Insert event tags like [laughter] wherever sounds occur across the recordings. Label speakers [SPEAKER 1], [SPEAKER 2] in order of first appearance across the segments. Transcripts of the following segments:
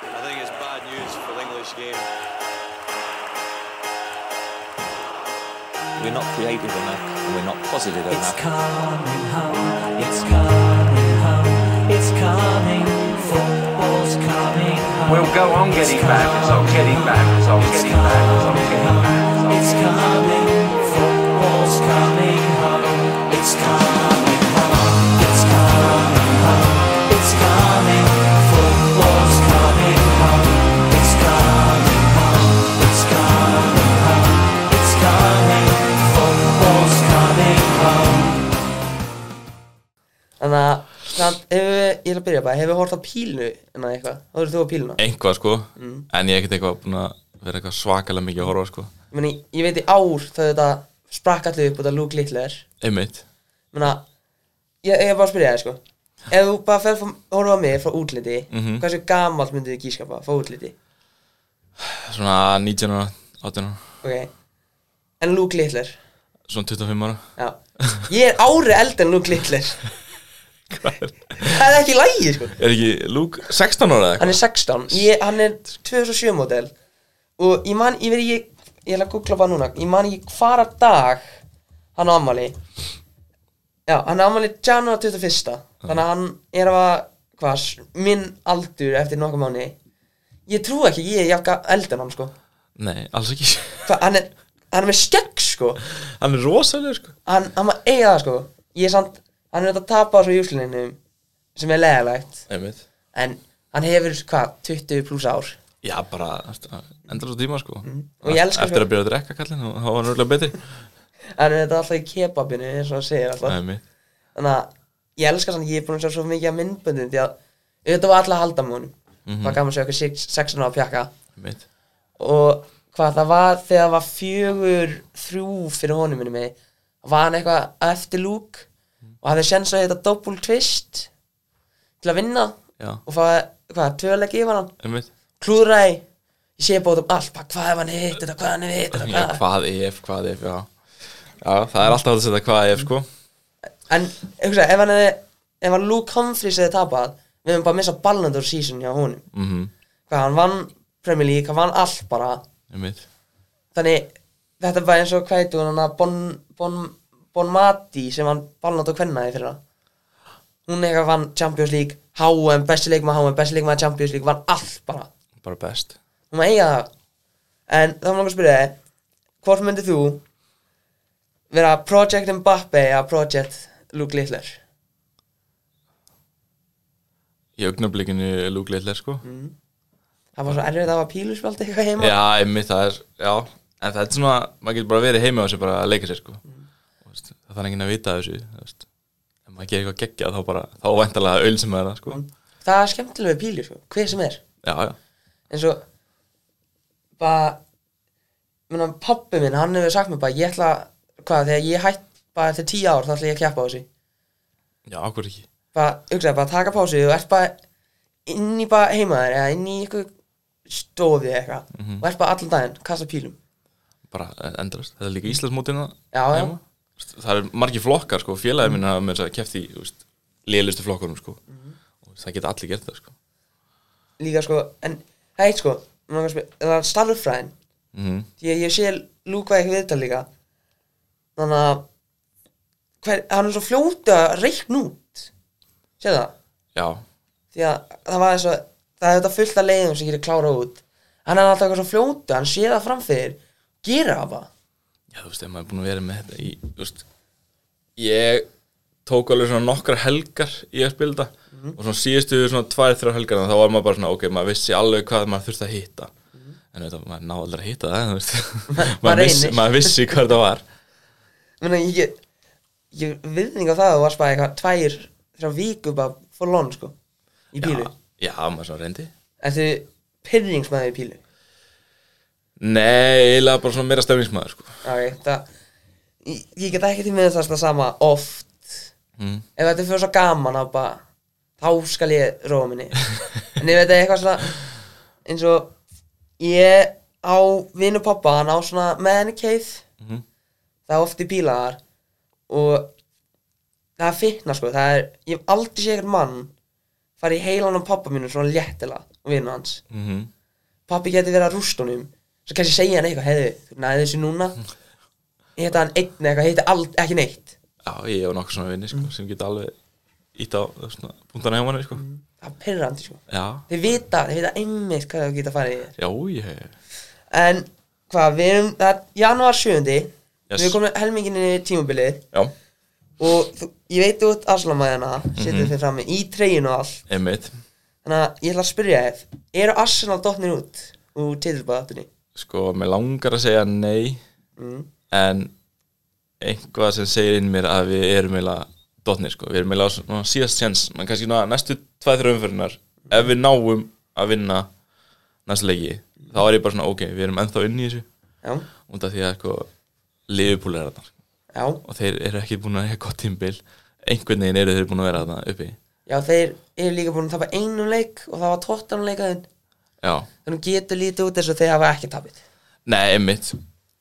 [SPEAKER 1] I think it's bad news for the English game.
[SPEAKER 2] We're not creative enough and we're not positive
[SPEAKER 3] It's
[SPEAKER 2] enough.
[SPEAKER 3] coming home, it's coming home, it's coming, football's coming home.
[SPEAKER 4] We'll go on
[SPEAKER 3] It's
[SPEAKER 4] getting back, so
[SPEAKER 3] coming
[SPEAKER 4] getting back, so
[SPEAKER 3] home, it's
[SPEAKER 4] getting back, so
[SPEAKER 3] coming
[SPEAKER 4] getting
[SPEAKER 3] home,
[SPEAKER 4] back, so
[SPEAKER 3] It's coming, football's coming home, it's coming home, it's coming home, it's coming, football's coming home, it's coming home, it's coming home, it's coming, football's coming home.
[SPEAKER 5] Þannig að samt, hefur við, ég er að byrja bara, hefur við hort á pílinu en að eitthvað, þá eru þú á píluna
[SPEAKER 6] Einhvað sko En ég er ekkert eitthvað búin að vera eitthvað svakalega mikið að horfa sko
[SPEAKER 5] Ég meni, ég veit í ár þegar þetta sprakk allir upp út af Luke Littler
[SPEAKER 6] Einmitt
[SPEAKER 5] Menna, ég, ég er bara að spyrja það sko Ef þú bara fer að horfa á mig frá útliti Hversu gamalt myndið þið gískapa frá útliti?
[SPEAKER 6] Svona 19 ára, 18 ára
[SPEAKER 5] Ok En Luke Littler
[SPEAKER 6] Svona 25 ára
[SPEAKER 5] Já Ég er ári eld en Luke Littler
[SPEAKER 6] Hvað er
[SPEAKER 5] Það er ekki lægi sko
[SPEAKER 6] Er ekki Luke 16 ára eða
[SPEAKER 5] Hann
[SPEAKER 6] eitthvað?
[SPEAKER 5] er 16 ég, Hann er 2007 model Og ég man, ég veit ekki Ég ætla að googla bara núna Ég man ekki hvaða dag Hann á ammali Já, hann á ammali janúar 21 Þannig að hann er að Hvað, s- minn aldur eftir nokkuð mánu Ég trú ekki, ég er jafka eldan hann sko
[SPEAKER 6] Nei, alls ekki
[SPEAKER 5] Hva, hann, er, hann er með skegg sko
[SPEAKER 6] [laughs] Hann er rosalega sko
[SPEAKER 5] Hann, hann maður eiga það sko Ég er samt, hann er þetta að tapa á svo júslinni Sem er leðalegt
[SPEAKER 6] Einmitt
[SPEAKER 5] En hann hefur, hvað, 20 pluss ár
[SPEAKER 6] Já, bara endur svo tíma sko
[SPEAKER 5] Og ég elska
[SPEAKER 6] Eftir
[SPEAKER 5] sko-
[SPEAKER 6] að byrja að drekka kallinn þá var hann örgulega betri
[SPEAKER 5] En þetta er alltaf í kebabinu eins og hann segir alltaf
[SPEAKER 6] Einmitt
[SPEAKER 5] Þannig að ég elska sann Ég er búin að sjá svo mikið af myndböndum Því að auðvitað var alltaf að halda múnum mm -hmm. Var gaman að sjá okkur 16 ára pjakka
[SPEAKER 6] Einmitt
[SPEAKER 5] Og hvað það var Þegar það var fjögur þrjú fyrir honum minni mig Var hann eitthvað á eftir lúk Og hafði sens að þetta double twist Til að vinna
[SPEAKER 6] Já,
[SPEAKER 5] Og fá, hvað, tvöleiki yfir hann
[SPEAKER 6] einmitt
[SPEAKER 5] Klúðraði Ég sé bóðum allt, bara hvað ef hann hitt þetta, hvað hann hitt þetta,
[SPEAKER 6] Já,
[SPEAKER 5] hvað
[SPEAKER 6] hvað ef, hvað ef, já Já, það er alltaf að setja hvað ef sko
[SPEAKER 5] En, hugsa, ef hann hefði Ef hann Luke Humphries hefði tapað Við hefum bara missað ballandur season hjá honum
[SPEAKER 6] Mhm,
[SPEAKER 5] Hvað hann vann Premier League, hann vann allt bara
[SPEAKER 6] einmitt
[SPEAKER 5] Þannig, þetta var eins og hvað heitu hann að Bon, bon, bon Mati Sem hann ballandur kvennaði fyrir það Hún eitthvað vann Champions League HM, besti leikmaður HM, besti leikmaður Champions League Vann allt bara
[SPEAKER 6] Bara best
[SPEAKER 5] Hún maður eiga það En þá mér langar að spyrja þig Hvort myndir þú vera Project Mbappe eða Project Luke Littler?
[SPEAKER 6] Í augnablikinu Luke Littler sko
[SPEAKER 5] Það var svo erfið að hafa píluspjald eitthvað heima
[SPEAKER 6] Já, einmitt, það er, já En það er svona, maður getur bara verið heima á þessu bara að leika sér sko
[SPEAKER 5] Mm.
[SPEAKER 6] Og, veist, Það þarf enginn að vita af þessu þú veist. Ef maður gerir eitthvað geggjað þá bara, þá væntalega öl sem er það sko
[SPEAKER 5] Mm. Það er skemmtilega við pílu, sko, hver sem er
[SPEAKER 6] Já, já,
[SPEAKER 5] En svo Bara Menna, pappi minn, hann hefur sagt mér bara Ég ætla, hvað, þegar ég hætt Bara eftir tíu ár, þá ætla ég að keppa á þessu
[SPEAKER 6] já, okkur ekki
[SPEAKER 5] Bara, hugsaði, bara taka pásu Og ert bara inn í bara heima þér Eða inn í ykkur stofi eða eitthvað Og ert bara allan daginn, kasta pílum
[SPEAKER 6] Bara eh, endalaust, þetta er líka Íslandsmótina
[SPEAKER 5] Já, já. Mm.
[SPEAKER 6] Það eru margir flokkar sko, félagið minna með þess að kefti í, þú veist, lélustu flokkurum sko Og það geta allir gert það sko
[SPEAKER 5] Líka sko, en það er eitt sko mig langar að spyrja, Það er starffræðin
[SPEAKER 6] Mhm.
[SPEAKER 5] Því að ég sé Luke var ekki viðtal líka Þannig að hver, Hann er svo fljóta reikn út Sér það
[SPEAKER 6] Já,
[SPEAKER 5] Því að það var eins og Það er þetta fullt af leiðum sem getur klára út Hann er alltaf eitthvað svo fljóta, hann sé það framfyrir Gera það bara
[SPEAKER 6] Já, þú veist, ef maður er búin að vera með þetta í, þú veist, ég tók alveg svona nokkar helgar í að spila þetta og svona síðustu svona tvær, þrjár helgar þá var maður bara svona, ok, maður vissi alveg hvað maður þurfti að hitta en þetta, maður náði aldrei að hitta það, þú veist
[SPEAKER 5] maður
[SPEAKER 6] maður, vissi,
[SPEAKER 5] reynir.
[SPEAKER 6] maður vissi hvað þetta var
[SPEAKER 5] Menna ég get Ég viðning á það að þú varst bara eitthvað Tvær, þrjá viku bara for lon sko Í pílu,
[SPEAKER 6] Já, já, maður svona reyndi
[SPEAKER 5] ertu pyrringsmaður í pílu
[SPEAKER 6] Nei, eiginlega bara svona meira stemningsmaður, sko
[SPEAKER 5] Ok, það Ég, ég get ekki til miðast það sama oft
[SPEAKER 6] Mm.
[SPEAKER 5] Ef þetta er fyrir svo gaman þá bara Þá skal ég róa minni En ég veit að eitthvað svona eins og Ég á vinu pappa Hann á svona man cave Það er oft í bílaðar Og það er fitna sko Það er, ég hef aldrei sé ekkert mann fara í heilan á pappa mínum svona léttilega og vinnu hans
[SPEAKER 6] mm -hmm.
[SPEAKER 5] pappi geti verið að rústa honum svo kannski segja hann eitthvað, heiðu, þú næði þessu núna heita hann einn eða eitthvað, heita ald, ekki neitt
[SPEAKER 6] Já, ég hef nokkuð svona vinni sko, sem geta alveg ít á svona, punktana hjá manni sko.
[SPEAKER 5] það er pyrrandi sko
[SPEAKER 6] Já,
[SPEAKER 5] þeir vita, þeir vita einmitt hvað þau geta farið í þér
[SPEAKER 6] já, ég
[SPEAKER 5] en hvað, við erum, það er januar 7
[SPEAKER 6] Yes.
[SPEAKER 5] við erum komin helminginni í tímabilið
[SPEAKER 6] Já,
[SPEAKER 5] og þú, ég veit þú út Arsenal-mæðina setur mm þeir frammi í treyjun og all
[SPEAKER 6] einmitt
[SPEAKER 5] þannig að ég ætla að spyrja þið eru Arsenal dotnir út úr titilbæðatunni?
[SPEAKER 6] Sko, mér langar að segja nei En einhvað sem segir inn mér að við erum eiginlega dotnir sko Við erum eiginlega á svona síðast séns Man kannski svona næstu tvæð þrjum umfyririnnar Ef við náum að vinna næstu leiki Þá er ég bara svona, ok, við erum ennþá inn í þessu
[SPEAKER 5] já,
[SPEAKER 6] Út af því að sko, Liverpool er þarna
[SPEAKER 5] já,
[SPEAKER 6] Og þeir eru ekki búin að eiga gott tímbil Einhvern veginn eru þeir búin að vera þarna uppi
[SPEAKER 5] já, þeir eru líka búin að tapa einum leik og það var tóttan leikaðinn
[SPEAKER 6] Já,
[SPEAKER 5] þannig getur lítið út þess að þeir hafa ekki tapit
[SPEAKER 6] Nei, einmitt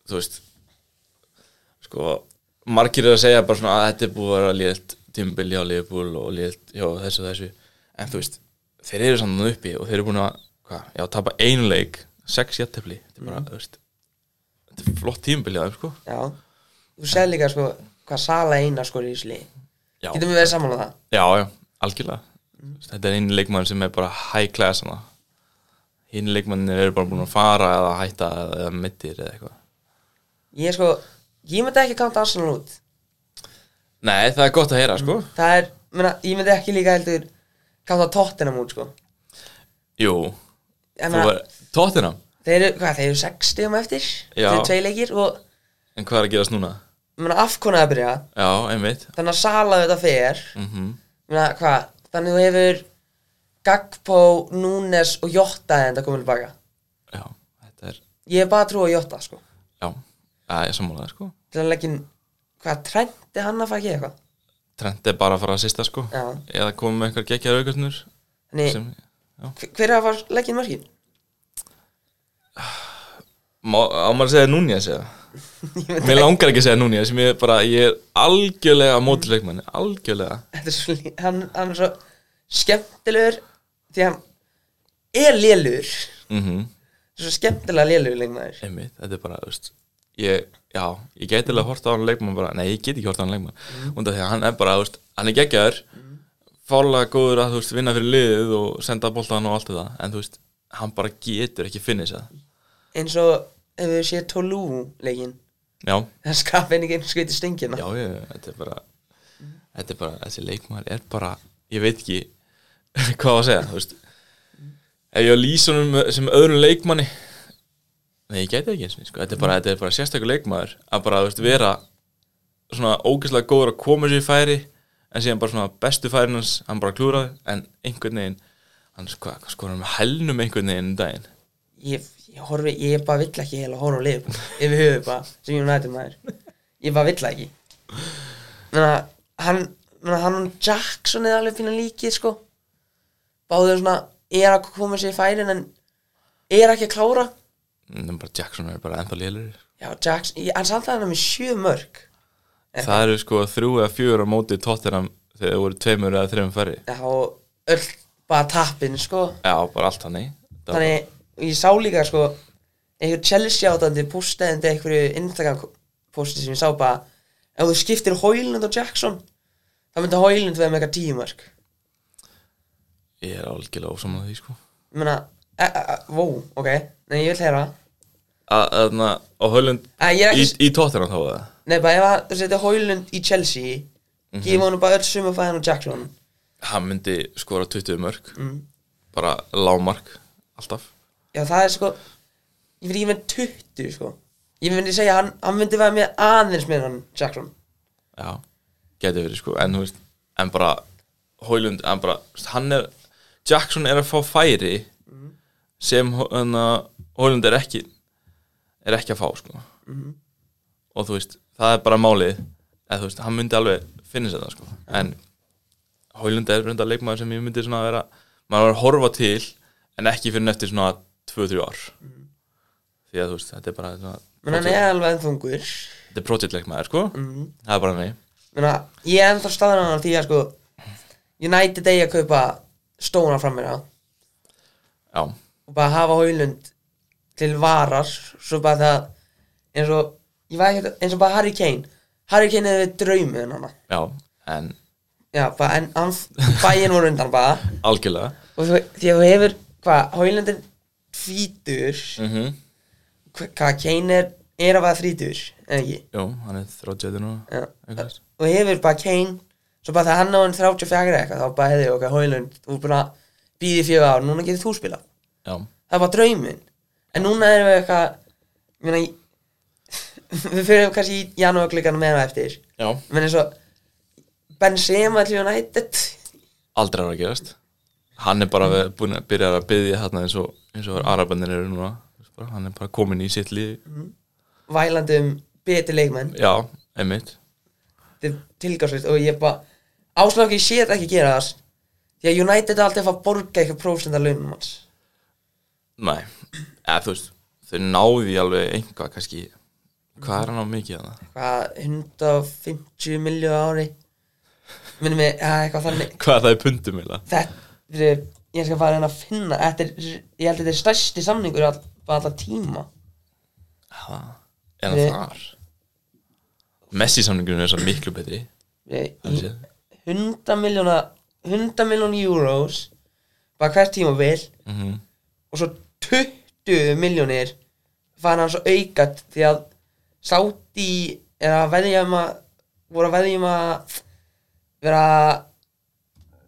[SPEAKER 6] Þú veist Sko, margir er að segja bara svona að þetta er búið að vera liðt tímbil hjá liðbúl og liðt hjá þessu og þessu En þú veist, þeir eru samt þarna uppi og þeir eru búin að, hvað, já, tapa einu leik sex jættefli, þetta er bara, þú veist Þetta er flott tímbil hjá þeim, sko
[SPEAKER 5] já, þú segir líka sko hvað Sala eina skor í Ísli
[SPEAKER 6] Já,
[SPEAKER 5] getum við verið saman á það?
[SPEAKER 6] já, já, algjörlega mm. Þetta er einu leikmann sem er bara high class hana Hinn leikmannir eru bara búin að fara eða hætta eða, eða mittir eða eitthvað
[SPEAKER 5] ég sko, ég myndi ekki kanta Arsenal út
[SPEAKER 6] Nei, það er gott að heyra, sko
[SPEAKER 5] það er, mena, ég myndi ekki líka heldur kanta tóttinam út sko
[SPEAKER 6] Jú,
[SPEAKER 5] Ég
[SPEAKER 6] Þú
[SPEAKER 5] meina,
[SPEAKER 6] var Tottenham
[SPEAKER 5] þeir eru, hvað, þeir eru 60 um eftir
[SPEAKER 6] Já.
[SPEAKER 5] þeir eru tvei leikir og
[SPEAKER 6] En hvað er að gerast núna?
[SPEAKER 5] mena, afkonaði að byrja
[SPEAKER 6] Já, einmitt
[SPEAKER 5] þannig að Sala þetta fer
[SPEAKER 6] mm
[SPEAKER 5] Meina, hva? Þannig þú hefur Gagpo, Núnes og Jota en það komið tilbaka
[SPEAKER 6] Já, þetta er
[SPEAKER 5] Ég hef bara trú á Jota sko
[SPEAKER 6] Já, að ég sammála það sko
[SPEAKER 5] Til að leggja inn Hvað, trendi hann að fara ekki eitthvað?
[SPEAKER 6] Trent er bara að fara að sista sko
[SPEAKER 5] Já.
[SPEAKER 6] Eða komið með einhver geggjar aukastnur
[SPEAKER 5] Þannig,
[SPEAKER 6] sem,
[SPEAKER 5] hver- hver er að fara að leggja inn mörkin?
[SPEAKER 6] Má, á maður að segja núna ég segja
[SPEAKER 5] Ég veit
[SPEAKER 6] Mér langar ekki að segja núna ég sem ég er bara Ég er algjörlega á móti leikmanni Algjörlega
[SPEAKER 5] Þetta er svo, lí- hann, hann er svo skemmtilegur Því hann er lélugur
[SPEAKER 6] mm
[SPEAKER 5] Svo skemmtilega lélugur lengmaður
[SPEAKER 6] Einmitt, þetta er bara, þú veist Ég, já, ég geti alveg horta á hann leikmann bara Nei, ég get ekki horta á hann leikmann mm. Undan því að hann er bara, þú veist, hann er geggjaður mm. Fárlega góður að, þú veist, vinna fyrir liðið Og senda boltan og allt þetta En þú veist, hann bara getur ekki finna þess að
[SPEAKER 5] Eins og ef við séð Tolú leikin
[SPEAKER 6] Já,
[SPEAKER 5] Það skapi henni ekki einu skviti stöngina
[SPEAKER 6] já, ég, þetta er bara Þetta er bara, þessi leikmann er bara Ég veit ekki [laughs] hvað á að segja, þú veist Ef ég á lýsunum sem öðrum leikmanni Nei, ég gæti ekki eins og sko. þetta, er bara, þetta er bara sérstakur leikmaður að bara þú veist, vera svona ógeðslega góður að koma sér í færi en síðan bara svona bestu færin hans hann bara klúraði en einhvern veginn hann sko, hvað skora hann með helnum einhvern veginn um daginn
[SPEAKER 5] ég, ég horfi, ég bara vill ekki heila horfa á liðbúl yfir höfuð bara, sem ég nættum maður ég bara vill það ekki menna, hann menna, hann og Jackson er alveg fína líkið sko báður svona, er að koma sér í færin en er ekki að klára
[SPEAKER 6] en bara Jackson er bara ennþá lélur
[SPEAKER 5] já, Jackson, ég, hann samt að hann er með sjö mörg
[SPEAKER 6] það eru sko þrjú eða fjögur á móti tóttinam þegar það voru tveimur eða þreimur færi
[SPEAKER 5] já, og öll bara tappin sko
[SPEAKER 6] já, bara allt hann í
[SPEAKER 5] þannig, og ég sá líka sko einhver Chelsea átandi postaði undir einhverju Instagram posti sem ég sá bara ef þú skiptir Hoylund og Jackson þá myndi Hoylund vera með eitthvað tímark
[SPEAKER 6] ég er algjörlega ósamlega því sko
[SPEAKER 5] ég meina, e- e- e- vó, ok nei, ég vil heyra
[SPEAKER 6] að, að, að Hölund
[SPEAKER 5] Æ, ég er
[SPEAKER 6] í,
[SPEAKER 5] ekki,
[SPEAKER 6] í tóttinam þá eða
[SPEAKER 5] nei, bara ef að þú setur Hoylund í Chelsea gefa honum bara öll summa fæðan og Jackson
[SPEAKER 6] hann myndi skora 20 mörg
[SPEAKER 5] Mm.
[SPEAKER 6] bara lágmark alltaf
[SPEAKER 5] já, það er sko ég fyrir ég með 20, sko ég myndi segja, hann, hann myndi vera með aðeins með hann Jackson
[SPEAKER 6] Já, geti verið sko En, þú veist, en bara Hólund, en bara þú veist, hann er, Jackson er að fá færi
[SPEAKER 5] Mhm.
[SPEAKER 6] sem Hólund er ekki er ekki að fá sko
[SPEAKER 5] Mhm.
[SPEAKER 6] og þú veist, það er bara málið eða þú veist, hann myndi alveg finna sér það sko en Hólund er reynda leikmaður sem ég myndi svona vera maður var að horfa til en ekki fyrir neftir svona 2-3 ár því að þú veist, þetta er bara
[SPEAKER 5] Mhm.
[SPEAKER 6] svona,
[SPEAKER 5] menn hann er Mhm. alveg en þungur
[SPEAKER 6] þetta er projektleikmaður sko það er bara mig
[SPEAKER 5] Meina, ég er ennþá staðan á því að sko United eigi að kaupa stóna fram meira
[SPEAKER 6] já,
[SPEAKER 5] og bara hafa Hólund til varar svo bara það eins og, ég var ekki, eins og bara Harry Kane Harry Kane hefði draumið um hana
[SPEAKER 6] já, en
[SPEAKER 5] já, bara, en hann bæinn voru undan bara
[SPEAKER 6] algjörlega
[SPEAKER 5] og þú, því að þú hefur, hvað, Hólund er tvítur
[SPEAKER 6] mm
[SPEAKER 5] hva- hvað Kane er, er að vera þrítur eða ekki,
[SPEAKER 6] Jú, hann er 30 núna
[SPEAKER 5] já
[SPEAKER 6] eitthvað.
[SPEAKER 5] og hefur bara Kane svo bara það hann á hann 34 eða eitthvað þá bara hefði okkar Hólund, þú er búin að býði fjögur ár, núna getur þú spilað
[SPEAKER 6] Já,
[SPEAKER 5] það er bara drauminn en núna erum við eitthvað ég meina, [laughs] ég- við fyrir kannski í janúargluggan meðan og eftir
[SPEAKER 6] já,
[SPEAKER 5] menn eins og Benzema til United
[SPEAKER 6] aldrei er að gerast Hann er bara við- búinn að byrja að byggja þarna eins og, eins og arabandin eru núna Þú veist bara, Hann er bara kominn í sitt líf
[SPEAKER 5] vælandi um betri leikmenn
[SPEAKER 6] Já, einmitt
[SPEAKER 5] þetta er tilgangslist og ég bara áslag ég sé þetta ekki gera það því að United er alltaf að fá að borga eitthvað prófstendar launum hans
[SPEAKER 6] Nei, eða þú veist Þau náðu í alveg einhvað kannski Hvað er hann á mikið að það?
[SPEAKER 5] hvað 150 miljóð ári minnum við, ja, eitthvað þannig
[SPEAKER 6] Hvað er það í pundum eða?
[SPEAKER 5] þetta er, ég skal bara reyna að finna þetta er, ég held að þetta er stærsti samningur all, bara alltaf tíma
[SPEAKER 6] Er hann
[SPEAKER 5] Við-
[SPEAKER 6] þar? Messi samningurinn er svo miklu betri
[SPEAKER 5] Ég-
[SPEAKER 6] Hann sé-
[SPEAKER 5] 100 miljóna 100 miljóna euros bara hvert tímabil
[SPEAKER 6] Mhm.
[SPEAKER 5] og svo 20 miljónir fann hann svo aukat því að Saudi er að veðja um að voru að veðja um að vera að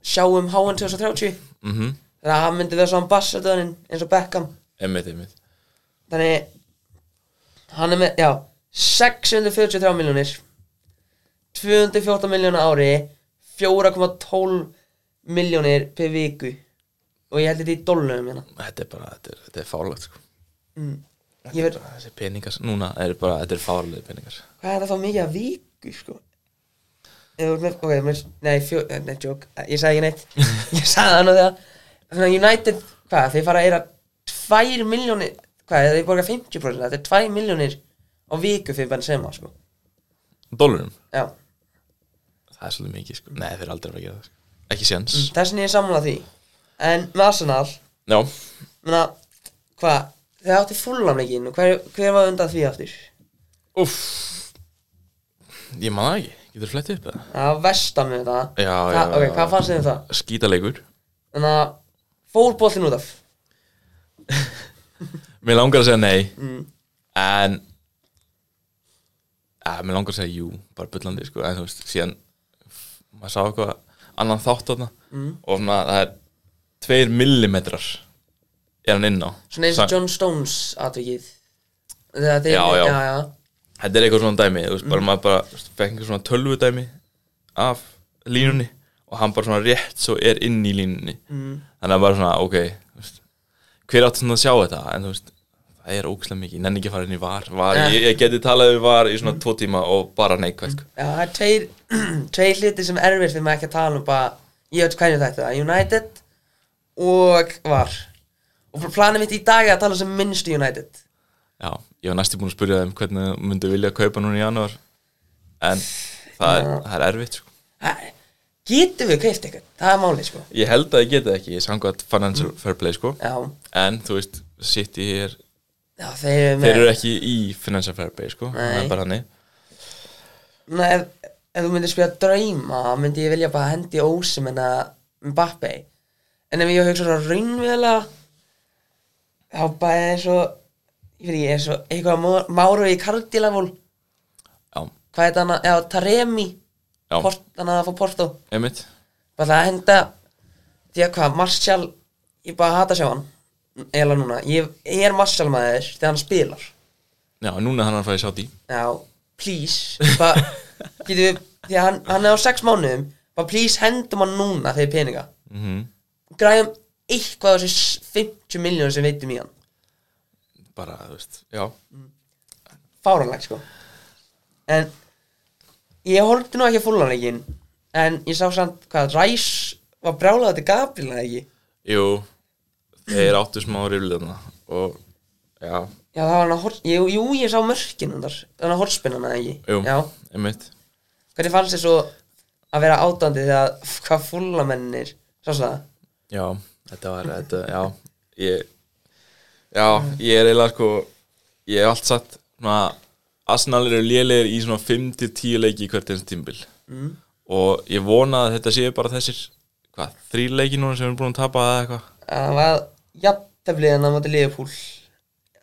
[SPEAKER 5] sjá um HN 2030
[SPEAKER 6] Mhm.
[SPEAKER 5] þannig að hann myndi vera svo ambassadörinn eins og Beckham
[SPEAKER 6] Einmitt, einmitt
[SPEAKER 5] Þannig Hann er með, já 643 miljónir 214 miljóna ári 4,12 miljónir per viku Og ég held þetta í dollurum hérna
[SPEAKER 6] Þetta er bara, þetta er, þetta er fálegt sko
[SPEAKER 5] Ég verð,
[SPEAKER 6] Þessi peningar, núna er bara, þetta er fárlega peningar
[SPEAKER 5] hvað er það þá mikið að viku, sko Ef þú ert með, ok, með, nei, fjó, eh, nei, joke eh, Ég sagði ekki neitt Ég sagði það nú þegar Þannig að United, hvað, þeir fara að eira 2 miljónir, hvað, þeir borga 50% Þetta er 2 miljónir á viku fyrir Benzema, sko
[SPEAKER 6] Dólarum?
[SPEAKER 5] Já,
[SPEAKER 6] Það er svolítið mikið sko Nei, þeir eru aldrei að fara að gera það sko. Ekki séns
[SPEAKER 5] þess vegna ég er sammála því en með Arsenal
[SPEAKER 6] Já,
[SPEAKER 5] menna, hva, þau átti fullan ekki og hver, hver var undan því aftur
[SPEAKER 6] uff Ég man það ekki, getur flett upp eða?
[SPEAKER 5] það var vestan með þetta
[SPEAKER 6] Já,
[SPEAKER 5] Hva-
[SPEAKER 6] já,
[SPEAKER 5] ok,
[SPEAKER 6] já,
[SPEAKER 5] hvað
[SPEAKER 6] já.
[SPEAKER 5] fannst þið um það?
[SPEAKER 6] Skítaleikur
[SPEAKER 5] þannig að fór bóllin út af
[SPEAKER 6] Mér langar að segja nei En ja, Mér langar að segja jú, bara bullandi sko. En þú veist, síðan Maður sá eitthvað annan þátt þarna Og svona, það er Tveir millimetrar Er hann inn á
[SPEAKER 5] svona eins og
[SPEAKER 6] Sa-
[SPEAKER 5] John Stones atvikið þegar þeir
[SPEAKER 6] Já, já.
[SPEAKER 5] já, já.
[SPEAKER 6] Þetta er eitthvað svona dæmi Þú veist, bara maður bara þú veist, Fekk einhver svona tölvu dæmi Af línunni Og hann bara svona rétt Svo er inn í línunni mm. Þannig að bara svona, ok þú veist, Hver átt svona að sjá þetta En þú veist Það er ógæslega mikið, ég nenni ekki að fara inn í var, var
[SPEAKER 5] Ja.
[SPEAKER 6] ég, ég geti talað við var í svona tvo tíma og bara neikvæð sko.
[SPEAKER 5] Já, það er tveir, [clears throat] tveir hluti sem er erfir fyrir maður ekki að tala um bara, ég veit hvernig þetta er, United og var og planið mitt í dag er að tala sem minnstu United
[SPEAKER 6] Já, ég var næstu búin að spyrja þeim hvernig þú myndu vilja kaupa núna í janúar En það er, það er erfitt sko.
[SPEAKER 5] Æ, getum við keift eitthvað það er málið sko
[SPEAKER 6] Ég held að ég geti það ekki, ég sangað financial fair play sko.
[SPEAKER 5] já,
[SPEAKER 6] En þú veist, City er
[SPEAKER 5] já þeir eru með
[SPEAKER 6] Þeir eru ekki í Financial Fair Play sko Það
[SPEAKER 5] Nei.
[SPEAKER 6] er bara hannig
[SPEAKER 5] Nei, ef, ef þú myndir spila drauma þá myndi ég vilja bara hendi ósum en að Mbappe en ef ég hugsa svo raunvegulega þá bara er svo ég veit ekki, er svo eitthvað Mo- Mauro í Cardilafól
[SPEAKER 6] Já,
[SPEAKER 5] hvað er þetta hana, já, Taremi
[SPEAKER 6] Já.
[SPEAKER 5] Port, hana að fá Porto
[SPEAKER 6] einmitt
[SPEAKER 5] bara það að henda því að hvað, Martial ég bara hata sjá hann eða núna, ég, ég er Martial maður þegar hann spilar
[SPEAKER 6] Já, núna er hann að fara í sátt í
[SPEAKER 5] Já, please bara, getum við, Því að hann, hann er á sex mánuðum bara please hendum hann núna þegar peninga
[SPEAKER 6] mm -hmm.
[SPEAKER 5] græðum eitthvað á þessu 50 miljónu sem veitum í hann
[SPEAKER 6] Bara, þú veist, já
[SPEAKER 5] fáranlegt sko en ég horfði nú ekki að fullanleikin en ég sá samt hvað Ræs var brjálað til Gabriel eða ekki
[SPEAKER 6] Jú, þeir áttu smá riflið Og, já,
[SPEAKER 5] Já, það var hann að horf... Jú, jú, ég sá mörkinu þar. Þannig að horfspinnana, ekki?
[SPEAKER 6] jú,
[SPEAKER 5] Já.
[SPEAKER 6] einmitt
[SPEAKER 5] Hvernig fannst þér svo að vera átandi þegar hvað fullamennir, svo svo það?
[SPEAKER 6] Já, þetta var, þetta, já Ég, já, ég er eiginlega sko Ég hef allt sagt svona, Arsenal eru lélegir í svona 5-10 leiki í hvert eins tímbil mm. Og ég vona að þetta séu bara þessir Hvað, þrý leiki núna sem við erum búin að tapa eða eitthvað
[SPEAKER 5] það var jafnteflið en það mátti liðupúl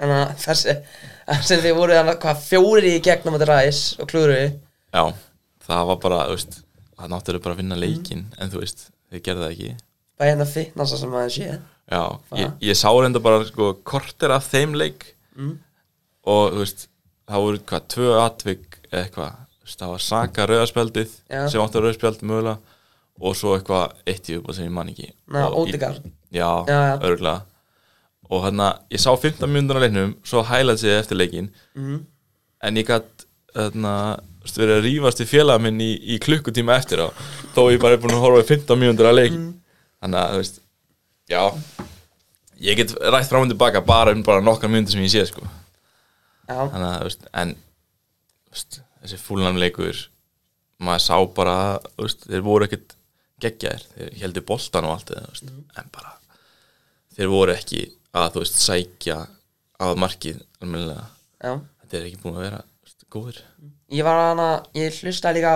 [SPEAKER 5] en að þessi þar sem þið voru hann hvað fjóri í gegnum þetta ræs og klúru
[SPEAKER 6] Já, það var bara, þú veist Það náttúrulega bara að
[SPEAKER 5] Mm.
[SPEAKER 6] vinna leikin En þú veist, þið gerðu það ekki
[SPEAKER 5] bara hérna fitnassa sem maður sé
[SPEAKER 6] Já, ég, ég sá reynda bara sko kortir af þeim leik
[SPEAKER 5] Mm.
[SPEAKER 6] og þú veist, það voru hvað, tvö atvik eða eitthvað, þú veist, það var Saka rauðarspjaldið
[SPEAKER 5] Já.
[SPEAKER 6] sem átti rauðarspjald mögulega og svo eitthvað eitt í upp sem ég man ekki
[SPEAKER 5] Ná,
[SPEAKER 6] Og í-
[SPEAKER 5] Odegaard.
[SPEAKER 6] Já,
[SPEAKER 5] Já, já.
[SPEAKER 6] örugglega. og hann ég sá 15 mjöndunar leiknum, svo hælaði sig eftir leikin en ég gætt þarna, þú veist, verið að rífast í félaga minn í, í klukkutíma eftir á þó ég bara er búin að horfa í 15 mjöndunar leik þannig að, þú veist, já ég get rætt fram og tilbaka bara um bara nokkar mjöndur sem ég sé, sko
[SPEAKER 5] já,
[SPEAKER 6] þannig að, þú veist, en þú veist, þessi fúlnamleikur maður sá bara, þú veist, þeir voru ekkit geggjaðir, þeir heldur boltan og allt það, þú veist, en bara þeir voru ekki að, þú veist, sækja að markið almennilega,
[SPEAKER 5] já
[SPEAKER 6] þetta er ekki búin að vera þú veist, góðir,
[SPEAKER 5] ég var hann að ég hlustaði líka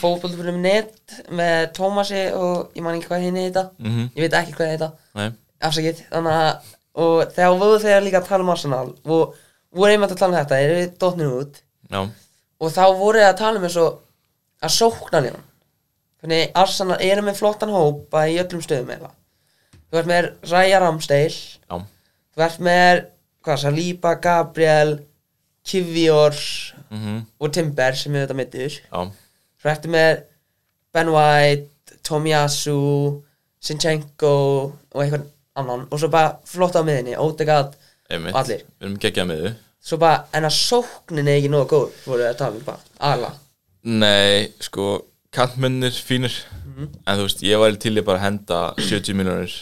[SPEAKER 5] fótbollum net með Tómasi og ég man ekki hvað henni heita
[SPEAKER 6] Mhm.
[SPEAKER 5] ég veit ekki hvað heita
[SPEAKER 6] nei,
[SPEAKER 5] afsakið þannig að og þegar voru þeir líka að tala um Arsenal og voru einmitt að tala um þetta þeir eru dotnir út
[SPEAKER 6] já
[SPEAKER 5] og þá voru þeir að tala um eins og að sókna línan þannig Arsenal eru með flottan hóp að í öllum stöðum eða þú ert með Raya Ramsteil
[SPEAKER 6] já,
[SPEAKER 5] þú ert með hvað Saliba, Gabriel Kivior
[SPEAKER 6] mhm,
[SPEAKER 5] og Timber sem er þetta meittur
[SPEAKER 6] já
[SPEAKER 5] svo ertu með Ben White, Tomiyasu Sinchenko og einhvern annan og svo bara flott á miðinni, Odegaard
[SPEAKER 6] einmitt,
[SPEAKER 5] Allir.
[SPEAKER 6] við erum geggjað með þau
[SPEAKER 5] svo bara, en að sóknin er ekki nógu góð voru þetta alveg um bara, ala
[SPEAKER 6] Nei, sko, kantmennir fínir
[SPEAKER 5] Mhm.
[SPEAKER 6] En þú veist, ég var til ég bara að henda 70 miljonir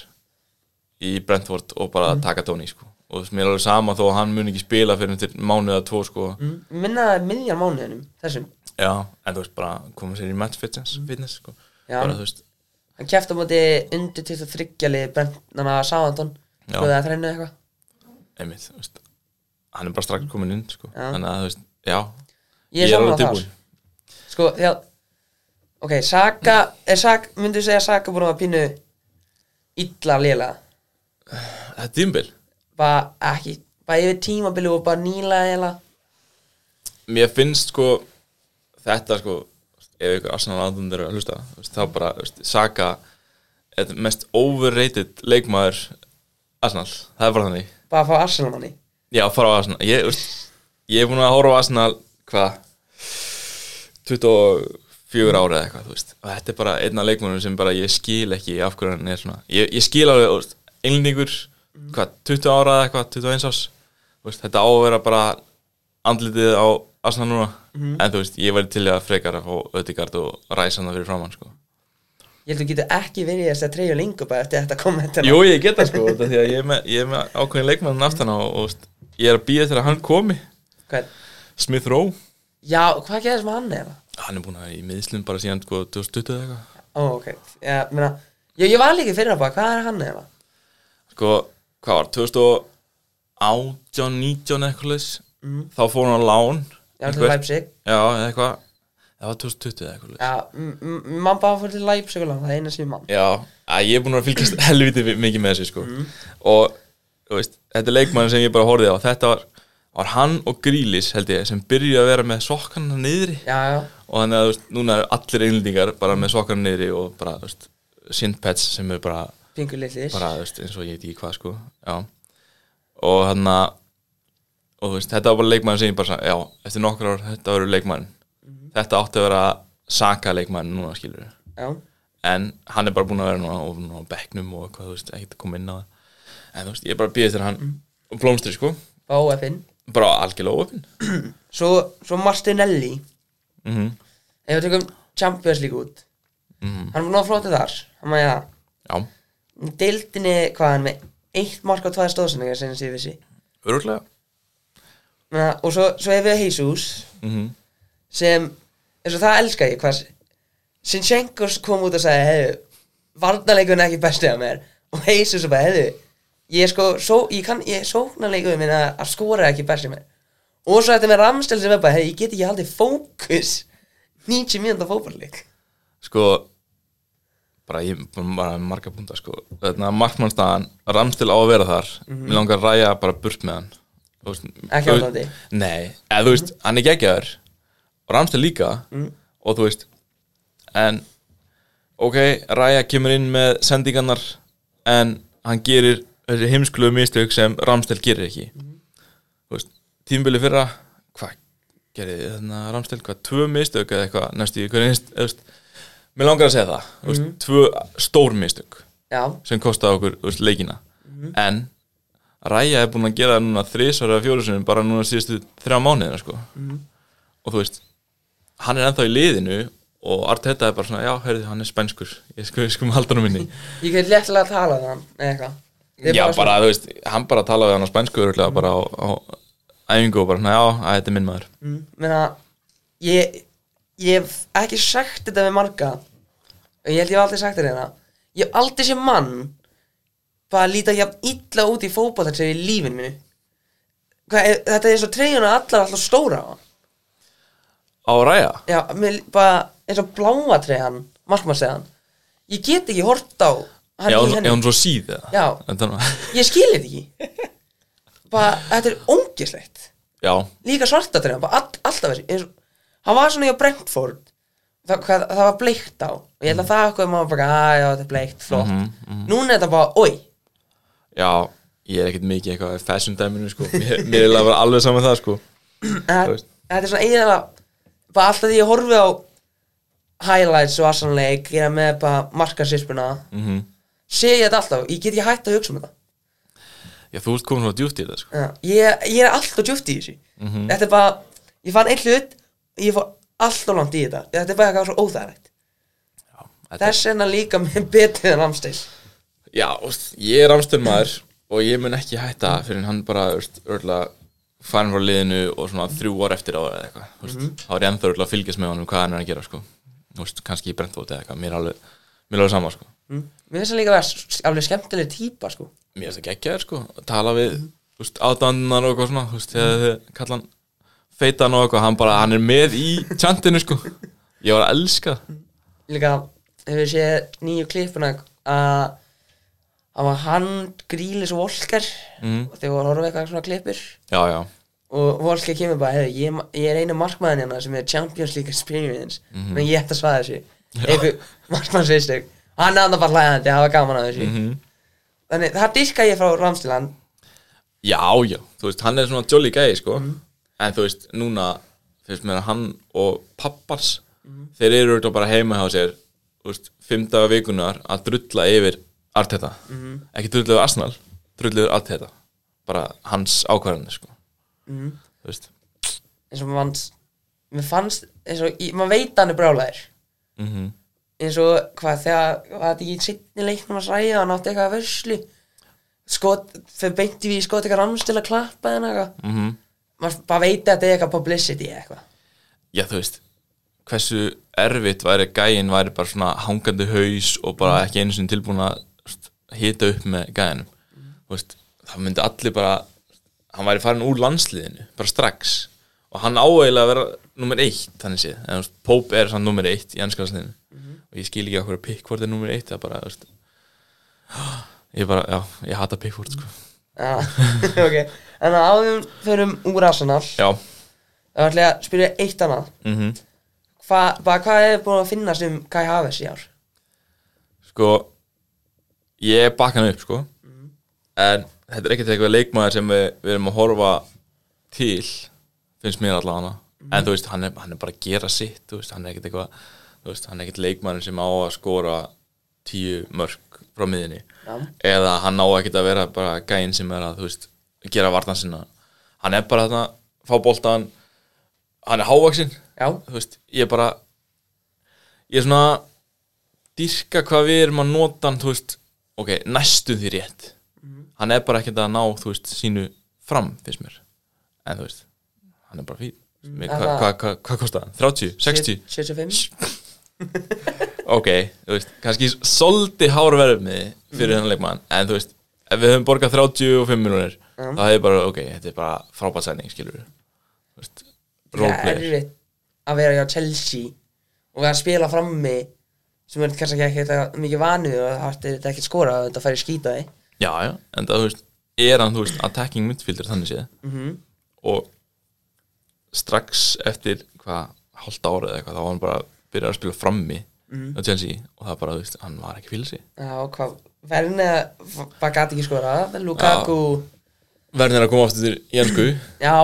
[SPEAKER 6] í Brentford og bara
[SPEAKER 5] Mhm.
[SPEAKER 6] taka Tony, sko Og þú veist, mér er alveg sama þó að hann mun ekki spila fyrir til mánuð eða tvo, sko
[SPEAKER 5] mm. minna miðjan mánuðinum þessum,
[SPEAKER 6] Já, en þú veist, bara koma sér í match fitness, fitness sko
[SPEAKER 5] Mhm. Já.
[SPEAKER 6] Bara, þú veist,
[SPEAKER 5] hann kæfti á móti undir 23 lið brennana Sáðantón
[SPEAKER 6] Já.
[SPEAKER 5] skoðið að þrennu eitthvað
[SPEAKER 6] einmitt, þú veist Hann er bara strax komin inn, sko
[SPEAKER 5] Já.
[SPEAKER 6] Þannig að, þú veist, já
[SPEAKER 5] ég er
[SPEAKER 6] alveg
[SPEAKER 5] saman á þar
[SPEAKER 6] tilbúinn.
[SPEAKER 5] sko, því að ok, Saka, er Saka myndu segja að Saka búin að pínu illa lélega
[SPEAKER 6] Þetta er dýmbil
[SPEAKER 5] bara ekki, bara yfir tímabili og bara nýla eða
[SPEAKER 6] mér finnst sko þetta sko ef ykkur Arsenal aðdunum eru að hlusta þú veist, þá bara þú veist, Saka er mest overrated leikmaður Arsenal, það er bara þannig
[SPEAKER 5] bara að fá Arsenal manni
[SPEAKER 6] já, fara á Arsenal ég, þú veist, ég er búin að horfa á Arsenal hvað 24 ára eða eitthvað þú veist. og þetta er bara einna leikmörnum sem bara ég skil ekki af hverju hann er svona ég, ég skil alveg, þú veist, einlendingur hvað, 20 ára eða eitthvað, 21 árs Þú veist, þetta á að vera bara andlitið á Arsenal núna en þú veist, ég væri til í að frekar að fá Ödegard og ræsa hann fyrir framann sko.
[SPEAKER 5] ég held að þú getur ekki verið í þess að treyja lengur bara eftir þetta kommentina
[SPEAKER 6] Jú, ég geta sko, þetta því að ég er með, ég er með ákveðin leikmann aftan á og þú veist, ég er að býja þegar hann komi
[SPEAKER 5] Hvern?
[SPEAKER 6] Smith Rowe,
[SPEAKER 5] já, hvað gerðist með hann eða?
[SPEAKER 6] hann er búin að vera í miðslum bara síðan sko, 2020 eða eitthvað
[SPEAKER 5] ó, ok, já, meina já, ég var líka fyrir að bara, hvað er hann eða?
[SPEAKER 6] sko, hvað var, 2018, 19 eitthvað leis, þá fór hann á lán
[SPEAKER 5] Mm. já, til
[SPEAKER 6] einhvert.
[SPEAKER 5] Leipzig
[SPEAKER 6] já, eða eitthvað það var 2020 eða eitthvað leis
[SPEAKER 5] já, m- m- mann bara fór til Leipzig og lang, það er eina sem ég mann
[SPEAKER 6] já, að ég er búin að vera að fylgjast [laughs] helviti vi- mikið með þessu sko
[SPEAKER 5] Mm.
[SPEAKER 6] og, þú veist, þetta er leikmann sem ég bara horfið á þetta var, var hann og Grílis held ég, sem byrjuði að vera með sokkanna niðri
[SPEAKER 5] já, já,
[SPEAKER 6] og þannig að þú veist, núna eru allir einlendingar bara með sokkanna niðri og bara, þú veist, sindpets sem er bara
[SPEAKER 5] pingu litlis
[SPEAKER 6] bara þú veist, eins og ég veit ekki hvað sko já. og hann að og þú veist, þetta var bara leikmann sem ég bara sagði, já, eftir nokkur ár þetta verður leikmann þetta átti að vera saka leikmann núna skilur
[SPEAKER 5] já,
[SPEAKER 6] en hann er bara búin að vera núna og núna á bekknum og hvað þú veist, ekkert að koma inn á það en þú veist, ég er bara býðið til hann og blómstri sko,
[SPEAKER 5] bara óefinn
[SPEAKER 6] bara algjörlega ofinn
[SPEAKER 5] svo, svo Martinelli
[SPEAKER 6] mm
[SPEAKER 5] ef við tökum Champions League út
[SPEAKER 6] Mhm.
[SPEAKER 5] hann var náða flotið þar hann var, já,
[SPEAKER 6] já,
[SPEAKER 5] deildinni, hvað er hann með eitt mark á tvaða stóðsendingar sem ég vissi
[SPEAKER 6] öruglega
[SPEAKER 5] Na, og svo, svo hefur við Jesus
[SPEAKER 6] mm
[SPEAKER 5] sem eins og það elska ég hvað Sinchenko kom út og sagði hey, varnarleikurinn er ekki bestið af mér og heisur svo bara, heyrðu ég er sko, svo, ég kann, ég sóknarleikurinn minn að, að skora er ekki bestið af mér og svo þetta með ramstel sem er bara, heyrðu, ég get ekki haldið fókus 90 mínúnda fótballleik
[SPEAKER 6] sko bara ég bara marga búnda sko þarna markmannstaðan, Ramstil á að vera þar mér langar að ræja bara burt með hann Þú veist,
[SPEAKER 5] Ekki
[SPEAKER 6] þú-
[SPEAKER 5] ástandi.
[SPEAKER 6] nei, eða þú veist, hann er geggjaður og Ramstil líka og þú veist en ok, Ræja kemur inn með sendingarnar en hann gerir þessi heimskluðu mistök sem Ramstil gerir ekki þú veist, tímabili fyrra hvað gerði þarna Ramstil, hvað, tvö mistök eða eitthvað, næstu í hvernig einst, eða, þú veist, mér langar að segja það, þú
[SPEAKER 5] Mhm.
[SPEAKER 6] veist, tvö stór mistök
[SPEAKER 5] já,
[SPEAKER 6] sem kostaði okkur þú veist, leikina
[SPEAKER 5] Mhm.
[SPEAKER 6] en Ræja er búin að gera það núna þrisvar eða fjóru sinni bara núna síðustu þrjá mánuðina sko.
[SPEAKER 5] Mhm.
[SPEAKER 6] og þú veist hann er ennþá í liðinu og Arteta er bara svona, já, heyrðu, hann er spænskur ég sko, ég sko með haldanum minni
[SPEAKER 5] ég get léttilega að tala það eða eitthvað Ég er
[SPEAKER 6] já,
[SPEAKER 5] svona-
[SPEAKER 6] bara, þú veist, hann bara talaði hann á spænsku örugglega bara á, á æfingu og bara, svona, já, að þetta er minn maður
[SPEAKER 5] Mm, meina, ég, ég hef ekki sagt þetta við marga og ég held ég hef aldrei sagt þetta hérna ég hef aldrei sem mann bara líta jafn illa út í fótbolta sem í lífin minu Hva, er, þetta er eins og treyjuna allar alltaf stóra á hann.
[SPEAKER 6] á Ræja,
[SPEAKER 5] já, mér, bara eins og bláa treyjan markmannstegjan ég get ekki hort á hann
[SPEAKER 6] já,
[SPEAKER 5] í
[SPEAKER 6] er
[SPEAKER 5] henni
[SPEAKER 6] hún svo síð eða?
[SPEAKER 5] Já.
[SPEAKER 6] En þannig að-
[SPEAKER 5] ég skil þetta ekki bara, þetta er óngislegt
[SPEAKER 6] [laughs] já,
[SPEAKER 5] líka svarta treyjan, bara all, alltaf þessi eins og, hann var svona hjá Brentford það, hvað, það var bleikt á og ég held að það okkur maður bara, að já, þetta er bleikt flott, núna er þetta bara, oi
[SPEAKER 6] já ég er ekkert mikið eitthvað í fashion dæminu sko. mér, mér er eiginlega bara alveg saman það sko.
[SPEAKER 5] það,
[SPEAKER 6] veist.
[SPEAKER 5] þetta er svona eiginlega bara alltaf því ég horfi á highlights og aðsanleik, ég er með bara markarsýspuna, mm -hmm. sé ég þetta alltaf, ég get ekki hætt að hugsa um þetta
[SPEAKER 6] Já, þú ert komin svo djúft í þetta, sko.
[SPEAKER 5] Já, ég, ég er alltaf djúpt í þessu Þetta er bara, ég fann einn hlut Ég fór alltaf langt í þetta Þetta er bara eitthvað svo óþægilegt
[SPEAKER 6] þetta-
[SPEAKER 5] Þess vegna líka með [laughs] betið en amstil
[SPEAKER 6] Já, úst, ég er amstur maður og ég mun ekki hætta fyrir hann bara, úst, örgulega farin frá liðinu og svona þrjú ár eftir ára eða eitthvað, úst, þá er ég ennþá örgulega að fylgjast með honum hvað hann er að gera, sko. Úst, kannski í brentvóti eða eitthvað, mér er alveg, mér er alveg sama, sko.
[SPEAKER 5] Mér finnst það líka að vera s- alveg skemmtileg típa sko
[SPEAKER 6] Mér finnst það geggjaður, sko, að tala við, úst, aðdannar og eitthvað svona, úst, þegar þið kalla hann feitan og eitthvað, hann bara, hann er með í tjantinu, sko. Ég var að elska það.
[SPEAKER 5] Líka hefur séð nýju klippuna að að var hann grílis og volkar og þegar voru að horfa á eitthvað svona klippur
[SPEAKER 6] Já, já,
[SPEAKER 5] og Volker kemur bara, heyrðu, ég, er ma- ég er einu markmaðin hérna sem er Champions League experience menn ég ætti að svaða þessu einhver markmann sveistug hann andan bara hlæðandi, hafa gaman að þessu þannig það diska ég frá Ramstiland
[SPEAKER 6] Já, já, þú veist, hann er svona jolly gæi, sko En þú veist, núna finnst mér að hann og pappars Þeir eru auðvitað bara heima hjá sér Þú veist, fimm daga vikunar að drulla yfir Arteta Ekki drulla yfir Arsenal, drulla yfir Arteta Bara hans ákvarðanir, sko Þú veist,
[SPEAKER 5] eins og mann mér fannst, eins og, ég- maður veit að hann er brjálæðir
[SPEAKER 6] mm
[SPEAKER 5] eins og hvað þegar var þetta ekki í seinni leiknum að ræða hann átti eitthvað að verslu skot, fyrir beinti við skot eitthvað Ramstil að klappa eða eitthvað
[SPEAKER 6] Mhm.
[SPEAKER 5] maður bara veit að þetta er eitthvað publicity eða eitthvað
[SPEAKER 6] Já, þú veist, hversu erfitt væri gæin væri bara svona hangandi haus Og bara ekki einu sinni tilbúin að þú veist, hita upp með gæinum Þú veist, það myndi allir bara hann væri farin úr landsliðinu bara strax og hann áeiginlega að vera nummer eitt þannig séð, en þú veist, Pope er sann nummer eitt í ennskarsliðinu og ég skil ekki okkur að Pickford er nummer eitt það er bara, þú veist [gasps] ég bara, já, ég hata Pickford sko.
[SPEAKER 5] Já, [laughs] ok En að áðum förum úr Arsenal
[SPEAKER 6] já,
[SPEAKER 5] Það var ætla að spyrja eitt annað
[SPEAKER 6] mhm
[SPEAKER 5] Hva, bara, Hvað hefur búin að finnast um Kai Havertz í ár?
[SPEAKER 6] sko ég bakka hann upp sko en þetta er ekkert eitthvað leikmaður sem við, við erum að horfa til finnst mér allavega hana en þú veist, hann er, hann er bara að gera sitt þú veist, hann er ekkert eitthvað þú veist, hann er ekkert leikmaður sem á að skora tíu mörg frá miðinni
[SPEAKER 5] Já.
[SPEAKER 6] eða hann á ekkert að vera bara gæinn sem er að, þú veist, gera vartan sinna hann er bara þarna, fá boltan hann er hávaksinn
[SPEAKER 5] Já,
[SPEAKER 6] þú veist, ég er bara ég er svona dyrka hvað við erum að nota hann, þú veist, ok, næstu því rétt hann er bara ekkert að ná þú veist, sínu fram, finnst mér en þú veist, hann er bara fín mm. hvað hva, hva, hva kostar hann? 30? 60?
[SPEAKER 5] 75
[SPEAKER 6] ok, þú veist, kannski soldi hárverfni fyrir þennan leikmann en þú veist, ef við höfum borgað 35 miljonir, þá hefði bara, ok, þetta er bara frábært sæning, skilur við þú veist,
[SPEAKER 5] Það er
[SPEAKER 6] roleplayer
[SPEAKER 5] erfitt að vera hjá Chelsea og vera að spila frammi sem er kannski ekki eitthvað mikið vanuð og það er þetta ekki skora og þetta færi skýta þig
[SPEAKER 6] já, já, en það, þú veist, er hann, þú veist, attacking midfielder þannig séð og strax eftir, hvað, hálft ára eða eitthvað, þá var hann bara að byrja að spila frammi á Chelsea og það bara, þú veist, hann var ekki fylgsi
[SPEAKER 5] Já, og hvað, verðin eða bara gæti ekki skora, Lukaku
[SPEAKER 6] verðin er að koma aftur til Jensku
[SPEAKER 5] Já,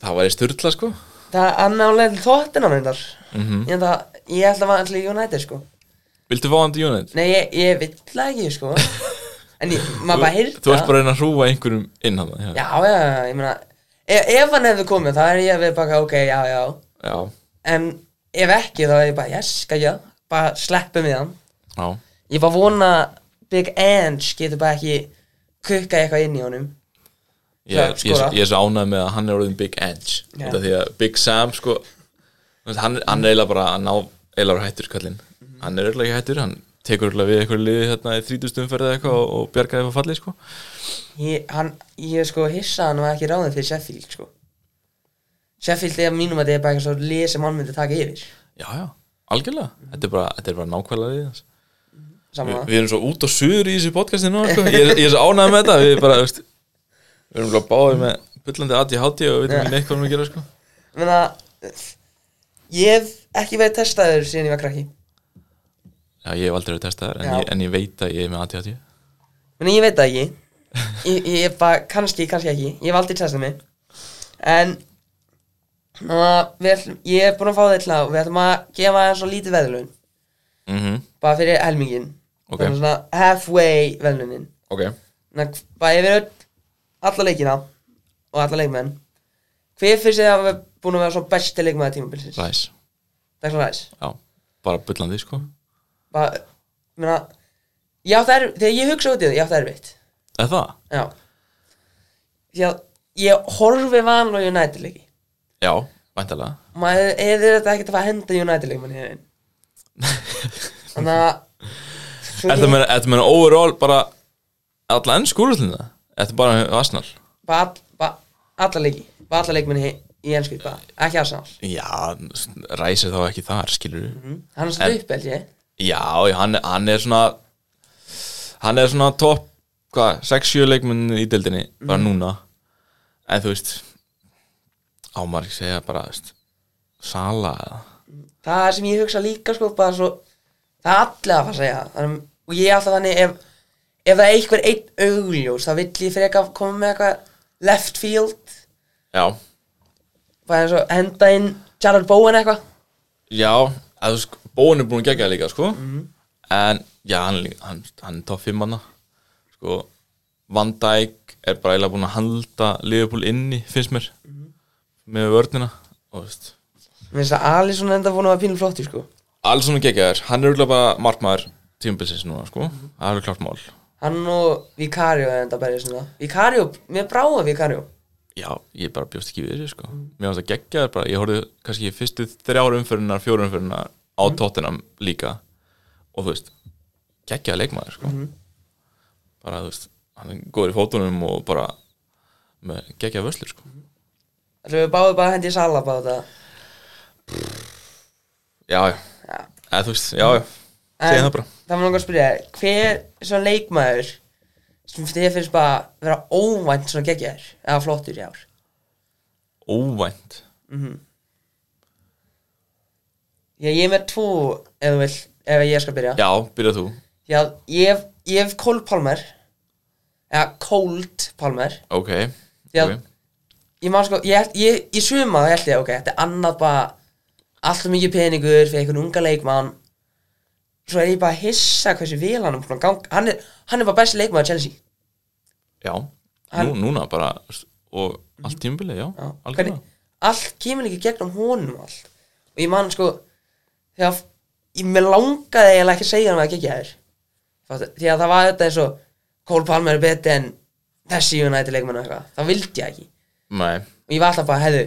[SPEAKER 6] það var í styrla, sko
[SPEAKER 5] það er annálega þóttina reyndar Ég held að, ég held að var allir United sko
[SPEAKER 6] Viltu fá hann til United?
[SPEAKER 5] Nei, ég, ég vill það ekki
[SPEAKER 6] [laughs]
[SPEAKER 5] sko En ég, maður bara heyrði
[SPEAKER 6] Þú ert bara að reyna að hrúa einhverjum inn hann
[SPEAKER 5] Já, já, já, ég meina ef, ef hann hefði komið, þá er ég að við bara, ok, já, já
[SPEAKER 6] já,
[SPEAKER 5] En ef ekki þá er ég bara, yes, skæja, bara sleppum við hann.
[SPEAKER 6] já.
[SPEAKER 5] Ég bara vona Big Ange getur bara ekki kukka eitthvað inn í honum.
[SPEAKER 6] Ég,
[SPEAKER 5] Já,
[SPEAKER 6] ég,
[SPEAKER 5] skora.
[SPEAKER 6] ég er svo ánægð með að hann er orðin Big Edge
[SPEAKER 5] Já.
[SPEAKER 6] Þetta því að Big Sam sko þú veist, Hann, hann er eiginlega bara að ná eiginlega bara hættur kallinn Hann er eiginlega ekki hættur, hann tekur eiginlega við eitthvað liði hérna í 30 umferði eitthvað og, og bjargaði eitthvað fallið sko
[SPEAKER 5] Ég, hann, ég sko hissa að hann var ekki ráðin fyrir Sheffield, sko. Sheffield er mínum að þetta er bara eitthvað svo lið sem hann myndi taka yfir.
[SPEAKER 6] Já, já, algjörlega, þetta, er bara, þetta er bara nákvæmlega liðið hans Vi,
[SPEAKER 5] Saman það.
[SPEAKER 6] Við erum svo út og suður í þessu podcasti nú sko. ég, er- ég er svo ánægð með þetta Við, bara, þú veist, við erum bara báðið með bullandi ADHD og við veitum ekki neitt hvað við erum að gera sko.
[SPEAKER 5] Menna, ég hef ekki verið testaður síðan ég var krakki.
[SPEAKER 6] Já, ég hef aldrei verið testaðar en,
[SPEAKER 5] Já.
[SPEAKER 6] ég- en ég veit að ég er með ADHD
[SPEAKER 5] Menna, ég veit það ekki. Ég, ég er bara, kannski, kannski ekki. Ég hef aldrei testað mig. En, menna, við, ætlum- ég er búin að fá það til að við ætlum að gefa það svo lítið veðlun.
[SPEAKER 6] mm
[SPEAKER 5] bara fyrir helmingin
[SPEAKER 6] Ok.
[SPEAKER 5] Þannig svona halfway velunin
[SPEAKER 6] Ok
[SPEAKER 5] bara yfir öll alla leikina og alla leikmenn hver fyrst þið hafa búin að vera svo besti leikmaði tímabilsins
[SPEAKER 6] Ræs,
[SPEAKER 5] Declan Rice
[SPEAKER 6] já, bara bullandi sko
[SPEAKER 5] bara, ég meina ég átti erfitt, þegar ég hugsa út í það, ég átti erfitt
[SPEAKER 6] Eða það?
[SPEAKER 5] já því að ég horfi vanlega United leiki
[SPEAKER 6] Já, væntalega
[SPEAKER 5] maður er þetta ekkert að fara að henda United leikmann hér inn þannig að svo
[SPEAKER 6] Þetta
[SPEAKER 5] ég-
[SPEAKER 6] meina, þetta meina overall bara alla enn skúrúðlina Þetta bara Arsenal
[SPEAKER 5] bara, all, bara alla leiki bara alla leikmenni í, í ennsku bara, ekki Arsenal
[SPEAKER 6] Já, Ræs er þá ekki þar, skilur við
[SPEAKER 5] hann er
[SPEAKER 6] En-
[SPEAKER 5] svona upp held ég
[SPEAKER 6] Já, já, hann, hann er svona hann er svona topp hvað, 6-7 leikmenn í deildinni bara
[SPEAKER 5] Mhm.
[SPEAKER 6] núna en þú veist ámar ekki segja bara þú veist, Sala eða
[SPEAKER 5] það er sem ég hugsa líka sko bara svo það er allir að fara að segja það. þannig, og ég er alltaf þannig ef, ef það er einhver einn augljós þá vill ég freka koma með eitthvað left field
[SPEAKER 6] Já,
[SPEAKER 5] bara eins og henda inn Jared Bowen eitthvað
[SPEAKER 6] já að, þú veist, Bóin er búin að gegja það líka sko. en já, hann, er líka- hann, hann er topp 5 manna sko, Van Dijk er bara eiginlega búin að halda Liverpool inni, finnst mér með vörnina og þú veist
[SPEAKER 5] mér finnst að Alisson enda búin að vera pínu flottur sko
[SPEAKER 6] Alisson er geggjaður, hann er auðvitað bara markmaður tímabilsins núna, sko, það er alveg klart mál
[SPEAKER 5] hann og Vicario er enda berið svona Vicario, mér bráða Vicario
[SPEAKER 6] Já, ég bara bjóst ekki við þessu, sko Mér fannst það geggjaður bara, ég horfði kannski fyrstu þrjár umfyririnnar, fjóru umfyririnnar á
[SPEAKER 5] Mhm.
[SPEAKER 6] mm. líka og þú veist, geggjaður leikmaður, sko
[SPEAKER 5] Mhm.
[SPEAKER 6] bara, þú veist, hann er góður í fótunum og bara með geggjaður vöslur, sko
[SPEAKER 5] Mhm. ætlum við báðum bara að hendi Sala bara á þetta
[SPEAKER 6] Já, já,
[SPEAKER 5] já
[SPEAKER 6] eða þú veist, já, já segja það bara
[SPEAKER 5] Það var langar að spyrja þér, hver svona leikmaður sem þið finnst bara vera óvænt svona geggjaður eða flottur í ár
[SPEAKER 6] Óvænt
[SPEAKER 5] Já, ég er með tvo ef þú vill, ef ég skal byrja
[SPEAKER 6] Já, byrja þú,
[SPEAKER 5] Já, ég hef, ég hef Cole Palmer eða Cold Palmer
[SPEAKER 6] ok
[SPEAKER 5] Já.
[SPEAKER 6] ok.
[SPEAKER 5] Ég man sko, ég, held- ég, í suma þá held ég, ok, þetta er annað bara alltaf mikið peningur fyrir einhvern unga leikmann Svo er ég bara að hissa hversu vel hann er búin að ganga Hann er, hann er bara besti leikmaður Chelsea
[SPEAKER 6] Já, nú,
[SPEAKER 5] Hann- Mhm.
[SPEAKER 6] núna bara og allt tímabilið, já,
[SPEAKER 5] Já,
[SPEAKER 6] algjörlega
[SPEAKER 5] hvernig- allt kemur ekki gegnum honum allt og ég man sko þegar ég með langaði eiginlega ekki að segja hann að gegja þér því að það var þetta eins og Cole Palmer er betri en þessi United leikmenn og eitthvað það vildi ég ekki
[SPEAKER 6] Nei,
[SPEAKER 5] og ég var alltaf bara hefðu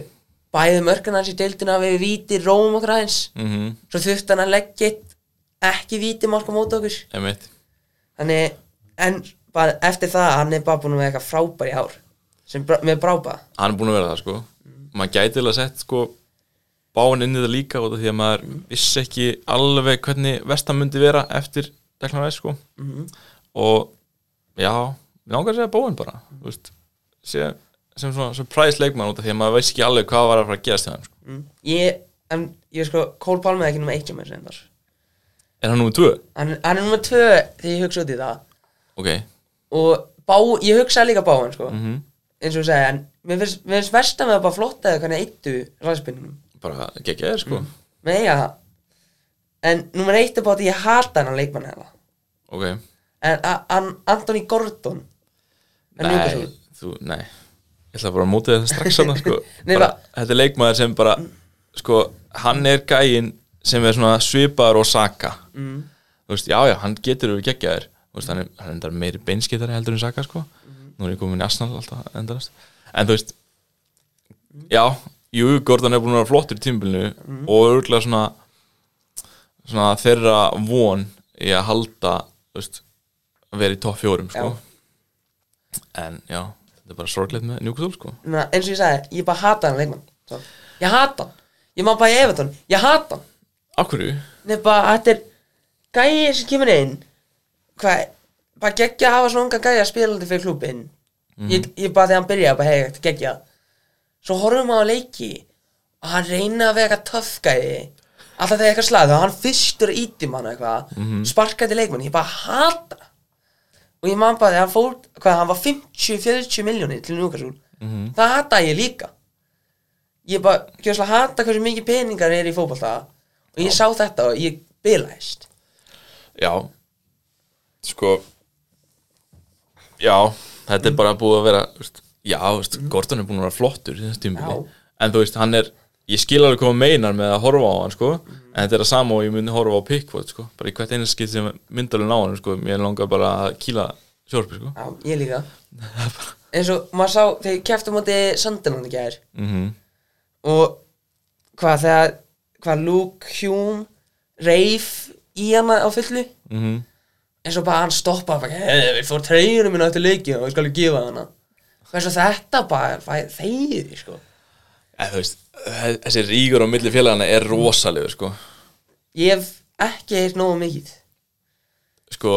[SPEAKER 5] bæði mörkana hans í deildina við víti róm okkur aðeins
[SPEAKER 6] mhm,
[SPEAKER 5] svo þurfti hann að leggja eitt ekki víti marka móti okkur
[SPEAKER 6] Einmitt.
[SPEAKER 5] Þannig, en bara eftir það hann er bara búin að vera eitthvað frábær í ár sem bra- með brába
[SPEAKER 6] hann er búin að vera það sko maður gæti alveg að sett sko báin inn í það líka út af því að maður vissi ekki alveg hvernig vestan myndi vera eftir Declan Rice sko og já, mér langar að segja báin bara þú veist, sé, sem svona surprise leikmann út af því að maður veist ekki alveg hvað var að fara að gerast hjá þeim sko.
[SPEAKER 5] ég, en ég sko Cole Palmer er ekki nummer eitt hjá mér sem þar
[SPEAKER 6] er hann númur 2?
[SPEAKER 5] hann, hann er nummer tvö þegar ég hugsa út í það
[SPEAKER 6] ok,
[SPEAKER 5] og bá, ég hugsaði líka báin sko. eins og ég segi en mér finnst, mér finnst versta með að bara flotta eða hvernig eittu ræðspinninum
[SPEAKER 6] bara geggja þér sko
[SPEAKER 5] með eiga það en nummer eitt er bara að ég hata hann að leikmann eða
[SPEAKER 6] ok,
[SPEAKER 5] en a- hann Anthony Gordon er
[SPEAKER 6] nei,
[SPEAKER 5] Newcastle.
[SPEAKER 6] þú, nei ég ætla bara að móta þetta strax hann sko.
[SPEAKER 5] Nei,
[SPEAKER 6] bara,
[SPEAKER 5] bara-
[SPEAKER 6] þetta er leikmaður sem bara sko, hann er gæinn sem er svona svipaður og saka mm. þú veist, já, já, hann getur við geggjaður, þú veist, hann er, hann er endar meiri beinskitari heldur en saka, sko nú er ég komin í Arsenal alltaf endarast en þú veist, já jú, Gordon er búin að vera flottur í tímbilinu og örgulega svona svona þeirra von í að halda, þú veist að vera í topp fjórum, sko
[SPEAKER 5] Já.
[SPEAKER 6] en já, þetta er bara sorglegt með Newcastle, sko
[SPEAKER 5] Na, eins og ég sagði, ég bara hata hann leikmann Svo. ég hata hann, ég má bara í Everton ég hata hann,
[SPEAKER 6] Af hverju?
[SPEAKER 5] nefnir bara þetta er gæi sem kemur inn hvað, bara geggja að hafa svona unga gæi að spila alltaf fyrir klubin ég, ég bara þegar hann byrjaði, bara hei, þetta geggja svo horfum við á leiki og hann reyna að vera eitthvað töff gæi alltaf þegar eitthvað slaði og hann fyrstur íti mann eitthvað, mm -hmm. sparkaði leikmann ég bara hata hann. og ég man bara þegar hann fór, hvað, hann var 50-40 miljónir til Núkasúl það hata ég líka ég bara, gjörslega hata hversu mikið peningar er í fótbolta og ég sá þetta og ég bilaðist
[SPEAKER 6] Já Sko Já, þetta er bara búið að vera þú veist, Já, þú veist, Gordon er búin að vera flottur í þessu tímabili.
[SPEAKER 5] Já.
[SPEAKER 6] En þú veist, hann er Ég skil alveg hvað hann meinar með að horfa á hann sko. En þetta er að sama og ég myndi horfa á Pickford sko. Bara í hvert einu skil sem myndalun á hann sko. Mér langar bara að kýla sjórpi sko.
[SPEAKER 5] Já, ég líka eins og maður sá þegar ég kefti á móti Sunderland í gær
[SPEAKER 6] mm
[SPEAKER 5] og hvað þegar hvað Luke Hume reif í hana á fullu eins og bara hann stoppaði bara, hei, við fór treyjunum minna eftir leiki og ég skal gefa hana eins og þetta bara, bara þegiði sko
[SPEAKER 6] En þú veist, þessi ríkur á milli félagana er rosalegur sko.
[SPEAKER 5] ég hef ekki eitt nógu mikið
[SPEAKER 6] sko,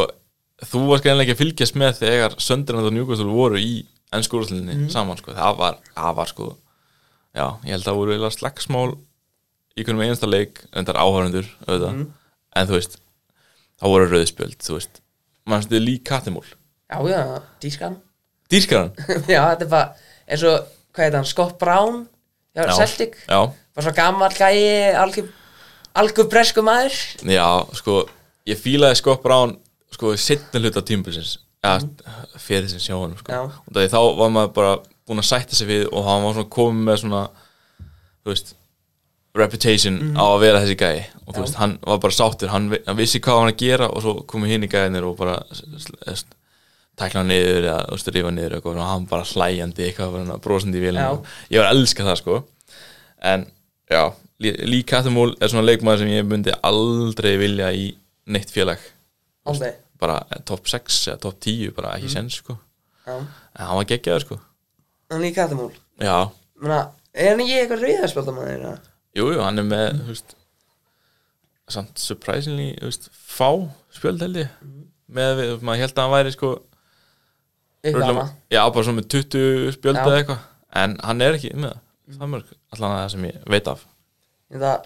[SPEAKER 6] þú varst greinlega ekki að fylgjast með þegar Söndirland og Newcastle voru í ennskúrúslinni saman, sko, það var, það var sko, já, ég held að það voru eiginlega slagsmál í hvernig með einasta leik, endar áhörundur, auðvitað en þú veist, þá voru rauðspjöld þú veist, maður stuði lík kattimúl
[SPEAKER 5] já, já, dískan
[SPEAKER 6] dýrkar hann,
[SPEAKER 5] já, þetta er bara eins og, hvað heit hann, Scott Brown já,
[SPEAKER 6] já,
[SPEAKER 5] Celtic
[SPEAKER 6] já,
[SPEAKER 5] bara svo gammal gæi, algjör algjör bresku maður
[SPEAKER 6] já, sko ég fílaði Scott Brown, sko setna hluta tímbilsins, eða fyrir sem sjá hann, sko,
[SPEAKER 5] Já.
[SPEAKER 6] og það þá var maður bara búin að sætta sig við og hann var svona komið með svona þú veist reputation á að vera þessi gæi og þú veist, hann var bara sáttur, hann, vi- hann vissi hvað hann var að gera og svo komu hinn í gæðinir og bara s- s- s- tækla hann niður eða þú veist, rifa hann niður eitthvað og hann bara hlæjandi eitthvað bara brosandi í
[SPEAKER 5] Já.
[SPEAKER 6] vélina ég var að elska það sko en já, Lee Catamúl er svona leikmaður sem ég myndi aldrei vilja í neitt félag
[SPEAKER 5] Aldrei,
[SPEAKER 6] bara eh, topp 6 eða topp 10 bara ekki sens sko
[SPEAKER 5] já,
[SPEAKER 6] en hann var geggjaður sko
[SPEAKER 5] hann líka þetta múl
[SPEAKER 6] já,
[SPEAKER 5] Menna, er hann ekki eitthvað rauðarspjölda maður eða?
[SPEAKER 6] Jú, jú, hann er með mm. veist, samt surprisingly þú veist, fá spjöld held ég með við, maður held að hann væri sko
[SPEAKER 5] Eitthvað
[SPEAKER 6] örugglega-
[SPEAKER 5] annað
[SPEAKER 6] já, bara svona með 20 spjöld
[SPEAKER 5] Já.
[SPEAKER 6] eða eitthvað en hann er ekki með það. það mörg, allan að það sem ég veit af
[SPEAKER 5] En það-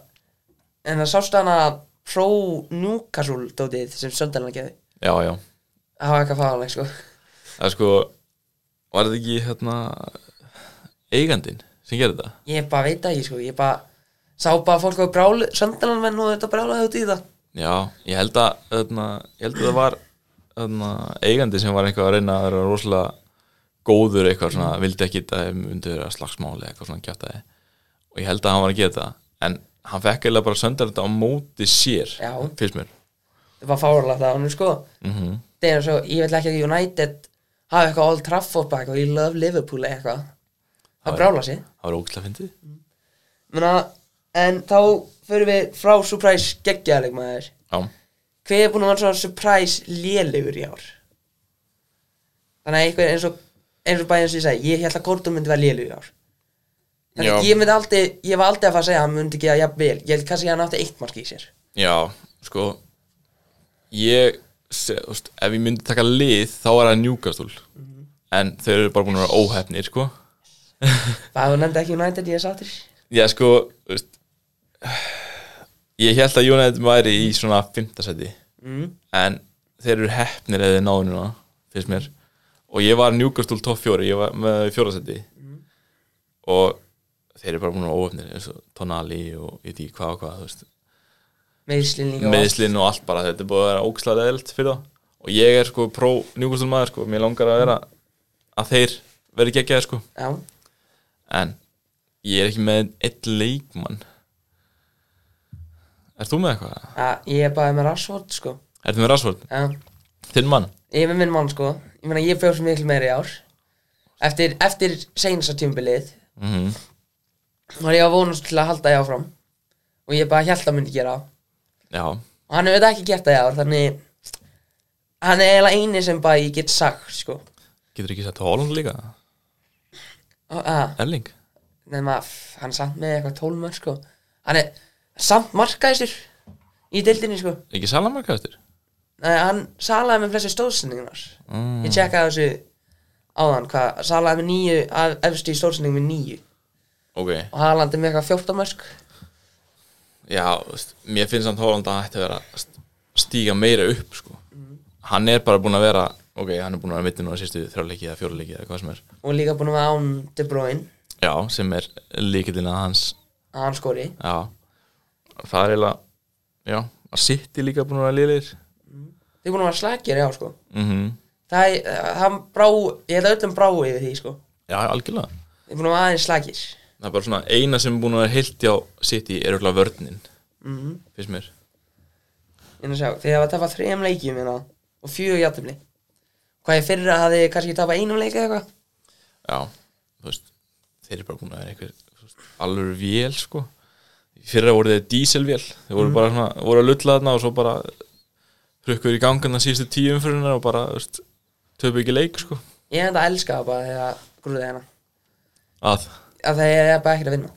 [SPEAKER 5] En það sást hann að Pro Newcastle dótið sem söndalann geði
[SPEAKER 6] já, já,
[SPEAKER 5] Það var eitthvað fáanleg sko
[SPEAKER 6] það er sko var þetta ekki hérna eigandinn sem gerir þetta
[SPEAKER 5] Ég bara veit ekki sko, ég bara Sá bara fólk á brálu, söndalann menn og þetta brálaði út í það
[SPEAKER 6] já, ég held að, hérna, ég held að það var hérna, eigandi sem var eitthvað að reyna að vera rosalega góður eitthvað svona,
[SPEAKER 5] Mm.
[SPEAKER 6] vildi ekki að þeim undir að slagsmáli eitthvað svona kjátaði og ég held að hann var að gera það en hann fekk eiginlega bara söndar þetta á móti sér
[SPEAKER 5] Já.
[SPEAKER 6] fyrst mér
[SPEAKER 5] Það var fáanlegt að hann sko mm -hmm. Það er svo, ég vil ekki að United hafa eitthvað Old Trafford bara eitthvað, ég love Liverpool eða eitthvað
[SPEAKER 6] Já,
[SPEAKER 5] Það
[SPEAKER 6] já.
[SPEAKER 5] brála sig
[SPEAKER 6] það var ógæslega fyndið
[SPEAKER 5] Menna, en þá förum við frá Surprise geggjaðleikmaður
[SPEAKER 6] já,
[SPEAKER 5] hver er búin að vera svona surprise lélegur í ár þannig að einhver eins og eins og bæði eins og ég segi, ég held að Gordon myndi vera lélegur í ár þannig að
[SPEAKER 6] Já.
[SPEAKER 5] ég myndi aldrei ég var aldrei að fara að segja að hann myndi gera jafn vel ég held kannski að hann átti eitt mark í sér
[SPEAKER 6] Já, sko Ég, se, úst, ef ég myndi taka lið þá er það njúkastúl
[SPEAKER 5] Mhm.
[SPEAKER 6] En þau eru bara búin að vera óhefnir, sko
[SPEAKER 5] það hún nefndi ekki United, ég er sattur
[SPEAKER 6] Já, sko úst, Ég held að United væri í svona fymtasæti mm. En þeir eru hefnir eða náðu núna Fyrst mér Og ég var njúkastúl topp fjóri Ég var með fjórasæti mm. Og þeir eru bara búin að vera óhefnir eins og Tonali og ég veit ekki hvað og hvað þú veist.
[SPEAKER 5] meðslinn líka
[SPEAKER 6] meðslinn og allt bara þetta er búið að vera ógislega leðilt fyrir það og ég er sko pró njúkustun maður sko mér langar að vera að þeir veri geggjaðir sko
[SPEAKER 5] já,
[SPEAKER 6] en ég er ekki með einn leikmann Er þú með eitthvað?
[SPEAKER 5] að, ég er bara með Rashford sko
[SPEAKER 6] Er þú með Rashford?
[SPEAKER 5] já,
[SPEAKER 6] Þinn mann?
[SPEAKER 5] ég er með minn mann sko ég meina ég fjóð svo miklu meira í ár eftir, eftir seinasta tímbilið
[SPEAKER 6] Mm -hmm.
[SPEAKER 5] var ég að vonast til að halda ég áfram og ég bara held að myndi gera það.
[SPEAKER 6] Já,
[SPEAKER 5] og hann hefur þetta ekki gert það í ár þannig hann er eiginlega eini sem bara ég get sagt sko
[SPEAKER 6] getur ekki sett Holland líka?
[SPEAKER 5] Og- að,
[SPEAKER 6] Erling?
[SPEAKER 5] nema f- hann er samt með eitthvað tólmör sko hann er samt markaðistur í deildinni sko
[SPEAKER 6] Ekki Salamarka eftir?
[SPEAKER 5] Nei, hann salaði með flestir stóðsendingunar ég tjekkaði þessu áðan hvað salaði með nýju af, efstu í stóðsendingum með nýju
[SPEAKER 6] Ok,
[SPEAKER 5] og Haaland er með eitthvað 14 mörg
[SPEAKER 6] já, þú veist, mér finnst samt Holland að hann ætti að vera að st- stíga meira upp sko Hann er bara búin að vera, ok, hann er búin að vera mittin og sérstu þrjáleiki eða fjóruleiki eða hvað sem er
[SPEAKER 5] og líka búin að vera án De Bruyne
[SPEAKER 6] Já, sem er líkillin að hans
[SPEAKER 5] að hann skori
[SPEAKER 6] Já, það er eiginlega Já, að City líka búin að vera liðir
[SPEAKER 5] þau búin að vera slagir já sko
[SPEAKER 6] mm
[SPEAKER 5] það, eh, hann brá, ég held að öllum brá yfir því sko
[SPEAKER 6] Já, algjörlega
[SPEAKER 5] Við erum búin að vera aðeins slagir
[SPEAKER 6] Það er bara svona eina sem er búin að vera heilt hjá City er auðvitað vörnin
[SPEAKER 5] Mhm.
[SPEAKER 6] Fyrst mér
[SPEAKER 5] En að sjá, þið hafa tapað þrejum leikjum hérna og fjögur játtumli Hvað ég fyrir að þið kannski tapað einum leik eða eitthvað
[SPEAKER 6] Já, þú veist Þeir eru bara búin að vera einhver þú veist, alvöru vél sko Fyrra voru þeir díselvél Þeir
[SPEAKER 5] Mhm.
[SPEAKER 6] voru bara svona, voru að lulla þarna og svo bara hrukkuður í gangan það síðustu tíu umfyrirna og bara, þú veist, töpu ekki leik sko
[SPEAKER 5] Ég enda að elska það bara þegar grúðið hérna
[SPEAKER 6] Að
[SPEAKER 5] að það er bara ekkert að vinna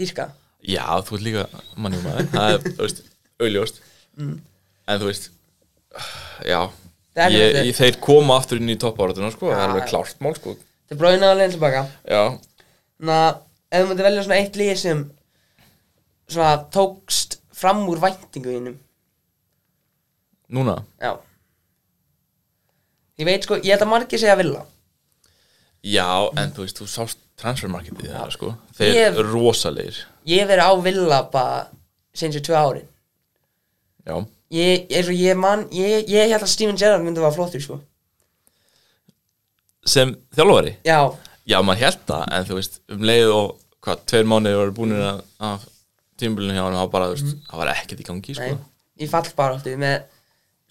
[SPEAKER 5] Dýrka það.
[SPEAKER 6] Já, þú ert líka mannjum maður Það er, þú veist, auðljóst En þú veist Já,
[SPEAKER 5] Mhm. Það er
[SPEAKER 6] ég,
[SPEAKER 5] alveg-
[SPEAKER 6] ég, þeir koma aftur inn í toppáratuna sko, það
[SPEAKER 5] Já,
[SPEAKER 6] er alveg
[SPEAKER 5] já.
[SPEAKER 6] klárt mál sko
[SPEAKER 5] Þið bráðin að leiðin tilbaka
[SPEAKER 6] Já,
[SPEAKER 5] Ná, ef þú myndir velja svona eitt lið sem svona tókst fram úr væntingu þínum
[SPEAKER 6] núna
[SPEAKER 5] Já Ég veit sko, ég held að margir segja að vilja
[SPEAKER 6] Já, en þú veist, þú sást transfermarketið það sko Þeir
[SPEAKER 5] Ég-
[SPEAKER 6] rosalegir
[SPEAKER 5] Ég hef verið á vilja bara sinns ég tvö árin
[SPEAKER 6] Já,
[SPEAKER 5] Ég, eins og ég man, ég, ég held að Steven Gerrard myndi að vera flottur sko
[SPEAKER 6] sem þjálfari
[SPEAKER 5] Já,
[SPEAKER 6] Já, maður held það, en þú veist, um leið og hvað, tveir mánuði voru búinir að- af tímbilinu hjá hann, það var bara, þú veist, það var ekkert í gangi sko
[SPEAKER 5] Nei, ég fall bara áttu með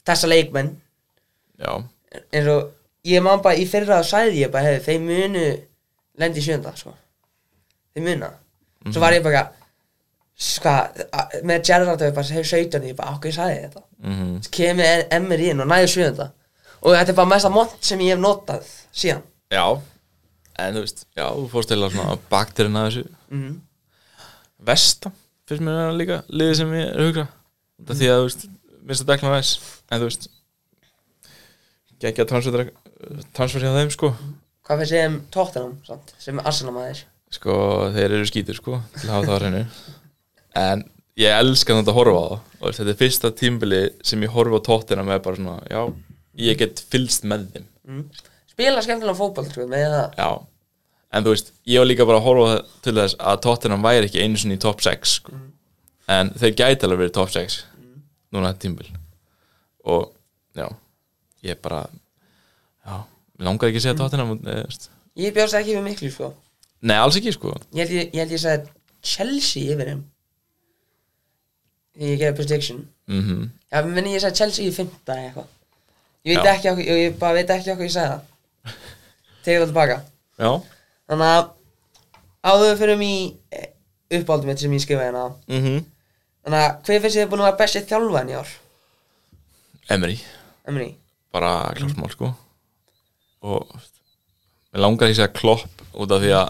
[SPEAKER 5] þessa leikmenn
[SPEAKER 6] Já,
[SPEAKER 5] eins og ég man bara í fyrra að sæði ég bara hefði þeir munu lendi sjönda sko. þeir muna svo var ég bara ska, með Gerrard og ég bara hefur 17 ég bara okkur ég sæði þetta mm -hmm. svo kemur Emmer inn og næður sjönda og þetta er bara mesta mont sem ég hef notað síðan
[SPEAKER 6] Já, en þú veist Já, þú fórst eða svona bakterinn að þessu mm. Vesta finnst mér vera líka liðið sem ég er að hugsa Það því að þú veist minnst að dekna næs, en þú veist geggja transfer transfer hjá þeim sko
[SPEAKER 5] hvað fyrir sem tóttunum samt, sem Arsenal maður
[SPEAKER 6] sko, þeir eru skítur sko til að hafa það á hreinu en ég elska þetta að horfa á það og veist, þetta er fyrsta tímbili sem ég horfa á tóttina með bara svona, já, ég get fylst með þeim
[SPEAKER 5] spila skemmtilega fótball sko, með það
[SPEAKER 6] Já, en þú veist, ég var líka bara að horfa til þess að Tottenham væri ekki einu sinni í top 6 sko. en þeir gæti alveg verið top 6 núna þetta tímbil og já, ég bara já, mig langar ekki að segja Tottenham mm. veist.
[SPEAKER 5] ég bjóst ekki við miklu sko.
[SPEAKER 6] Nei, alls ekki sko
[SPEAKER 5] Ég held ég, ég, held ég sagði Chelsea yfir þeim Þegar ég gerði prediction
[SPEAKER 6] mm
[SPEAKER 5] Já, meni ég sagði Chelsea í fymta eða eitthvað Ég veit
[SPEAKER 6] Já.
[SPEAKER 5] ekki okkur, ég, ég bara veit ekki okkur ég sagði það Tegir það tilbaka
[SPEAKER 6] Já,
[SPEAKER 5] Þannig að áður við fyrir í eh, uppáldum mitt sem ég skrifaði hérna
[SPEAKER 6] mm
[SPEAKER 5] Þannig að hver finnst þið búin að vera besti þjálfaðin í ár?
[SPEAKER 6] Emery,
[SPEAKER 5] Emery
[SPEAKER 6] bara klásmál sko og mér langar því að segja klopp út af því að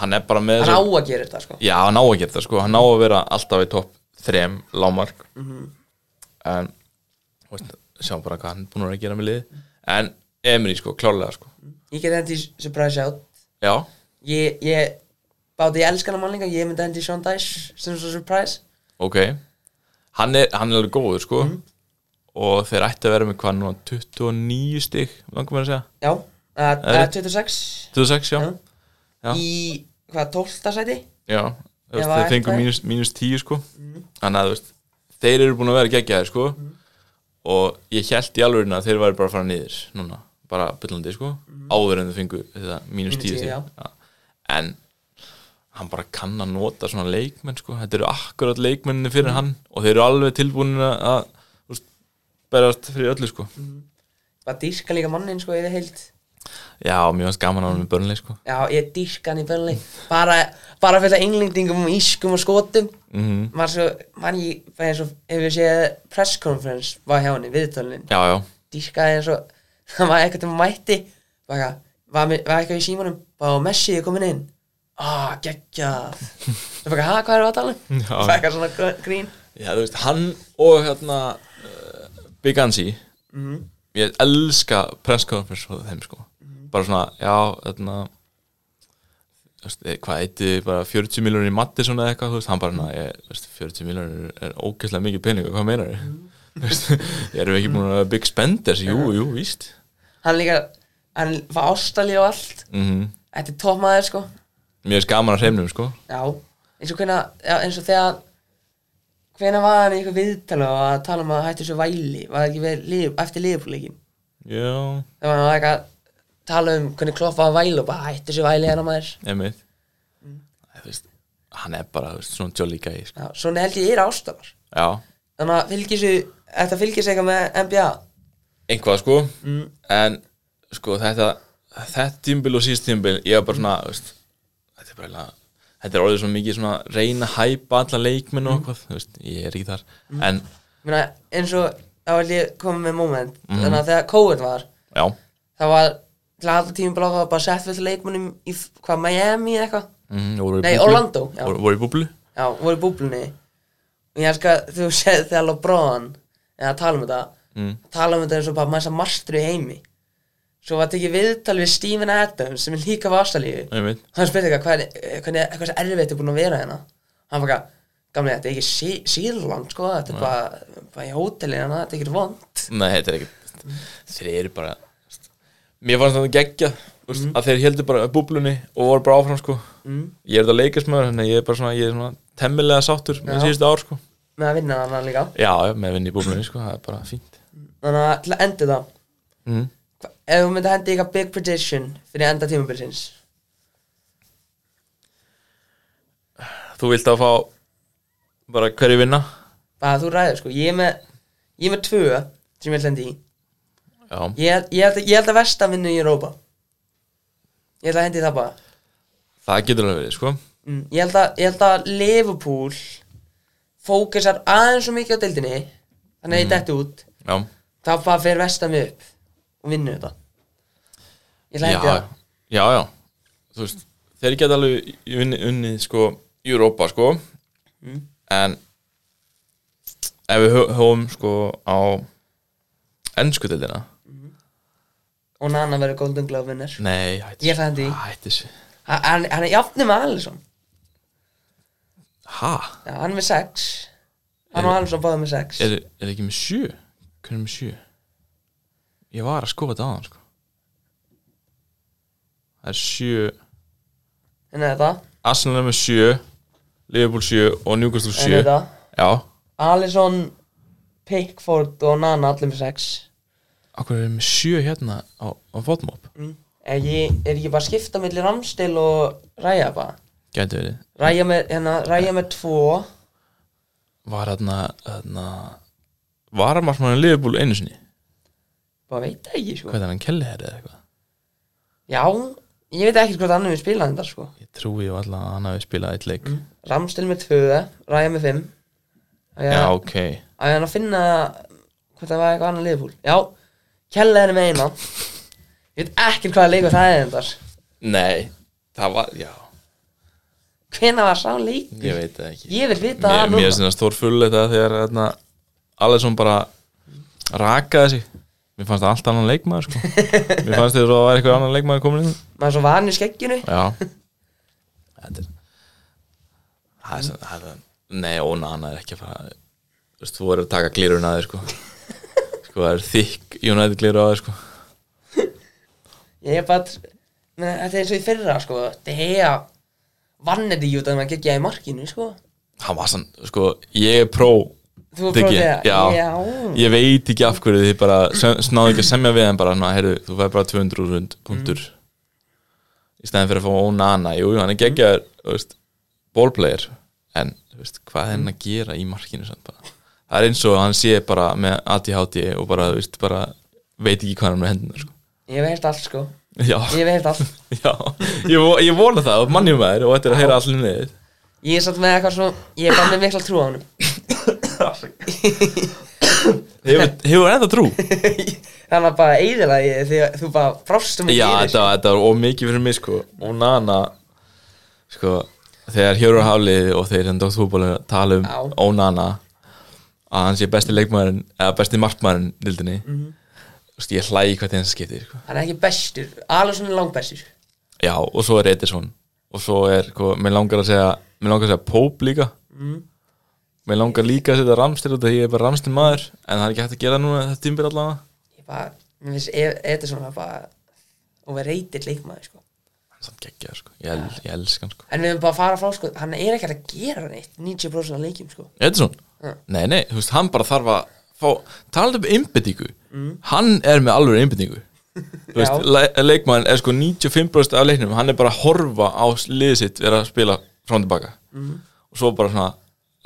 [SPEAKER 6] hann er bara með
[SPEAKER 5] Hann á að gera þetta sko
[SPEAKER 6] Já, hann á að gera það sko, hann á að vera alltaf í topp þrem lámark
[SPEAKER 5] Mhm.
[SPEAKER 6] en þú veist, sjáum bara hvað hann er búin að vera að gera með liði en Emery sko, klálega sko
[SPEAKER 5] Ég get hendi í surprise out
[SPEAKER 6] Já,
[SPEAKER 5] Ég, ég Báti ég elskana mannlinga Ég myndi hendi í Sean Dice Sem svo surprise
[SPEAKER 6] ok Hann er, hann er alveg góður sko
[SPEAKER 5] Mhm.
[SPEAKER 6] og þeir ætti að vera með hvað núna 29 stig, langar mér að segja
[SPEAKER 5] Já uh, uh,
[SPEAKER 6] rétt.
[SPEAKER 5] 26
[SPEAKER 6] 26, já,
[SPEAKER 5] Já.
[SPEAKER 6] Já.
[SPEAKER 5] Í hvað 12. sæti
[SPEAKER 6] já. þú
[SPEAKER 5] Ef
[SPEAKER 6] Veist,
[SPEAKER 5] að Mm.
[SPEAKER 6] þeir fengu
[SPEAKER 5] ætti-
[SPEAKER 6] mínus, mínus 10 sko þannig að þú veist, þeir eru búin að vera geggjaðir sko
[SPEAKER 5] Mm.
[SPEAKER 6] og ég held í alvegurinn að þeir væri bara að fara niður núna, bara byllandi sko áður en þau fengu þetta mínus 10
[SPEAKER 5] 10, Mm.
[SPEAKER 6] stig
[SPEAKER 5] já.
[SPEAKER 6] Já. en hann bara kann að nota svona leikmenn sko, þetta eru akkurat leikmenninni
[SPEAKER 5] Mm.
[SPEAKER 6] fyrir hann og þeir eru alveg tilbúin að, að þú veist, berast fyrir öllu sko
[SPEAKER 5] Mm. Bara dýrka líka mannin sko Yfir heilt
[SPEAKER 6] Já, mjög gaman á hann með börnleik sko
[SPEAKER 5] Já, ég dýrka hann í bönni Bara, bara fyrir það englendingum og ískum og skotum mm -hmm. Maður svo, mann ég Það er svo, ef ég séð press conference Var hjá henni, viðtölin
[SPEAKER 6] Já,
[SPEAKER 5] [laughs]
[SPEAKER 6] já,
[SPEAKER 5] Dýrkaði eins og [laughs] Það var eitthvað til mætti Bara, var, mi- var eitthvað í símanum Bara, og Messi er komin inn Ah, geggjað Það er bara, ha, hvað erum við að tala um?
[SPEAKER 6] Já.
[SPEAKER 5] Það er eitthvað svona gr- grín
[SPEAKER 6] Já, þú veist, hann og hérna uh, Big Ansi Ég elska press conference og þeim sko Bara svona, já, hérna þú veist, eh, Hvað eitthi bara 40 miljonir í matti svona eða eitthvað, þú veist, hann bara svona, ég, þú veist, 40 miljonir er ógeðslega mikið peningur, hvað meinar ég? Þú veist, [laughs] erum við ekki búin að vera big spenders, jú, jú, víst
[SPEAKER 5] Hann líka, hann var ástalí og allt
[SPEAKER 6] mm
[SPEAKER 5] Þetta er topmaður, sko
[SPEAKER 6] Mér er skaman að hreimnum sko
[SPEAKER 5] Já, eins og hvena já, eins og þegar hvena var hann í eitthvað viðtala og að tala um að hættu þessu væli var það ekki við, lið, eftir liðbúleikin
[SPEAKER 6] Já,
[SPEAKER 5] þegar hann var eitthvað að tala um hvernig kloppa að væli og bara hættu þessu væli hérna maður
[SPEAKER 6] emið mm. veist, Hann er bara, þú veist, svona jolly guy sko.
[SPEAKER 5] já, svona held ég er ástafar
[SPEAKER 6] Já,
[SPEAKER 5] þannig að fylgir þessu þetta fylgir þessu eitthvað með NBA
[SPEAKER 6] einhvað sko en sko þetta þetta tímbil og síðst tímbil ég var bara svona þú veist, þetta er bara eiginlega- þetta er orðið svo mikið svona reyna að hæpa alla leikmenn og eitthvað þú veist, ég er ekki þar en
[SPEAKER 5] Meina, eins og þá held ég komið með moment þannig að þegar COVID var
[SPEAKER 6] já,
[SPEAKER 5] það var til alltaf tímum bara að bara sett við leikmunum í f- hvað Miami eða eitthvað
[SPEAKER 6] mm, voru í
[SPEAKER 5] Nei,
[SPEAKER 6] búblu.
[SPEAKER 5] Orlando, já.
[SPEAKER 6] voru, voru í búblu
[SPEAKER 5] já, voru í búblunni og ég elska að þú [laughs] segð þegar LeBron eða tala um þetta mm. tala um þetta eins og bara maður sem marstri í heimi svo var tekið viðtal við Steven Adams sem er líka var ástallífi
[SPEAKER 6] einmitt,
[SPEAKER 5] hann spurði eitthvað hvernig, hvernig, eh, hversu erfitt er búin að vera hérna hann bara, gamlega, þetta er ekki sí, sírland sko, þetta er bara, bara í hótelin hérna, þetta er ekki vond
[SPEAKER 6] nei, þetta er ekki þeir eru bara þú veist, mér fannst þetta geggja þú veist, að þeir heldur bara búblunni og voru bara áfram sko mm. ég er þetta leikismöður, þannig að ég er bara svona ég er svona temmilega sáttur með
[SPEAKER 5] Já.
[SPEAKER 6] síðustu ár sko
[SPEAKER 5] með að vinna þarna líka
[SPEAKER 6] já, já, með vinn í búblunni sko, það er bara fínt
[SPEAKER 5] þannig að til að enda það
[SPEAKER 6] mm.
[SPEAKER 5] hva- ef þú myndi hendi eitthvað big prediction fyrir enda tímabilsins
[SPEAKER 6] þú vilt að fá bara hverju vinna
[SPEAKER 5] bara þú ræður sko, ég er með ég er með tvö sem ég ætla að enda í
[SPEAKER 6] já,
[SPEAKER 5] Ég, ég, held, ég held að versta vinnu í Europa Ég held að hendi það bara
[SPEAKER 6] það getur alveg verið sko
[SPEAKER 5] mm, ég, held að, ég held að Liverpool Fókusar aðeins svo mikið á deildinni Þannig
[SPEAKER 6] Mhm.
[SPEAKER 5] að ég detti út
[SPEAKER 6] já,
[SPEAKER 5] Þá bara fer vestam upp Og vinnu þetta Ég held að hendi
[SPEAKER 6] já,
[SPEAKER 5] það
[SPEAKER 6] já, já þú veist, þeir geta alveg unnið, unnið sko, Europa sko
[SPEAKER 5] Mm.
[SPEAKER 6] en ef við hö- höfum sko á ennsku deildina
[SPEAKER 5] Og Nana verður Golden Glove vinnur
[SPEAKER 6] nei, hættis
[SPEAKER 5] Ég ætla að hendi í.
[SPEAKER 6] hættis,
[SPEAKER 5] Ha- Hann, hann er jafnum með Alisson
[SPEAKER 6] ha
[SPEAKER 5] Já, hann er með sex Hann og Alisson báðum með sex
[SPEAKER 6] er, er ekki með sjö hvernig er með sjö ég var að skoða þetta á sko það er sjö
[SPEAKER 5] Þannig að þetta
[SPEAKER 6] Arsenal er með 7 Liverpool 7 og Newcastle
[SPEAKER 5] Þannig
[SPEAKER 6] 7
[SPEAKER 5] að þetta
[SPEAKER 6] Já,
[SPEAKER 5] Alisson, Pickford og Nana allir með sex
[SPEAKER 6] okkur er með 7 hérna á, á fótmop
[SPEAKER 5] Er ég, er ég bara að skipta milli Ramstil og Ræja bara?
[SPEAKER 6] Gæti verið
[SPEAKER 5] Ræja með, hérna, Ræja með tvo
[SPEAKER 6] Var hérna, hérna Var marsmann Liverpool einu sinni
[SPEAKER 5] Bara veit það ekki, sko
[SPEAKER 6] Hvað er hann kelli hér eða eitthvað
[SPEAKER 5] Já, ég veit ekki hvort annar við spila þetta, sko
[SPEAKER 6] Ég trúi ég alltaf að hann hafi spilað eitt leik
[SPEAKER 5] Mm. Ramstil með tvö, Ræja með fimm Á ég
[SPEAKER 6] Já,
[SPEAKER 5] að-
[SPEAKER 6] ok
[SPEAKER 5] á ég hann að finna hvort það var eitthvað annar liðbúl já, kellaðinu með eina ég veit ekki hvaða leikur það er endar
[SPEAKER 6] Nei, það var, já,
[SPEAKER 5] hvena var sá leikur
[SPEAKER 6] ég veit það ekki
[SPEAKER 5] ég vil vita það
[SPEAKER 6] Mér,
[SPEAKER 5] núna
[SPEAKER 6] mér sinna stórfull þetta þegar þarna, Alisson bara rakaði sig Mér fannst það allt annan leikmaður
[SPEAKER 5] [laughs]
[SPEAKER 6] sko. Mér fannst þið svo að það væri eitthvað annan leikmaður komin inn
[SPEAKER 5] maður er svo vanur skegginu
[SPEAKER 6] Já Þetta er Það er, sem- það er Nei, óna, hann er ekki að fara Þú veist, þú verður að taka glirun að þér sko Sko, það er þykk United glirun að þér sko
[SPEAKER 5] ég er bara Nei, þetta er eins og í fyrra sko þetta er að vann þetta í út að maður geggja í markinu sko
[SPEAKER 6] Hann var sann, sko, ég er pró
[SPEAKER 5] Þú er
[SPEAKER 6] Diggi,
[SPEAKER 5] pró þegar, já.
[SPEAKER 6] já. Ég veit ekki af hverju þið bara sem- snáðu ekki að semja við en bara, svona, heyrðu, þú fæði bara 200 rund, punktur
[SPEAKER 5] Mm.
[SPEAKER 6] í stæðan fyrir að fá óna hana jú, jú, hann er geggjaður, þú veist ballplayer, en, þú veist, hvað er hann að gera í markinu samt bara það er eins og hann sé bara með ADHD og bara, þú veist, bara veit ekki hvað hann er með hendina, sko
[SPEAKER 5] ég hef heyrt allt sko
[SPEAKER 6] Já,
[SPEAKER 5] ég hef heyrt allt
[SPEAKER 6] já, ég, vo- ég vona það mannjum með þér og þetta er að heyra allir um niður
[SPEAKER 5] Ég er satt með eitthvað svo, ég er bara með mikla trú á honum
[SPEAKER 6] Hefur, hefur ennþá trú?
[SPEAKER 5] Þannig að bara eiðilega ég því að þú bara um frástum
[SPEAKER 6] Já, þetta, þetta var ómikið fyrir mig sko og Nana sko, þegar Hjóru Hálið og þeir sem Dótt Fútból tala um
[SPEAKER 5] Já.
[SPEAKER 6] Ónana að hann sé besti leikmaðurinn eða besti markmaðurinn dildinni mm -hmm. ég hlægi hvað þeim skipti sko.
[SPEAKER 5] Hann er ekki bestur, Alisson er langbestur
[SPEAKER 6] já, og svo er Edison og svo er, sko, mér langar að segja mér langar að segja Pope líka mér langar líka að setja Ramstir út af því ég er bara Ramstir maður en það er ekki hægt að gera núna þetta tímbil allavega
[SPEAKER 5] Ég bara, mér finnst E- Ederson var bara overrated leikmaður sko
[SPEAKER 6] samt geggjaður sko, ég, el, ég elska hann sko
[SPEAKER 5] En við höfum bara að fara frá sko, hann er ekki að gera neitt 90% af leikjum sko
[SPEAKER 6] Edson? Nei, nei, þú veist, hann bara þarf að fá, talað um einbyttingu hann er með alveg einbyttingu þú veist,
[SPEAKER 5] Já.
[SPEAKER 6] le leikmann er sko 95% af leiknum, hann er bara að horfa á liðið sitt vera að spila frá og tilbaka mm. og svo bara svona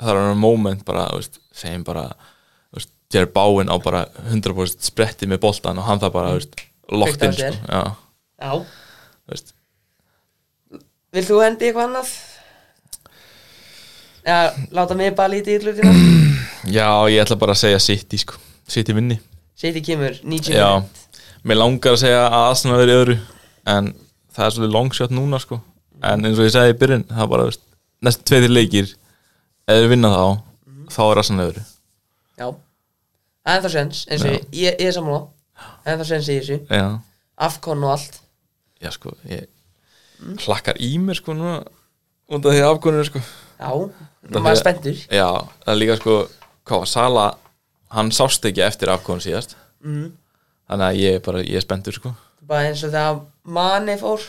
[SPEAKER 6] það er hann moment bara, þú veist, segjum bara þú veist, Jerry Bowen á bara 100% spretti með boltan og hann það bara, þú veist, lokt
[SPEAKER 5] Kveikt á
[SPEAKER 6] inn
[SPEAKER 5] sér.
[SPEAKER 6] sko, já,
[SPEAKER 5] Já
[SPEAKER 6] þú veist
[SPEAKER 5] Vilt þú hendi eitthvað annað? Já, láta mig bara lítið í hlutina
[SPEAKER 6] já, ég ætla bara að segja City, sko City vinni
[SPEAKER 5] City kemur 90
[SPEAKER 6] Já, mér langar að segja að Arsenal er í öðru en það er svolítið longshot núna sko en eins og ég segi í byrjun, það er bara veist, næstu tveitir leikir ef við vinna þá, þá er Arsenal í öðru
[SPEAKER 5] Já En það sens, eins og ég, ég, ég er sammála En það sens í þessu
[SPEAKER 6] Já,
[SPEAKER 5] Afkon og allt
[SPEAKER 6] já sko ég klakkar í mér sko núna út af því afgóðinu sko
[SPEAKER 5] Já, maður er spenntur
[SPEAKER 6] Já, það er líka sko hvað var Sala, hann sást ekki eftir afgóðinu síðast mm. þannig að ég er bara, ég er spenntur sko
[SPEAKER 5] bara eins og þegar Mane fór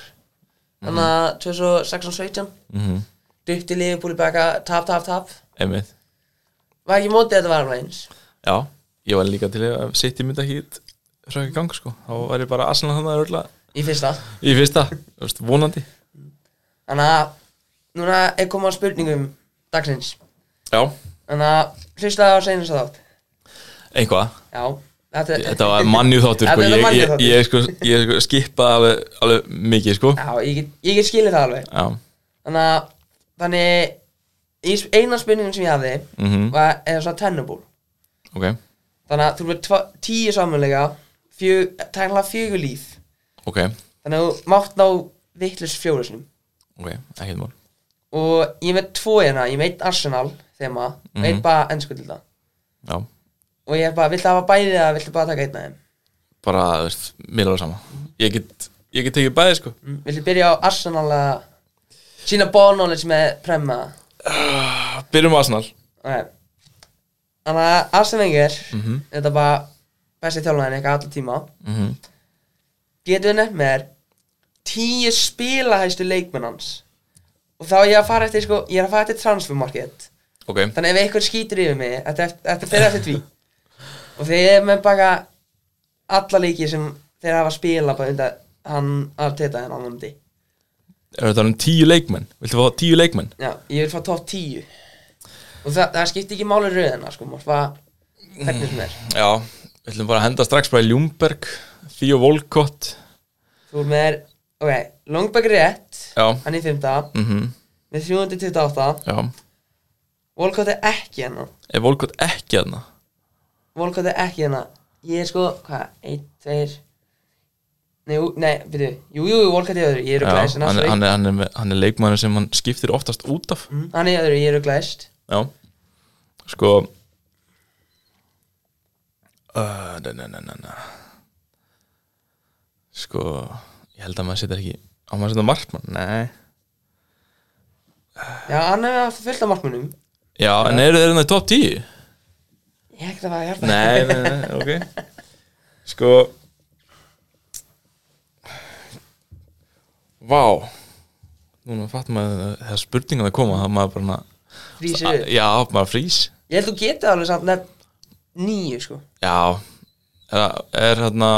[SPEAKER 5] þannig að
[SPEAKER 6] Mhm.
[SPEAKER 5] 2016-17 mm -hmm. dytti liðbúli baka tap, tap, tap
[SPEAKER 6] einmitt
[SPEAKER 5] var ekki mótið að þetta var alveg eins
[SPEAKER 6] Já, ég var líka til í að City myndi ekki hrökk í gang sko þá var ég bara Arsenal þannig að örla
[SPEAKER 5] í fyrsta
[SPEAKER 6] í fyrsta, þú veist, vonandi
[SPEAKER 5] þannig að núna er komað spurningum dagsins
[SPEAKER 6] Já,
[SPEAKER 5] þannig að hlustaði á seinast þátt
[SPEAKER 6] einhvað
[SPEAKER 5] já, þetta,
[SPEAKER 6] Þetta var mannjú þáttur
[SPEAKER 5] Þetta
[SPEAKER 6] sko.
[SPEAKER 5] var
[SPEAKER 6] ég, ég,
[SPEAKER 5] mannjuþáttur.
[SPEAKER 6] ég, sko, ég sko, skipaði alveg, alveg mikið sko
[SPEAKER 5] já, ég, get- ég get skilið það alveg
[SPEAKER 6] Já,
[SPEAKER 5] þannig að þannig í sp- eina spurningum sem ég hafði
[SPEAKER 6] Mhm.
[SPEAKER 5] var eða svona tennubúl
[SPEAKER 6] ok,
[SPEAKER 5] þannig að þú erum með tíu samanlega fjö, tæknilega fjögur líf
[SPEAKER 6] ok,
[SPEAKER 5] Þannig að þú mátt ná vittlust fjólusnum
[SPEAKER 6] ok, ekkert mál
[SPEAKER 5] Og ég er með tvo hérna, ég er með eitt Arsenal þema Og eitt bara ennsku til það
[SPEAKER 6] Já,
[SPEAKER 5] Og ég er bara, viltu hafa bæði eða viltu bara taka einn af þeim
[SPEAKER 6] bara, þú veist, mér er alveg sama Ég get, ég get tekið bæði sko
[SPEAKER 5] mm. Viltu byrja á Arsenal að Sýna bónólis með premma
[SPEAKER 6] Byrjum á Arsenal
[SPEAKER 5] Ok. Þannig að Arsene Wenger Þetta er bara besti þjálfæðin eitthvað alltaf tíma
[SPEAKER 6] mm
[SPEAKER 5] Getur við nefn með þér Tíu spilahæstu leikmenn hans Og þá er ég að fara eftir sko Ég er að fara eftir transfermarkið
[SPEAKER 6] Ok,
[SPEAKER 5] Þannig ef einhver skýtur yfir mig Þetta er- þetta fer eftir því Og þeir eru með bara Alla leiki sem þeir hafa að spila Bara undan hann Arteta hérna en hann umdi
[SPEAKER 6] er þetta um tíu leikmenn? Viltu fá tíu leikmenn?
[SPEAKER 5] Já, ég vil fá top 10 Og það, það skipti ekki máli rauðina Sko, maður var Hvernig sem er
[SPEAKER 6] Já, við ætlum bara að henda strax bara í Ljungberg Theo Volkott
[SPEAKER 5] Þú er með Ok, Longbæk rétt
[SPEAKER 6] Já.
[SPEAKER 5] Hann í 5.
[SPEAKER 6] mm
[SPEAKER 5] Með 328
[SPEAKER 6] Já,
[SPEAKER 5] Volkot er ekki hennan
[SPEAKER 6] er Volkot ekki aðna?
[SPEAKER 5] Volkot er ekki þarna Ég er sko, hvað, einn, tveir Nei, ú- nei, byrju Jú, jú, jú, Volkot er í öðru, ég er
[SPEAKER 6] Já,
[SPEAKER 5] glæst
[SPEAKER 6] hann, er-
[SPEAKER 5] hann,
[SPEAKER 6] hann, er, hann, er, með- hann er leikmann sem hann skiptir oftast út af
[SPEAKER 5] Mhm, hann er í öðru, ég er glæst
[SPEAKER 6] Já Sko uh, na, na, na, na, na. Sko Ég held að maður setja ekki Á maður setja markmann? Nei
[SPEAKER 5] Já, hann er haft fullt af markmunum
[SPEAKER 6] Já, en eru þeir enn í top 10?
[SPEAKER 5] Ég er ekkert að fara að hjálpa
[SPEAKER 6] Nei, nei, nei, ok Sko Vá Núna fattum maður þegar spurningan að koma það maður bara na,
[SPEAKER 5] Frísir upp
[SPEAKER 6] Já, maður frýs
[SPEAKER 5] Ég held þú getið alveg samt nefn Níu, sko
[SPEAKER 6] Já Er, er hérna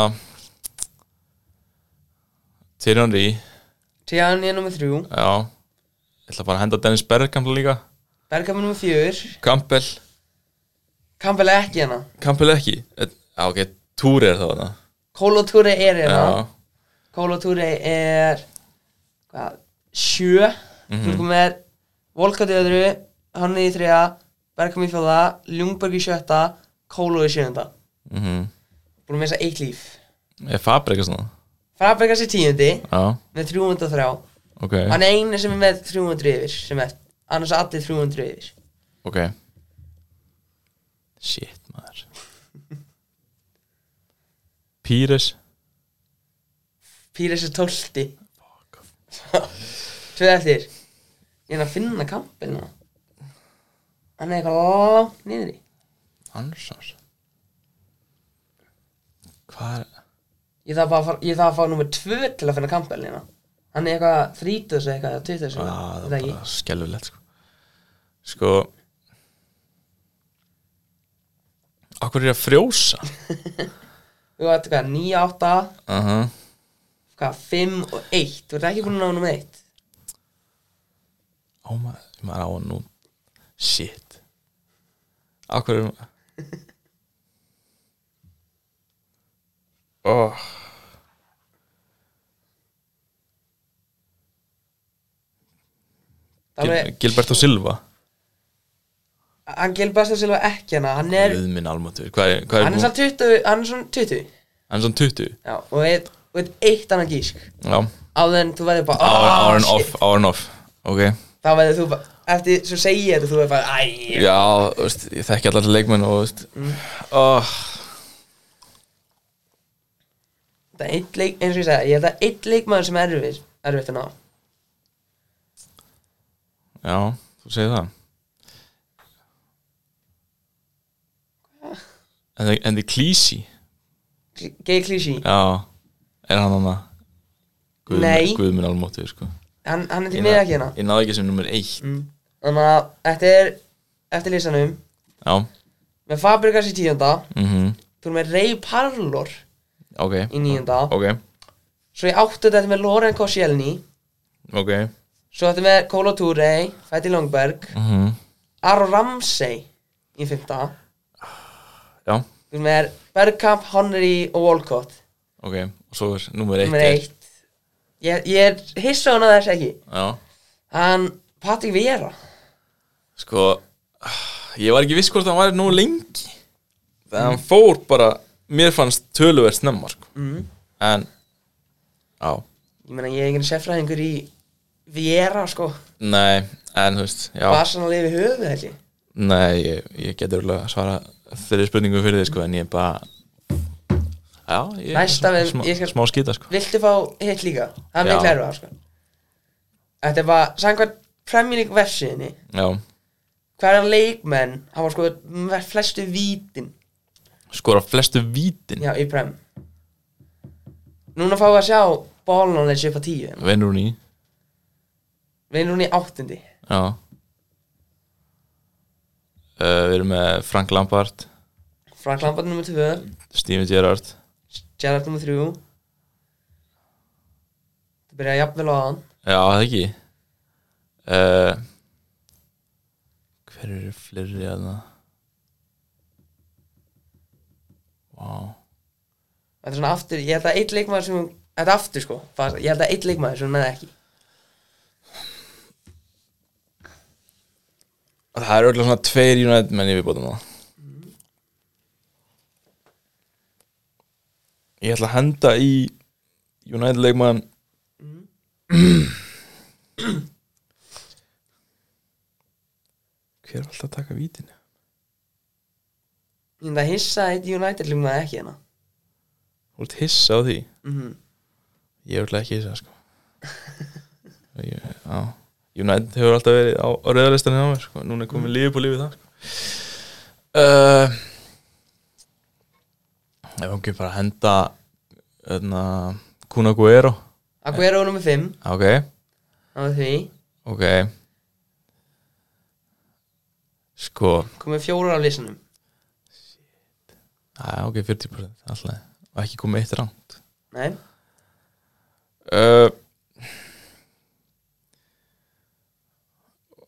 [SPEAKER 6] Tyrion Rí
[SPEAKER 5] Tíðan ég er nummer þrjú
[SPEAKER 6] Já Ég ætla bara að henda Dennis Berg Campbell líka
[SPEAKER 5] Bergkamp er nummer fjögur
[SPEAKER 6] Campbell
[SPEAKER 5] Kampel er ekki hérna
[SPEAKER 6] Campbell ekki Et- Já ok, Túri er það þarna.
[SPEAKER 5] Kólotúri er hérna
[SPEAKER 6] Já
[SPEAKER 5] Kólotúri er hvað, sjö mm -hmm. er Volkot í öðru Hann er í þriða Bergkamp í fjóða Ljungberg í sjötta Kóló í sjönda
[SPEAKER 6] mm
[SPEAKER 5] Búin að missa eitt líf
[SPEAKER 6] Er Fabre eitthvað svona
[SPEAKER 5] Fabregas er tíundi
[SPEAKER 6] Já,
[SPEAKER 5] með 303
[SPEAKER 6] ok
[SPEAKER 5] Hann er einu sem er með 300 yfir sem er, annars allir 300 yfir
[SPEAKER 6] Ok Shit maður Píres
[SPEAKER 5] Píres er 12 [laughs] Tvö eftir Ég er að finna kampin núna. Hann er eitthvað langt niður í
[SPEAKER 6] Hansars Hvað er
[SPEAKER 5] Ég þarf bara að fara, ég þarf að fá nummer 2 til að finna kampin hérna Hann er eitthvað 30 eða eitthvað, 20 eða
[SPEAKER 6] Já, Ah, það
[SPEAKER 5] eitthvað,
[SPEAKER 6] er
[SPEAKER 5] þetta
[SPEAKER 6] bara
[SPEAKER 5] ekki
[SPEAKER 6] skelfilegt sko Sko Akkur er ég að frjósa
[SPEAKER 5] Þú veit hvað, 9, 8,
[SPEAKER 6] uh -huh.
[SPEAKER 5] hvað, 5 og 1 Þú ert ekki búin að ná nummer 1
[SPEAKER 6] Ó maður, maður á hann nú Shit Akkur er oh.
[SPEAKER 5] Það er,
[SPEAKER 6] Gilbert og Silva
[SPEAKER 5] hann gil best að silfa ekki hérna Hann er,
[SPEAKER 6] Guð minn almatur Hvað er, hvað er,
[SPEAKER 5] hann er
[SPEAKER 6] búinn-
[SPEAKER 5] samt 20, hann er svona 20
[SPEAKER 6] hann er svona 20
[SPEAKER 5] Já, og eitt, og eitt, eitt annað gísk
[SPEAKER 6] Já,
[SPEAKER 5] Áður en þú verður bara
[SPEAKER 6] hour and
[SPEAKER 5] Ah, shit.
[SPEAKER 6] off, hour and off Ok
[SPEAKER 5] Þá verður þú bara, eftir, svo segi ég þetta, þú verður bara, æj
[SPEAKER 6] Já, þú veist, ég þekki allar leikmenn og þú veist
[SPEAKER 5] Mm.
[SPEAKER 6] oh,
[SPEAKER 5] Það er eitt leik, eins og ég segi, ég held að eitt leikmaður sem er erfið, erfitt að ná
[SPEAKER 6] Já, þú segir það En það- En þið klísi
[SPEAKER 5] Kl- Gay Clichy,
[SPEAKER 6] Já, er hann hann Guð,
[SPEAKER 5] Nei.
[SPEAKER 6] Guð minn almótið sko.
[SPEAKER 5] hann, hann er til
[SPEAKER 6] Ég
[SPEAKER 5] mig
[SPEAKER 6] ná-
[SPEAKER 5] ekki hérna
[SPEAKER 6] Ég náði ekki sem nummer eitt
[SPEAKER 5] Þannig að þetta er eftir lýsanum
[SPEAKER 6] Já,
[SPEAKER 5] Með Fabregas í tíunda
[SPEAKER 6] mhm,
[SPEAKER 5] Þú erum með Ray Parlor
[SPEAKER 6] ok
[SPEAKER 5] í níunda
[SPEAKER 6] Ok,
[SPEAKER 5] Svo ég áttu þetta með Loren Koscielny
[SPEAKER 6] ok
[SPEAKER 5] Svo þetta með Kolo Touré, Fæti Longberg
[SPEAKER 6] mm -hmm.
[SPEAKER 5] Aron Ramsey í fymta
[SPEAKER 6] Já,
[SPEAKER 5] Þú erum með Bergkamp, Honnery og Walcott
[SPEAKER 6] ok Og svo er nummer eitt
[SPEAKER 5] Nummer
[SPEAKER 6] er-
[SPEAKER 5] eitt Ég, ég er hissa hún að þess ekki
[SPEAKER 6] Já,
[SPEAKER 5] Hann, Patrik Vera
[SPEAKER 6] sko Ég var ekki viss hvort hann var nú lengi Þegar hann fór bara Mér fannst töluvert snemma sko.
[SPEAKER 5] mm.
[SPEAKER 6] En Já,
[SPEAKER 5] Ég meina, ég er enginn sérfræðingur í Vera, sko
[SPEAKER 6] nei, en þú veist Já,
[SPEAKER 5] Barsan að lifi höfuð, held ég
[SPEAKER 6] nei, ég, ég getur alveg að svara Þeirri spurningu fyrir þið sko En ég bara Já, ég
[SPEAKER 5] Næsta við-
[SPEAKER 6] smá,
[SPEAKER 5] ég skal-
[SPEAKER 6] smá skita sko
[SPEAKER 5] Viltu fá hitt líka? Það er
[SPEAKER 6] Já.
[SPEAKER 5] miklu erfa, sko Þetta er bara, samkvæmt Premier League versiðinni
[SPEAKER 6] Já,
[SPEAKER 5] Hverja leikmenn hafa sko ver- flestu vítin
[SPEAKER 6] skora flestu vítin
[SPEAKER 5] Já, í Prem Núna fáum við að sjá Bólanáleins upp á tíu hérna.
[SPEAKER 6] Venur hún í
[SPEAKER 5] Við erum núna í áttundi
[SPEAKER 6] Já uh, Við erum með Frank Lampard
[SPEAKER 5] Frank Lampard nummer 2
[SPEAKER 6] Steven Gerrard
[SPEAKER 5] Gerrard nummer 3 Það byrjaði jafnvel á hann
[SPEAKER 6] Já, það ekki uh, Hver eru fleiri að það? Vá
[SPEAKER 5] Þetta er svona aftur, ég held að eitt leikmaður sem Þetta er aftur sko, bara- ég held að eitt leikmaður sem hún með ekki
[SPEAKER 6] Það eru öll svona tveir United menn í viðbótum það Ég ætla að henda í United leikmann Hver er alltaf að taka vítinu?
[SPEAKER 5] Ég það hissa að eitt United ljúmaði ekki hérna
[SPEAKER 6] Þú ert hissa á því
[SPEAKER 5] Mhm.
[SPEAKER 6] Ég er örugglega ekki hissa sko. ég, á, United hefur alltaf verið á, á rauðarlistanni á mér sko. Núna er komið mm. lífið på lífið það sko. uh, Ef hann ekki bara að henda hérna, öðna, Kuna Guero
[SPEAKER 5] Aguero nummer 5
[SPEAKER 6] Ok,
[SPEAKER 5] á því
[SPEAKER 6] ok Sko
[SPEAKER 5] komið fjórar af listanum
[SPEAKER 6] á, Ok, 40% alltaf Og ekki komið eitt rangt
[SPEAKER 5] Nei,
[SPEAKER 6] uh,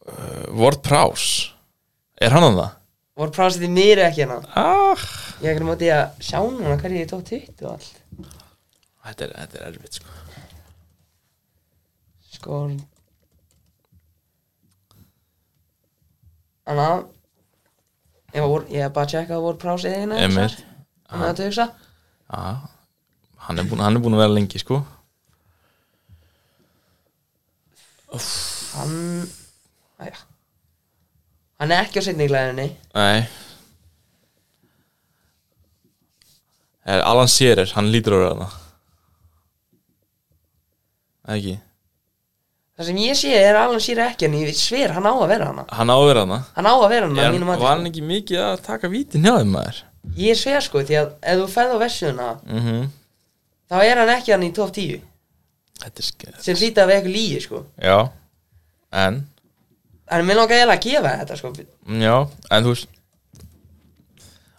[SPEAKER 6] uh, Ward Prowse Er hann að það?
[SPEAKER 5] voru prásið í mér ekki hérna
[SPEAKER 6] Ah,
[SPEAKER 5] Ég er ekki móti að sjá núna hverju ég tók tutt og allt
[SPEAKER 6] þetta, er, þetta er erfitt sko
[SPEAKER 5] Sko Þannig að Ég var, ég er bara að tjekka að voru hérna, prásið einu
[SPEAKER 6] Emil
[SPEAKER 5] Þannig að þetta hugsa
[SPEAKER 6] ah, hann, er búinn- hann er búin að vera lengi sko
[SPEAKER 5] Hann Æja Hann er ekki á seinni glæðinni
[SPEAKER 6] Nei er, Alan Shearer, hann lítur að vera það Ekki
[SPEAKER 5] Það sem ég sé er Alan Shearer ekki En ég sver hann á að vera hana
[SPEAKER 6] Hann á að vera það
[SPEAKER 5] Hann á að vera hana að mínu
[SPEAKER 6] Var hann
[SPEAKER 5] mati
[SPEAKER 6] ekki mikið að taka vítin hjá þeim maður
[SPEAKER 5] sko. Ég sver sko því að ef þú ferð á vessuna
[SPEAKER 6] mm
[SPEAKER 5] Þá er hann ekki hann í top 10
[SPEAKER 6] Þetta er skeð
[SPEAKER 5] Sem hlýta að vera eitthvað lígi sko
[SPEAKER 6] Já En
[SPEAKER 5] En mér langar eiginlega að gefa þetta sko
[SPEAKER 6] Mm, Já, en þú veist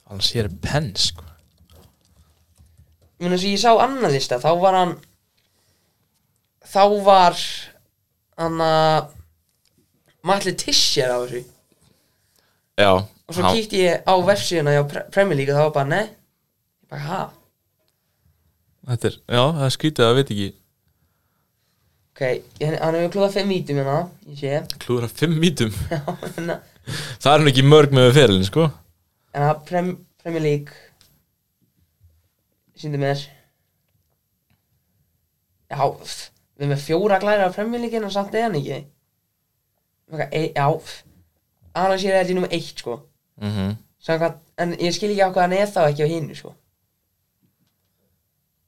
[SPEAKER 6] Hann sér penn sko
[SPEAKER 5] Mér finnst að ég sá annan lista Þá var hann Þá var Hann að Matli Tischer á þessu
[SPEAKER 6] Já
[SPEAKER 5] Og svo
[SPEAKER 6] hann-
[SPEAKER 5] kíkti ég á vefsíðuna hjá Pre- Premier League Og það var bara nei Ég bara ha
[SPEAKER 6] Þetta er, já, það er skrítið að það veit ekki
[SPEAKER 5] Ok, ég- hann hefur klúðað fimm vítum hérna Ég sé [laughs] Hérna.
[SPEAKER 6] Klúður að fimm mítum
[SPEAKER 5] En að-
[SPEAKER 6] [laughs] Það er hann ekki mörg með fyrirlin sko
[SPEAKER 5] en að Prem, Premier League Sýndi mér Já, pff, við erum með fjóra glæra á Premier League En samt eða hann ekki Ok, e, já pff. Annars ég er þetta í nummer eitt sko
[SPEAKER 6] mm
[SPEAKER 5] Samkvæmt, en ég skil ekki á hvað hann er þá ekki á hinu sko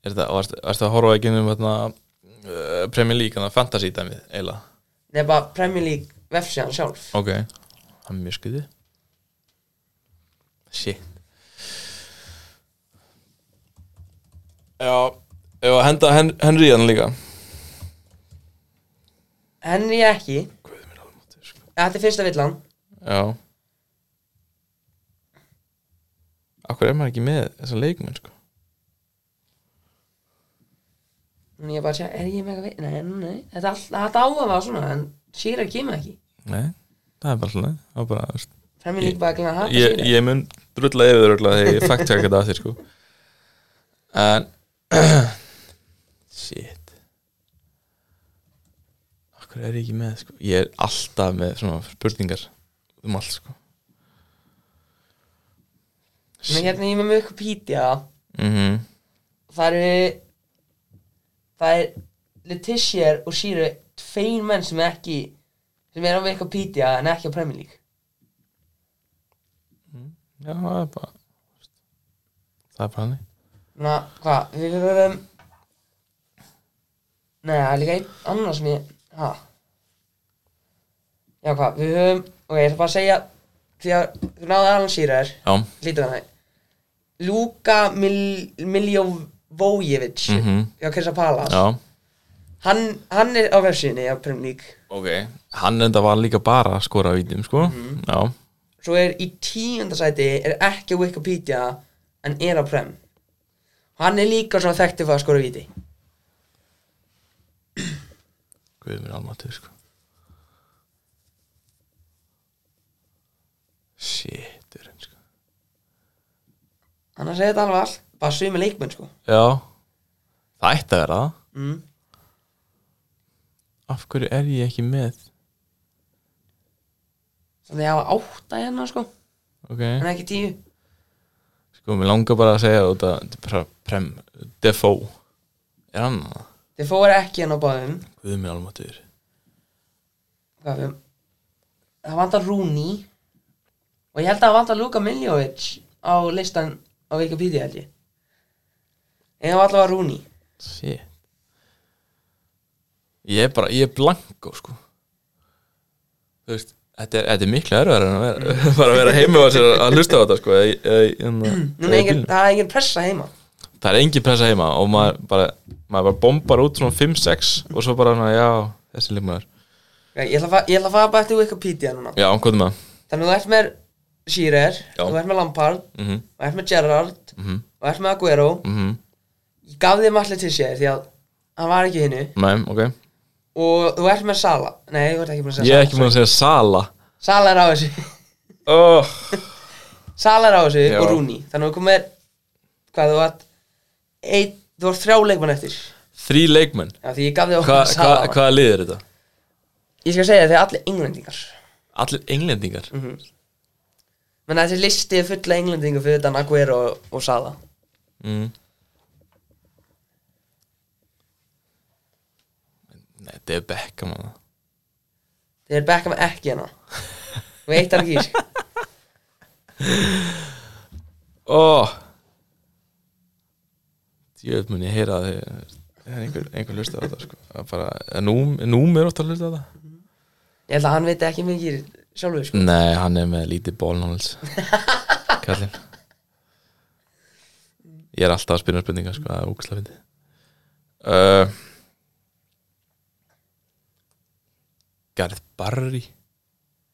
[SPEAKER 6] Er þetta, varst, varst að horfa ekki um hérna uh, Premier League, hann að fantasy dæmið eiginlega
[SPEAKER 5] Nei, bara Premier League vefsíðan sjálf
[SPEAKER 6] Ok Það er mjög skrítið Shit Já, ef að henda Hen- Henry hann líka
[SPEAKER 5] Henni ekki,
[SPEAKER 6] Guðið minn alveg sko
[SPEAKER 5] þetta er fyrsta villan
[SPEAKER 6] Já Akkur er maður ekki með þessa leikmenn sko
[SPEAKER 5] En ég bara sé, er ég með eitthvað við Nei, nei, nei, þetta, all, þetta á að vera svona En Shearer kemur ekki
[SPEAKER 6] Nei, það er bara alltaf leið Það er bara, þú veist,
[SPEAKER 5] Premier League bara glæðan hata
[SPEAKER 6] ég,
[SPEAKER 5] Shearer
[SPEAKER 6] ég mun drulla yfir þau röglega þegar ég fakt tjekka þetta að þér sko En [clears throat] Shit Akkur er ég ekki með sko Ég er alltaf með svona spurningar um allt sko
[SPEAKER 5] Men hérna ég er með Wikipedia
[SPEAKER 6] mm
[SPEAKER 5] Það eru Það er Letizier og Shearer Tvein menn sem ekki Sem er á Wikipedia en ekki á Premier League
[SPEAKER 6] Já, það er bara Það er bara hannig
[SPEAKER 5] Þannig að, hvað, við verðum Nei, það er líka einn annar sem ég Ha Já, hvað, við höfum Ok, ég ætla bara að segja Því að þú náðu Alan Shearer
[SPEAKER 6] Já,
[SPEAKER 5] Lítum hann það Luka Mil Miljovojevic
[SPEAKER 6] Mhm.
[SPEAKER 5] Já, Krista Palas
[SPEAKER 6] já
[SPEAKER 5] hann, hann er á vefsíðinni á Premier League
[SPEAKER 6] Ok, hann enda var líka bara að skora vítum, sko Já,
[SPEAKER 5] Svo er í tíundasæti Er ekki á Wikipedia En er á Prem Hann er líka svona þekktið fyrir að skora viti
[SPEAKER 6] guðið mér almatur, sko Shit, sko
[SPEAKER 5] Hann að segja þetta alveg all Bara sumi leikmenn sko
[SPEAKER 6] Já, það ætti að vera það
[SPEAKER 5] mm.
[SPEAKER 6] Af hverju er ég ekki með?
[SPEAKER 5] Þannig að ég hafa átta hérna sko
[SPEAKER 6] Ok,
[SPEAKER 5] En ekki tíu
[SPEAKER 6] sko, mér langar bara að segja út að þetta er bara prem Defoe Er hann það?
[SPEAKER 5] Þið fóru ekki hann á báðum
[SPEAKER 6] Guð mér almatur
[SPEAKER 5] Hvað við- Það vantar Rooney Og ég held að það vantar Luka Miljovic Á listan á Wikipedia held ég En það var allavega Rooney
[SPEAKER 6] Shit Ég er bara, ég er blanko sko Þú veist Þetta er, þetta er miklu erfæður en að vera [laughs] bara að vera heima og sér að hlusta á þetta sko eða, í- eða, í- hérna,
[SPEAKER 5] Mm. [clears throat] Núna
[SPEAKER 6] eða í
[SPEAKER 5] engin,
[SPEAKER 6] bílnum.
[SPEAKER 5] það er engin pressa heima
[SPEAKER 6] Það er engin pressa heima og maður bara maður bara bombar út svona 5-6 og svo bara svona, já, þessi leikmaður
[SPEAKER 5] Ég ætla að fa- ég ætla að fara bara eftir Wikipedia núna
[SPEAKER 6] Já, hvað er með það?
[SPEAKER 5] Þannig þú ert með Shearer
[SPEAKER 6] Já.
[SPEAKER 5] Þú ert með Lampard
[SPEAKER 6] Mhm.
[SPEAKER 5] Þú ert með Gerrard
[SPEAKER 6] Mhm.
[SPEAKER 5] Þú ert með Aguero
[SPEAKER 6] Mhm.
[SPEAKER 5] Ég gaf þið allir til sér því að Hann var ekki hinnu
[SPEAKER 6] Nei, ok
[SPEAKER 5] Og þú ert með Sala Nei, þú ert ekki búin að segja
[SPEAKER 6] Ég er ekki
[SPEAKER 5] Sala
[SPEAKER 6] búin að segja Sala
[SPEAKER 5] Sala er á þessu [laughs]
[SPEAKER 6] oh.
[SPEAKER 5] Sala er á þessu
[SPEAKER 6] Já.
[SPEAKER 5] og Rooney Þannig að þú komir Hvað þú vart Eitt Þú vart þrjá leikmann eftir Já,
[SPEAKER 6] Þrý leikmenn
[SPEAKER 5] því ég gaf þið
[SPEAKER 6] Hva,
[SPEAKER 5] okkur
[SPEAKER 6] hva,
[SPEAKER 5] Sala
[SPEAKER 6] Hvaða lið er þetta?
[SPEAKER 5] Ég skal segja þið allir englendingar
[SPEAKER 6] Allir englendingar
[SPEAKER 5] Menn þessi listi er fulla englendingar Fyrir utan Aguero og, og Sala
[SPEAKER 6] mm. Nei, þetta er Beckham hana.
[SPEAKER 5] Þeir er Beckham ekki hérna Þú eitt hann ekki
[SPEAKER 6] Ó Djöfn mun ég heyra að þið Það er einhver, einhver hlusta á þetta sko. Að bara, er núm, er núm er ofta að hlusta á þetta
[SPEAKER 5] Ég held að hann veit ekki mikið sjálfur sko.
[SPEAKER 6] Nei, hann er með lítið bólnáls Kallinn Ég er alltaf að spyrja spurningar sko, það er úksla fyndi uh, Garð Barri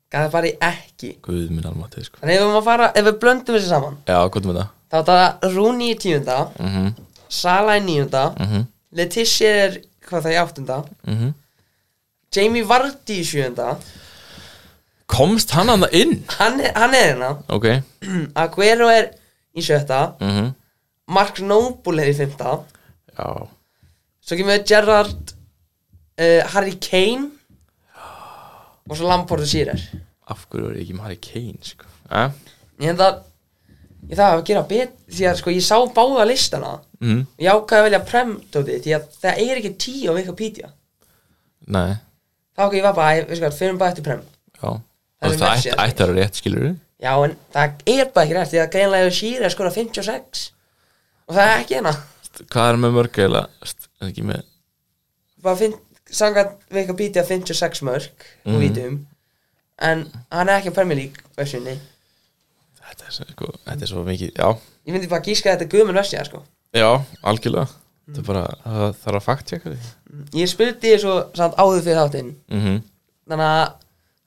[SPEAKER 5] Gæði bara í ekki
[SPEAKER 6] Guð minn almáttið sko
[SPEAKER 5] Þannig ef við, má fara, ef við blöndum þessu saman
[SPEAKER 6] Já, hvað er með það?
[SPEAKER 5] Þá er það Rúni í tíunda
[SPEAKER 6] Mhm,
[SPEAKER 5] Sala í níunda
[SPEAKER 6] mhm,
[SPEAKER 5] Letitia er hvað það í áttunda
[SPEAKER 6] mhm
[SPEAKER 5] Jamie Vardy í sjöunda
[SPEAKER 6] Komst hann hann inn?
[SPEAKER 5] Hann, er- hann er hérna [clears throat]
[SPEAKER 6] Ok,
[SPEAKER 5] Aguero er í sjötta
[SPEAKER 6] mhm
[SPEAKER 5] Mark Noble er í fymta
[SPEAKER 6] Já,
[SPEAKER 5] Svo kemur Gerrard uh, Harry Kane Og svo Lampard og Shearer
[SPEAKER 6] af hverju er ég ekki með Harry Kane sko eh?
[SPEAKER 5] Ég held að Ég þarf að gera bet Því að sko ég sá báða listana
[SPEAKER 6] mm.
[SPEAKER 5] Ég ákvaði að velja premdóti Því að það er ekki tíu á Wikipedia
[SPEAKER 6] Nei,
[SPEAKER 5] Þá ákvaði ég var bara, æ, veistu hvað, fyrir bara eftir prem
[SPEAKER 6] já
[SPEAKER 5] Það
[SPEAKER 6] Það,
[SPEAKER 5] er
[SPEAKER 6] það
[SPEAKER 5] Messi,
[SPEAKER 6] ætti
[SPEAKER 5] eða
[SPEAKER 6] ætti að vera rétt skilur við
[SPEAKER 5] Já, en það er bara ekki rétt Því að greinlega hefur Shearer skora 56 Og það er ekki hérna
[SPEAKER 6] Hvað er með mörg eða En ekki með
[SPEAKER 5] Bara finn, sangat Wikipedia 56 mörg
[SPEAKER 6] Mhm.
[SPEAKER 5] Og vítum En hann er ekki á Premier League versunni
[SPEAKER 6] Þetta er, svo- sko, þetta er svo mikið Já,
[SPEAKER 5] Ég myndi bara gíska að þetta er guðmenn versið sko.
[SPEAKER 6] já, algjörlega Mm. Þetta er bara, það það er að fakt tjekka því
[SPEAKER 5] Ég spurði þessu samt áður fyrir þáttinn
[SPEAKER 6] mm
[SPEAKER 5] Þannig að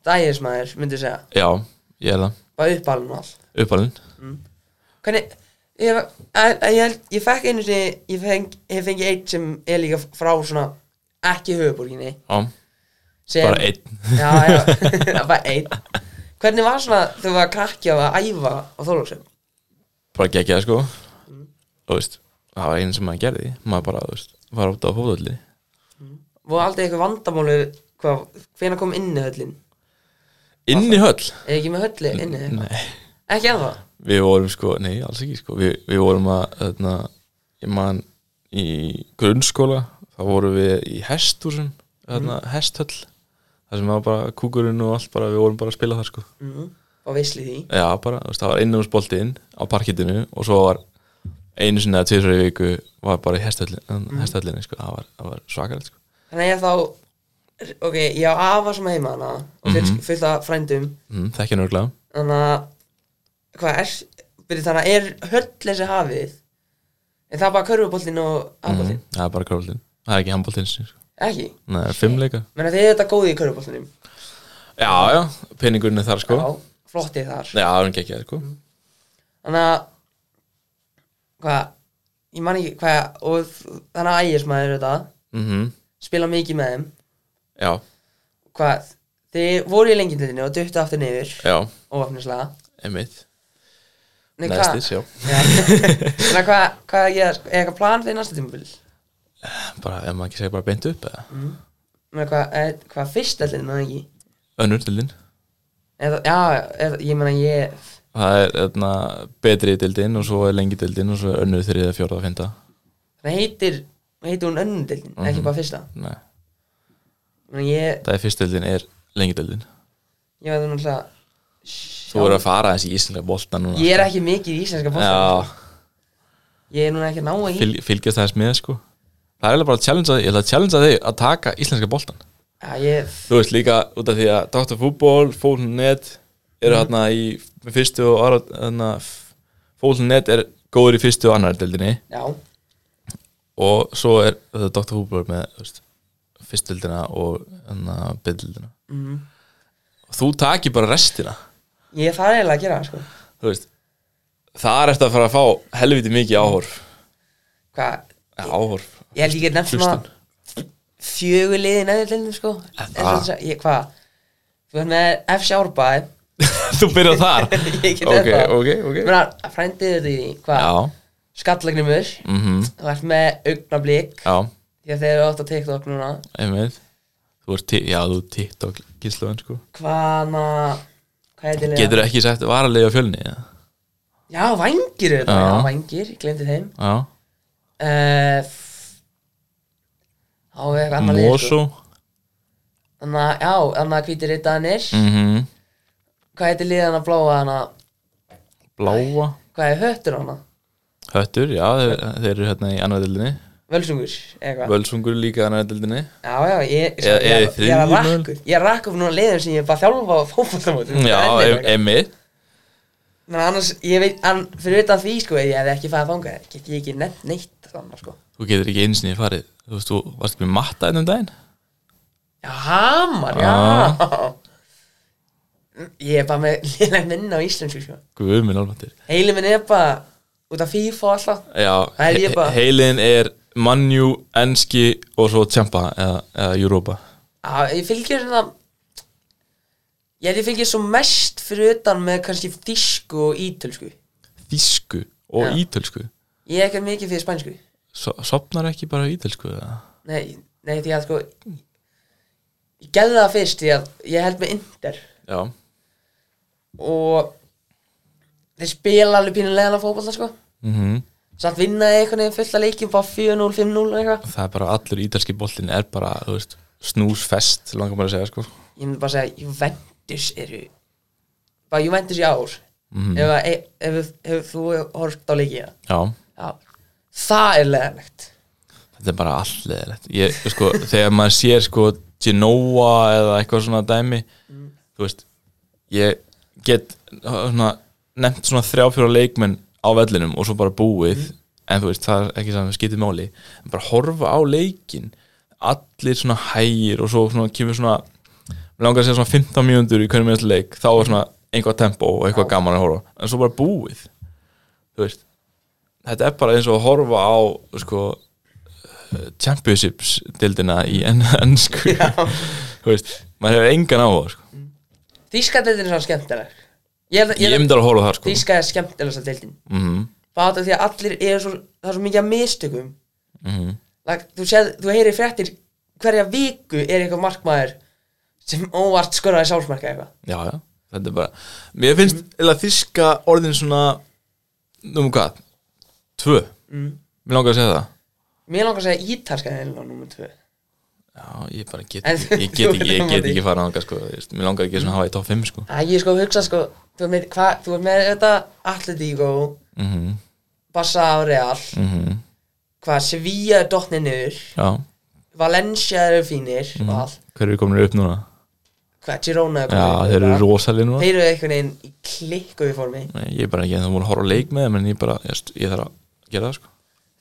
[SPEAKER 5] dægismæður myndi ég segja
[SPEAKER 6] Já, ég er það
[SPEAKER 5] Bara uppalinn og allt
[SPEAKER 6] Uppalinn
[SPEAKER 5] hvernig ég, að, að, ég, held- ég fekk einu sinni ég feng, ég fengi eitt sem er líka frá svona ekki höfuborginni
[SPEAKER 6] Já,
[SPEAKER 5] sem,
[SPEAKER 6] bara einn
[SPEAKER 5] já, já, [laughs] það er bara einn hvernig var svona þegar þú var krakki að æfa á þólagsum
[SPEAKER 6] bara geggjaði sko Þú veist, það var einu sem maður gerði maður bara, þú veist, var út á hóðalli
[SPEAKER 5] voru aldrei eitthvað vandamálu hvað, hvenær kom inn í höllin
[SPEAKER 6] inn í höll
[SPEAKER 5] eða ekki með hölli inn í
[SPEAKER 6] nei,
[SPEAKER 5] ekki ennþá
[SPEAKER 6] við vorum sko, nei, alls ekki sko við, við vorum að, þarna ég man í grunnskóla þá vorum við í hestúsin þarna, hesthöll þar sem var bara kúkurinn og allt bara, við vorum bara að spila það sko
[SPEAKER 5] mm, og veisli því
[SPEAKER 6] já, bara, þú veist, það var innumsboltinn á parkittinu og svo var einu sinni að tvisra í viku var bara í hesthöllin, hesthöllinni sko, það var, það var svakalegt sko
[SPEAKER 5] þannig að ég þá ok, ég á afa sem er heima hana og fyllt,
[SPEAKER 6] Mhm.
[SPEAKER 5] fyllt af frændum
[SPEAKER 6] mm, þekkja nörglega
[SPEAKER 5] þannig að hvað er, byrju þannig að er höll þessi hafið en það er bara körfuboltinn og handboltinn,
[SPEAKER 6] Mhm, Það er bara körfuboltinn Það er ekki handboltinn sko.
[SPEAKER 5] ekki
[SPEAKER 6] Nei, fimmleika
[SPEAKER 5] menn að þið er þetta góði í körfuboltinum
[SPEAKER 6] Já, já, peningurinn er þar sko
[SPEAKER 5] já, flottið þar
[SPEAKER 6] Já, hann gekk ég sko
[SPEAKER 5] þannig að hvað, ég man ekki hvað og þ- þannig að ægismæður þetta
[SPEAKER 6] mm
[SPEAKER 5] spila mikið með þeim
[SPEAKER 6] Já,
[SPEAKER 5] hvað, þið voru í lengindildinni og duttu aftur niður
[SPEAKER 6] já,
[SPEAKER 5] óvafnislega
[SPEAKER 6] einmitt
[SPEAKER 5] Nei, hvað?
[SPEAKER 6] Næstis, já [laughs]
[SPEAKER 5] Já. [laughs] Þannig að hvað, hvað að gera, er eitthvað plan fyrir næsta tímabil?
[SPEAKER 6] Bara, ef maður ekki segja bara beint upp eða
[SPEAKER 5] Nei, hvað, er- hvað fyrst allir, maður ekki?
[SPEAKER 6] Önnur dildin
[SPEAKER 5] Eða, já, eða, ég meina ég
[SPEAKER 6] hérna, Það er öðna, betri dildin og svo er lengi dildin og svo er önnur þriðið, fjórða, fynda
[SPEAKER 5] Hvað heitir, hvað heitir hún önnundeldin, mm
[SPEAKER 6] Mhm.
[SPEAKER 5] ekki bara fyrsta
[SPEAKER 6] Nei,
[SPEAKER 5] Þannig ég,
[SPEAKER 6] það er fyrstildin er lengildildin
[SPEAKER 5] ég veit hún alltaf
[SPEAKER 6] Þú verður að fara þessi íslenska bolta núna
[SPEAKER 5] Ég er ekki mikið í íslenska bóttan
[SPEAKER 6] Já,
[SPEAKER 5] Ég er núna ekki að ná að
[SPEAKER 6] fylg, fylgjast aðeins með sko Það er eiginlega bara að challengea þig, ég ætla að challengea þig að taka íslenska boltan
[SPEAKER 5] Já, ég,
[SPEAKER 6] Þú veist líka út af því að Dr. Fútból, Fólnet
[SPEAKER 5] Mhm.
[SPEAKER 6] eru mm. hérna í fyrstu og aðra hérna, Fólnet er góður í fyrstu og annar deildinni
[SPEAKER 5] já,
[SPEAKER 6] og svo er þetta Dr. Fútból með þú veist, fyrstu deildina og hérna, byldildina mm.
[SPEAKER 5] Mhm.
[SPEAKER 6] Þú takir bara restina
[SPEAKER 5] ég er það eiginlega að gera, sko
[SPEAKER 6] þú veist Það er eftir að fara að fá helviti mikið áhorf
[SPEAKER 5] Hvað,
[SPEAKER 6] ja, Áhorf,
[SPEAKER 5] ég held ég get nefnt svona
[SPEAKER 6] Hlustun.
[SPEAKER 5] fjögur liði neðurlindum, sko En svo þess að, ég, hvað Þú veit með FC Árbæ
[SPEAKER 6] [laughs]
[SPEAKER 5] [laughs]
[SPEAKER 6] þú byrjar þar
[SPEAKER 5] Ég get
[SPEAKER 6] Ok,
[SPEAKER 5] nefnt það
[SPEAKER 6] ok, ok
[SPEAKER 5] Ég meina, frændið þetta í, hvað,
[SPEAKER 6] Já,
[SPEAKER 5] skallagnumur
[SPEAKER 6] mhm,
[SPEAKER 5] Þú ert með augnablík
[SPEAKER 6] já
[SPEAKER 5] Því að þeir eru oft á TikTok núna
[SPEAKER 6] einmitt þú ert, ti- já þú ert TikTok gíslaðan sko
[SPEAKER 5] Hvaðna Hvað heitir liða?
[SPEAKER 6] getur ekki sagt varalegi á fjölni já,
[SPEAKER 5] Já, vængir þetta
[SPEAKER 6] Já.
[SPEAKER 5] Já, vængir, ég glemdi þeim
[SPEAKER 6] já.
[SPEAKER 5] uh, Á við eitthvað annað lið, sko.
[SPEAKER 6] Mosó
[SPEAKER 5] Þannig að, já, þannig að hvítir yttaðanir mm.
[SPEAKER 6] mhm,
[SPEAKER 5] Hvað heitir liðan að bláa hana
[SPEAKER 6] Bláa
[SPEAKER 5] Hvað er höttur hana?
[SPEAKER 6] Höttur, já þeir, þeir eru hérna í annar dildinni
[SPEAKER 5] Völsungur, eitthvað
[SPEAKER 6] Völsungur líka í annar dildinni
[SPEAKER 5] Já, já, ég, sko,
[SPEAKER 6] Eða-
[SPEAKER 5] ég, ég,
[SPEAKER 6] eða í
[SPEAKER 5] ég er að
[SPEAKER 6] þriðju mögulega?
[SPEAKER 5] rakka upp- Ég er að rakka upp núna liðum sem ég er bara að þjálfa á fótbolltamótum
[SPEAKER 6] já, ein- einmitt
[SPEAKER 5] Ná, annars, ég veit, an, fyrir utan því, sko, ef ég hefði ekki farið að þanga Get ég ekki nefnt neitt þannig, sko
[SPEAKER 6] þú getur ekki eins og ég farið þú veist, þú varst ekki með matta ennum daginn
[SPEAKER 5] Já, hamar, já [laughs] Ég er bara með [laughs] lélega minna á íslensku sko.
[SPEAKER 6] guð minn alvandir
[SPEAKER 5] Heili minn er bara út af FIFA og alltaf
[SPEAKER 6] já,
[SPEAKER 5] Það er ég
[SPEAKER 6] he-
[SPEAKER 5] bara.
[SPEAKER 6] heilin er Manju, Enski og svo Tjampa eða, eða Europa
[SPEAKER 5] Já, ég fylgir svona Ég held ég fylgir svo mest fyrir utan með kannski þýsku og ítölsku
[SPEAKER 6] Þísku og
[SPEAKER 5] Já.
[SPEAKER 6] ítölsku
[SPEAKER 5] Ég er ekki mikið fyrir spænsku
[SPEAKER 6] so, sopnar ekki bara á ítölsku eða?
[SPEAKER 5] Nei, nei því að sko Ég gerði það fyrst því að ég held með Inder
[SPEAKER 6] já,
[SPEAKER 5] og þeir spila alveg pínulegan á fótbolta sko
[SPEAKER 6] mhm
[SPEAKER 5] Samt vinnaði einhvern veginn fullt að leikjum bara 4-0, 5-0 eitthvað
[SPEAKER 6] það er bara allur ítalski boltinn er bara, þú veist, snúsfest langar maður að segja, sko
[SPEAKER 5] ég myndi bara segja Juventus eru bara Juventus í ár
[SPEAKER 6] Mhm.
[SPEAKER 5] ef, að- ef, ef, ef þú horft á leikið
[SPEAKER 6] já,
[SPEAKER 5] já. það er leðanlegt
[SPEAKER 6] þetta er bara allleðilegt ég, sko, þegar maður sér, sko Genoa eða eitthvað svona dæmi þú veist, ég get uh, svona, nefnt svona þrjá fjóra leikmenn á vellinum og svo bara búið en þú veist, það er ekki saman skiptið máli en bara horfa á leikin allir svona hægir og svo svona, kemur svona, mig langar að segja svona 15 mínútur í hvernig minnast leik, þá er svona einhvað tempo og eitthvað gaman að horfa en svo bara búið þú veist, þetta er bara eins og að horfa á sko eh, championships dildina í enn ennsku þú veist, maður hefur engan á það sko.
[SPEAKER 5] Þíska deildin er svona skemmtileg ég, held að-
[SPEAKER 6] ég
[SPEAKER 5] ég, ég
[SPEAKER 6] myndi alveg að horfa á það sko.
[SPEAKER 5] Þíska er skemmtilegast deildin
[SPEAKER 6] mm
[SPEAKER 5] bara út af því að allir eru svo, það er svo mikið að mistökum
[SPEAKER 6] Mhm.
[SPEAKER 5] like, þú, séð, þú heyrir fréttir hverja viku er eitthvað markmaður sem óvart skorraði sjálfsmarka eitthvað
[SPEAKER 6] já, já, þetta er bara mér finnst
[SPEAKER 5] Mm.
[SPEAKER 6] eða þíska orðin svona um hvað tvö,
[SPEAKER 5] Mm.
[SPEAKER 6] mér langar að segja það
[SPEAKER 5] mér langar að segja ítalska deildin á nummer 2
[SPEAKER 6] já, ég bara get,
[SPEAKER 5] En
[SPEAKER 6] ekki- ég get
[SPEAKER 5] þú
[SPEAKER 6] ekki ég
[SPEAKER 5] verður
[SPEAKER 6] get
[SPEAKER 5] á
[SPEAKER 6] ekki
[SPEAKER 5] móti.
[SPEAKER 6] fara ánga sko, þú veist, mér langar ekki svona að hafa í top 5 sko.
[SPEAKER 5] Æ, ég sko hugsa sko þú ert með, hva, þú ert með þetta Atletico
[SPEAKER 6] mm -hmm.
[SPEAKER 5] Barca og Real
[SPEAKER 6] Mhm.
[SPEAKER 5] hvað Sevilla er dottni niður
[SPEAKER 6] já,
[SPEAKER 5] Valencia eru fínir og allt
[SPEAKER 6] hver eru komin upp núna
[SPEAKER 5] hvað Girona er
[SPEAKER 6] Mhm. já,
[SPEAKER 5] komið upp
[SPEAKER 6] þeir eru
[SPEAKER 5] bara.
[SPEAKER 6] rosalir núna
[SPEAKER 5] þeir eru einhvern veginn í klikku í formi
[SPEAKER 6] Nei, ég er bara ekki en það múin að horfa á leik með þeim en ég bara, ég, ég þarf að gera það sko.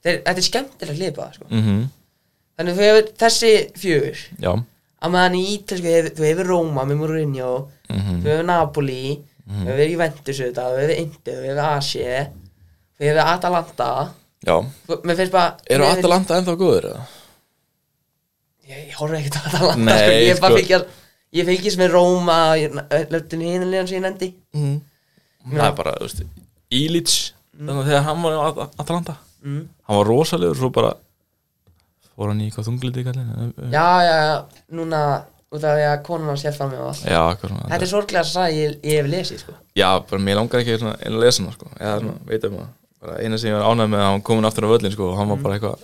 [SPEAKER 5] þeir, þetta er skemmtilega hlipa sko.
[SPEAKER 6] mm
[SPEAKER 5] þannig þú hefur þessi fjögur
[SPEAKER 6] já,
[SPEAKER 5] á meðan í Ítalsku sko, hefur, þú hefur Róma með Mourinho
[SPEAKER 6] Mhm.
[SPEAKER 5] þú hefur Napoli þú hefur Juventus auðvitað, þú hefur Inter þú hefur Asie þú hefur Atalanta
[SPEAKER 6] já
[SPEAKER 5] Þú- mér finnst bara
[SPEAKER 6] eru
[SPEAKER 5] mér finnst-
[SPEAKER 6] Atalanta ennþá góður? eða?
[SPEAKER 5] Ég, ég horfði ekkert á Atalanta
[SPEAKER 6] Nei,
[SPEAKER 5] sko, ég,
[SPEAKER 6] sko.
[SPEAKER 5] sko. fylgjast, ég fylgjast með Róma Löftin hinanlegan sem ég nefndi
[SPEAKER 6] Mm. það er bara, þú veist, Illich þannig að þegar hann var á At- Atalanta hann var rosalegur, svo bara fór hann í eitthvað þungliti kallin
[SPEAKER 5] Já, já, já, núna út af því að konan hans hjálpa mig og allt
[SPEAKER 6] já, eitthvað svona
[SPEAKER 5] Þetta er sorglega að sagði ég, ég hef lesið sko.
[SPEAKER 6] já, bara mér langar ekki svona, að lesa hann sko. eða svona, veit um það bara eina sem ég var ánægð með að hann komin aftur á völlin sko, og hann var bara eitthvað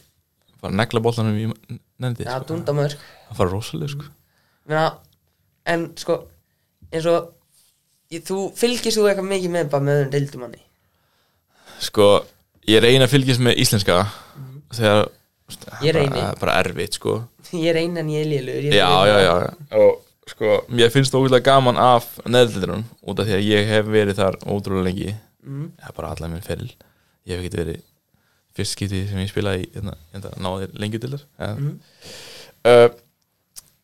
[SPEAKER 6] fara að negla boltanum í nendi
[SPEAKER 5] Já,
[SPEAKER 6] sko.
[SPEAKER 5] dundamörk
[SPEAKER 6] það fara rosalega sko.
[SPEAKER 5] Meina, En sko eins og ég, þú fylgist þú eitthvað mikið með bara með öðrum deildumanni
[SPEAKER 6] sko, ég reyna að fylgjast með íslenska þegar veist, það
[SPEAKER 5] Ég
[SPEAKER 6] er bara-
[SPEAKER 5] reyni.
[SPEAKER 6] það er bara erfitt sko.
[SPEAKER 5] Ég er einan ég er lélugur
[SPEAKER 6] já, já, já, já og sko, mér finnst ógæðlega gaman af neðlindunum út af því að ég hef verið þar ótrúlega lengi mm. það er bara allan minn feril ég hef ekki verið fyrst skipti sem ég spilaði í, hérna, hérna, náði lengi til þess ja. uh,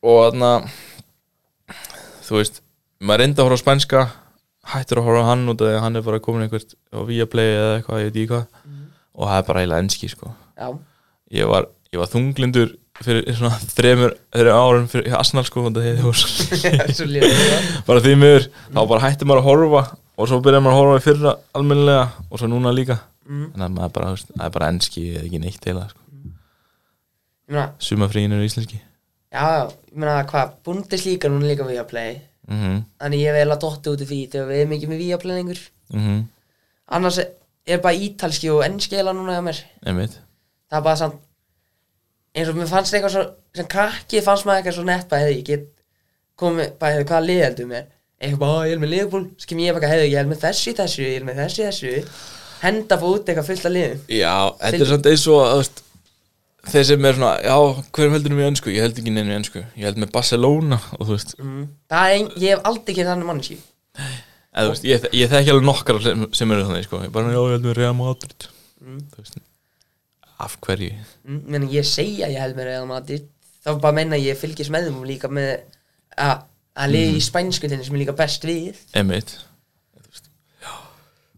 [SPEAKER 6] og þarna þú veist, maður reyndi að horfa á spænska hættur að horfa á hann út af því að hann er bara komin einhvert á Viaplay eða eitthvað, ég veit ekki hvað og það er bara eiginlega enski sko
[SPEAKER 5] Já,
[SPEAKER 6] ég var, ég var þunglindur fyrir svona þremur, þremur árum fyrir Arsenal sko og
[SPEAKER 5] [laughs]
[SPEAKER 6] það hefði
[SPEAKER 5] svo
[SPEAKER 6] [laughs]
[SPEAKER 5] sko. lélugur
[SPEAKER 6] bara því miður þá bara hætti maður að horfa og svo byrjaði maður að horfa í fyrra almennilega og svo núna líka en það er bara, þú veist, það er bara enski eða ekki neitt eila sko.
[SPEAKER 5] Ég meina,
[SPEAKER 6] sumafríin eru íslenski
[SPEAKER 5] já, já, ég meina hvað Bundeslíka núna líka við að play
[SPEAKER 6] mm -hmm.
[SPEAKER 5] Þannig ég hef eiginlega dottið út af því þegar við erum ekki með Viaplay lengur
[SPEAKER 6] Mm -hmm.
[SPEAKER 5] Annars er bara ítalski og ennski eiginlega núna hjá mér
[SPEAKER 6] einmitt
[SPEAKER 5] það er bara samt eins og mér fannst eitthvað svo sem krakki fannst maður eitthvað svo nett bara hefði ég get komið bara hefði hvaða lið heldur mér eitthvað bara "Ó, ég er með liðbúl skim ég bara hefði ég er með þessu í þessu ég er með þessu í þessu henda fór út eitthvað fullt af liðum
[SPEAKER 6] Já, þetta
[SPEAKER 5] Fylg-
[SPEAKER 6] er samt eins og að, þú veist, þeir sem er svona, já, hverjum heldur um í ennsku? Ég held ekki neinu í ennsku, ég held með Barcelona og þú veist,
[SPEAKER 5] það er ein, ég hef aldrei kynnt þannig manneski
[SPEAKER 6] eða, þú veist ég, ég þekki alveg nokkar sem, sem eru þannig, sko, ég bara, já, ég held með Real Madrid þú veist, af hverju
[SPEAKER 5] mm, menn ég segja ég held með Real Madrid þá bara meina ég fylgis með þeim og líka með að að liði í spænskutinni sem er líka best við
[SPEAKER 6] Emmitt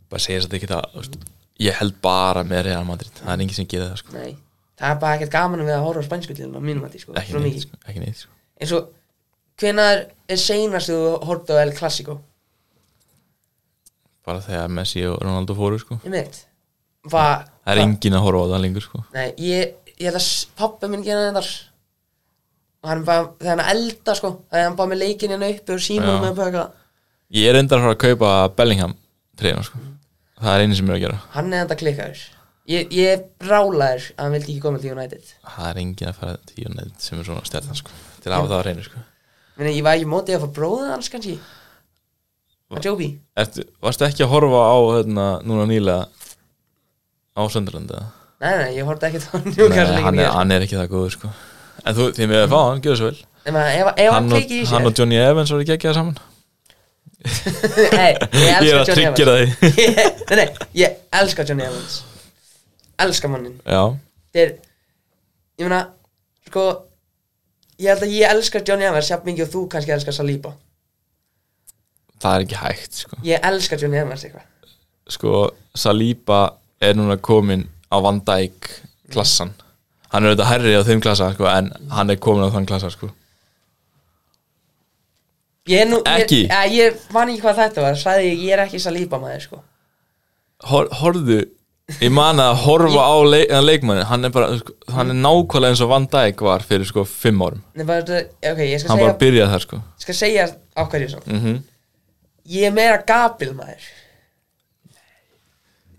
[SPEAKER 6] bara segja þetta ekki það, þú veist ég held bara með Real Madrid, það er engin sem gerir það, sko
[SPEAKER 5] nei það er bara ekkert gaman við að horfa á spænskutinni á mínum að því sko
[SPEAKER 6] ekki
[SPEAKER 5] svo
[SPEAKER 6] neitt,
[SPEAKER 5] mikið
[SPEAKER 6] sko, ekki neitt, sko
[SPEAKER 5] eins og hvenar er seinast þú horfði á El Clasico
[SPEAKER 6] bara þegar Messi og Ronaldo fóru, sko
[SPEAKER 5] ég veit Va,
[SPEAKER 6] það er engin að horfa á það lengur, sko
[SPEAKER 5] nei, ég, ég held að s- pabbi minn gera þetta og hann bara, þegar hann elda sko þegar hann bara með leikinn hérna uppi og síma
[SPEAKER 6] Já.
[SPEAKER 5] með bara eitthvað
[SPEAKER 6] ég er endar að fara að kaupa Bellingham treyna, sko
[SPEAKER 5] Mm.
[SPEAKER 6] það er einu sem ég er að gera
[SPEAKER 5] hann er enda klikkaður ég, ég er brálaður að hann vildi ekki koma til United
[SPEAKER 6] það er engin að fara til United sem er svona stjarnan sko til að hafa það að reyna sko
[SPEAKER 5] Meni, ég var ekki mótið að fá bróðið hans kannski að Joby
[SPEAKER 6] Ertu, Varstu ekki að horfa á hérna, núna nýlega á Sönderlandi
[SPEAKER 5] nei, nei, ég horfði ekki þá njúkast
[SPEAKER 6] hann,
[SPEAKER 5] leikin
[SPEAKER 6] er- hann er ekki það góður sko en þú, því með að fá hann, gjör svo vel
[SPEAKER 5] Ef, ef, ef hann
[SPEAKER 6] hann og,
[SPEAKER 5] klikki í sér
[SPEAKER 6] hann og Johnny Evans voru ekki að gera saman
[SPEAKER 5] Nei, ég
[SPEAKER 6] ég er
[SPEAKER 5] elska
[SPEAKER 6] að
[SPEAKER 5] Johnny
[SPEAKER 6] tryggja
[SPEAKER 5] Evans
[SPEAKER 6] það í-
[SPEAKER 5] [laughs] nei, nei, ég elska Johnny Evans Elska mannin
[SPEAKER 6] [laughs] já,
[SPEAKER 5] Þetta er, ég meina, sko Ég held að ég elska Johnny Evans jafn mikið og þú kannski elskar Saliba
[SPEAKER 6] það er ekki hægt sko,
[SPEAKER 5] Ég elska Johnny Evans eitthvað
[SPEAKER 6] sko Saliba er núna komin á Van Dijk klassan hann er auðvitað herri á þeim klassa sko, en hann er komin á þann klassa sko
[SPEAKER 5] Ég er nú,
[SPEAKER 6] Ekki?
[SPEAKER 5] Ég, ja, ég man ekki hvað þetta var Sæði ég, ég er ekki Saliba maður, sko
[SPEAKER 6] hor, horfðu ég man að horfa á leik, leikmanni hann er bara, sko, hann er nákvæmlega eins og Van Dijk var fyrir sko fimm árum
[SPEAKER 5] Nei, bara, þetta- ok, ég skal
[SPEAKER 6] hann bara Mhm.
[SPEAKER 5] segja,
[SPEAKER 6] byrjaði þar sko
[SPEAKER 5] skal segja á hverju svo Ég er meira gabil maður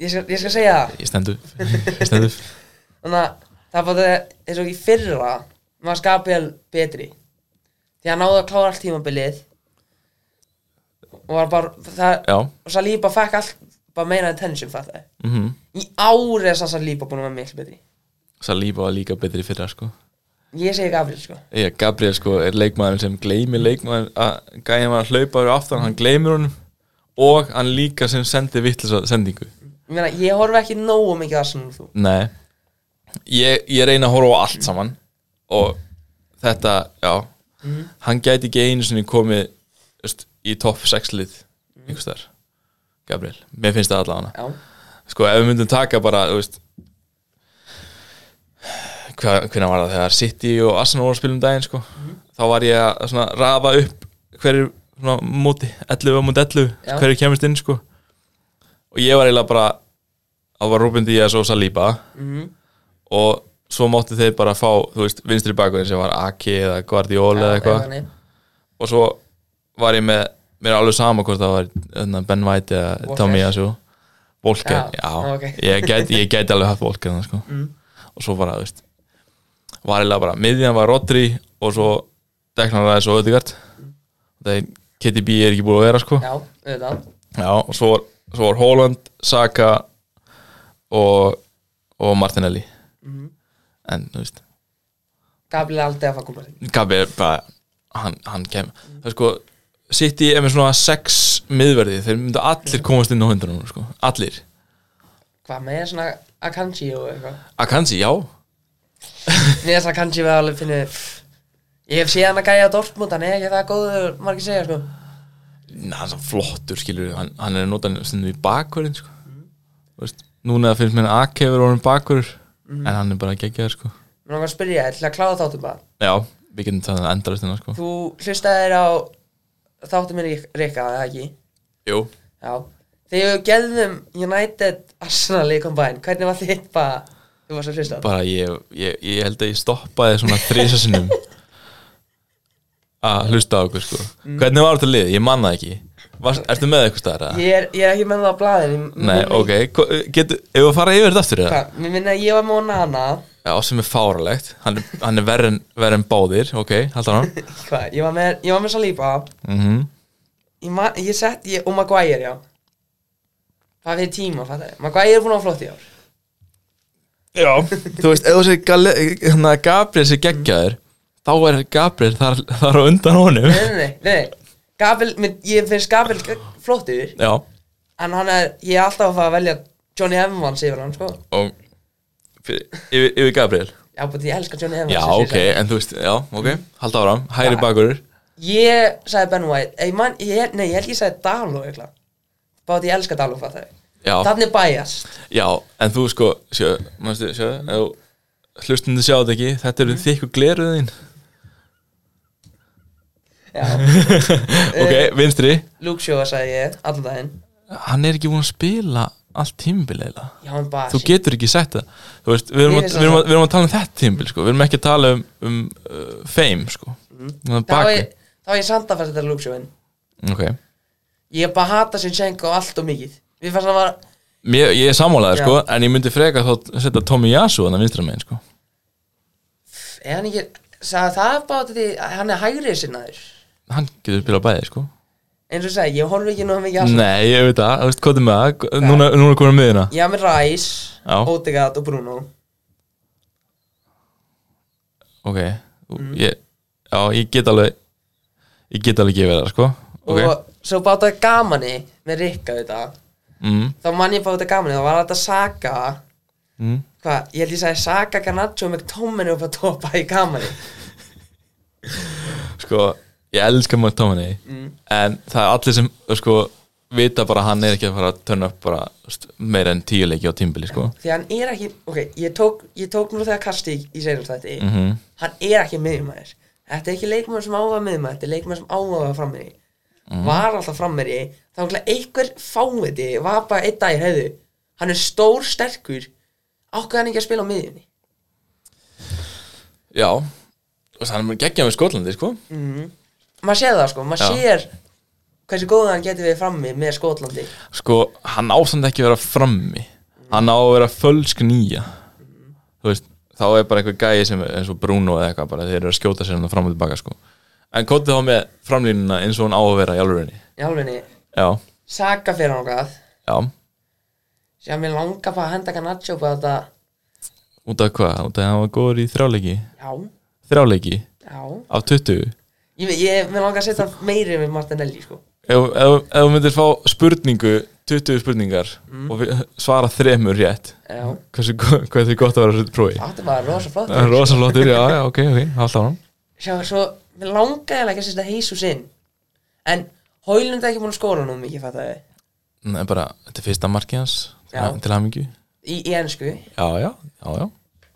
[SPEAKER 5] Ég skal, ég skal segja það
[SPEAKER 6] ég stendu, ég stendu
[SPEAKER 5] Þannig að það var það eins og í fyrra var Gabriel betri því hann náði að klára allt tímabilið og var bara það,
[SPEAKER 6] já,
[SPEAKER 5] og Saliba fekk allt bara meira attention fattaði
[SPEAKER 6] mhm
[SPEAKER 5] í árið þess að Saliba búin að vera miklu betri
[SPEAKER 6] Saliba var líka betri fyrir það sko
[SPEAKER 5] ég segi Gabriel sko
[SPEAKER 6] Já, Gabriel sko er leikmaður sem gleymir leikmaður að gæja maður að hlaupa fyrir aftan hann gleymir honum og hann líka sem sendi vittlisa sendingu
[SPEAKER 5] ég, meina, ég horf ekki nógu mikið að sem þú
[SPEAKER 6] Nei ég, ég reyna að horfa á allt saman og þetta, já hann gæti ekki einu sinni komið just, í topp 6 lið einhvers þar, Gabriel mér finnst það allavega hana
[SPEAKER 5] já,
[SPEAKER 6] sko ef við myndum taka bara, þú veist hva, hvernig var það þegar City og Arsenal voru að spila um daginn sko þá var ég að svona rafa upp hverju svona móti 11 á móti 11,
[SPEAKER 5] Já.
[SPEAKER 6] hverju kemist inn sko og ég var eiginlega bara það var Ruben Díaz og Saliba og svo móttu þeir bara fá þú veist, vinstri bakurinn sem var Aki eða Guardiola eða eitthvað
[SPEAKER 5] þannig.
[SPEAKER 6] og svo var ég með mér er alveg sama hvort það var hérna, Ben White eða
[SPEAKER 5] Walker.
[SPEAKER 6] Tommy Asu Volker,
[SPEAKER 5] Já,
[SPEAKER 6] já,
[SPEAKER 5] ok. Mm.
[SPEAKER 6] ég, gæti, ég gæti alveg haft Volker þannig, sko. og svo bara, þú veist var eiginlega bara, miðjan var Rodri og svo Deklan Ræðis og Ödegard þegar KTB er ekki búið að vera sko
[SPEAKER 5] Já, auðvitað
[SPEAKER 6] Já, og svo var, svo var Holland, Saka og, og Martinelli
[SPEAKER 5] Mhm.
[SPEAKER 6] en þú veist
[SPEAKER 5] Gabriel er aldrei að fara koma þig
[SPEAKER 6] Gabi er bara hann, hann kem það er sko City er með svona sex miðverði þeir myndu allir komast inn á hundunum sko. allir
[SPEAKER 5] Hvað með svona Akanji og eitthvað
[SPEAKER 6] Akanji, já
[SPEAKER 5] Mér er þess að Akanji við alveg finni Ég hef séð hann að gæja Dortmund Hann er ekki það góður, margir segja sko
[SPEAKER 6] Na, hann er svo flottur skilur hann, hann er notan stundum í bakverðin sko. Þú veist, núna finnst mér að Ake hefur orðin bakverður en hann er bara geggjaður sko.
[SPEAKER 5] Mér langar að spyrja, ég ætla að kláða þáttum bara
[SPEAKER 6] já, við getum það endalist hérna sko.
[SPEAKER 5] Þú hlustaðir á þáttum minn Rikka, eða ekki?
[SPEAKER 6] jú,
[SPEAKER 5] Já Þegar við gerðum United Arsenal í kombæn Hvernig var þitt bara Þú varst að hlusta
[SPEAKER 6] bara ég, ég, ég held að ég stoppaði svona þrísasinum að hlusta á okkur sko. hvernig var þetta lið, ég manna ekki Var, ertu með eitthvað staðar? eða?
[SPEAKER 5] Ég er, ég er ekki með það á blaðin
[SPEAKER 6] Nei, ok, hva- getur, ef við að fara yfir þetta aftur eða?
[SPEAKER 5] Hvað, mér minna að ég var með Onana
[SPEAKER 6] Já, sem er fáralegt, hann, er- hann er verri en, verri en báðir, ok, haldur hann
[SPEAKER 5] Hvað, ég var með, ég var með Saliba
[SPEAKER 6] mm -hmm.
[SPEAKER 5] Ég, ma, ég sett, ég, og Maguire, já Hvað fyrir tíma, fattar ég Maguire er búin að flott í ár
[SPEAKER 6] [laughs] Já Þú veist, ef þú segir Gale- hérna, Gabriel sér geggjaður þá er Gabriel þar, þar á undan [laughs] honum
[SPEAKER 5] Nei, nei, nei, nei Gabriel, minn, ég finnst Gabriel gegn- flottur
[SPEAKER 6] Já,
[SPEAKER 5] En hann er, ég er alltaf að fara að velja Johnny Evans yfir hann, sko
[SPEAKER 6] og fyrir, yfir, yfir Gabriel
[SPEAKER 5] Já, búin, ég elska Johnny Evans
[SPEAKER 6] Já,
[SPEAKER 5] eins og ég
[SPEAKER 6] ok, en þú veist, já, ok, haldur áram, hægri
[SPEAKER 5] Ja.
[SPEAKER 6] bakurur
[SPEAKER 5] sagði. Ég sagði Ben White Ei, man, ég, Nei, ég held ég sagði Dalo, eitthvað Bátt ég elska Dalo, fattar ég
[SPEAKER 6] Já,
[SPEAKER 5] Þannig bæjast
[SPEAKER 6] já, en þú sko, sjö, manstu, sjö, ef hlustundu sjá þetta ekki, þetta eru þykku gleruðin
[SPEAKER 5] Já,
[SPEAKER 6] Ok, vinstri
[SPEAKER 5] Luke Shaw sagði ég, allan daginn
[SPEAKER 6] hann er ekki búin að spila allt tímbil eiginlega
[SPEAKER 5] Já, hann bara
[SPEAKER 6] þú getur ekki sagt það Þú veist, við, erum
[SPEAKER 5] Mér
[SPEAKER 6] að,
[SPEAKER 5] finnst
[SPEAKER 6] við, erum
[SPEAKER 5] það.
[SPEAKER 6] að, við erum að tala um þetta tímbil sko. við erum ekki að tala um, um uh, fame sko. mm.
[SPEAKER 5] Þá
[SPEAKER 6] baki
[SPEAKER 5] er, þá er Mhm. ég samt að fæsta þetta lúksjóin
[SPEAKER 6] ok
[SPEAKER 5] Ég er bara að hata Sinchenko allt og mikið Við fannst hann var
[SPEAKER 6] Mér, ég er sammálaður
[SPEAKER 5] Já.
[SPEAKER 6] sko, en ég myndi freka þá setja Tommy Yasu þannig vinstra megin sko.
[SPEAKER 5] Er hann ekki Sagði það bara til því að Hann er hægrið sinnaður
[SPEAKER 6] hann getur spilað bæði sko.
[SPEAKER 5] Eins og ég sagði, ég horf ekki nú mikið allt
[SPEAKER 6] nei, ég veit það, þú veist, hvað er með það núna, núna komum við hérna
[SPEAKER 5] Ég haf með Ræs,
[SPEAKER 6] Já.
[SPEAKER 5] Odegaard og Bruno
[SPEAKER 6] ok, ég, já, ég get alveg ég get alveg gefið það sko. ok,
[SPEAKER 5] Og svo bátt að gamani Með Rikka þetta
[SPEAKER 6] mm.
[SPEAKER 5] Þá mann ég bátt að gamani, þá var þetta Saga
[SPEAKER 6] Mm.
[SPEAKER 5] Hvað, ég held ég sagði Saga Garnaccio með tóminu upp að topa í gamani
[SPEAKER 6] sko, ég elska McTominay en það er allir sem sko, vita bara að hann er ekki að fara að törna upp bara þú veist, meira en tíu leiki á tímbili sko.
[SPEAKER 5] Því hann er ekki, ok, ég tók, ég tók nú þegar kasti í, í seinast þetta
[SPEAKER 6] Mhm.
[SPEAKER 5] Hann er ekki miðjumæður Þetta er ekki leikmæður sem áhuga miðjumæður Þetta er leikmæður sem áhuga frammeri
[SPEAKER 6] Mhm.
[SPEAKER 5] Var alltaf frammeri Þá var einhver fáviti Var bara einn dagir, hefðu Hann er stór sterkur Ákveð hann ekki að spila á miðjunni
[SPEAKER 6] já og hann er geggjað með Skotlandi sko.
[SPEAKER 5] Maður sér það sko, maður
[SPEAKER 6] Já.
[SPEAKER 5] sér Hversu góð hann getur við frammi með Skotlandi
[SPEAKER 6] sko, hann ástand ekki að vera frammi hann á að vera fölsk nýja þú veist, þá er bara einhver gæi sem er eins og Bruno eða eitthvað bara þeir eru að skjóta sér hann fram og tilbaka sko. en kóti þá með framlínuna eins og hann á að vera í alvörinni
[SPEAKER 5] Í alvegni,
[SPEAKER 6] já,
[SPEAKER 5] Saka fyrir hann hvað
[SPEAKER 6] já,
[SPEAKER 5] Sér að mér langar bara að henda Garnaccio bara þetta
[SPEAKER 6] út af hvað út af að hann var góður í þráleiki
[SPEAKER 5] Já,
[SPEAKER 6] þráleiki
[SPEAKER 5] já
[SPEAKER 6] af 20
[SPEAKER 5] Ég, ég mér langar að setja hann meiri með Martinelli sko
[SPEAKER 6] ef ef- ef þú myndir fá spurningu 20 spurningar og við- svara þremur rétt
[SPEAKER 5] Mm. Já
[SPEAKER 6] hversu, go- hvað þetta er gott að vera þessu prófi
[SPEAKER 5] Þetta var rosa flott
[SPEAKER 6] Það er rosa flottur, já, já, ok, ok, halda á hann
[SPEAKER 5] Sjá, svo, mér langaði eiginlega ekki að setja Heisus inn En Hólund er ekki búin að skóra nú mikið, fattu þau
[SPEAKER 6] Nei, bara, þetta er fyrsta markið hans
[SPEAKER 5] Já.
[SPEAKER 6] til hamingju
[SPEAKER 5] Í, í ennsku
[SPEAKER 6] já, já, já, já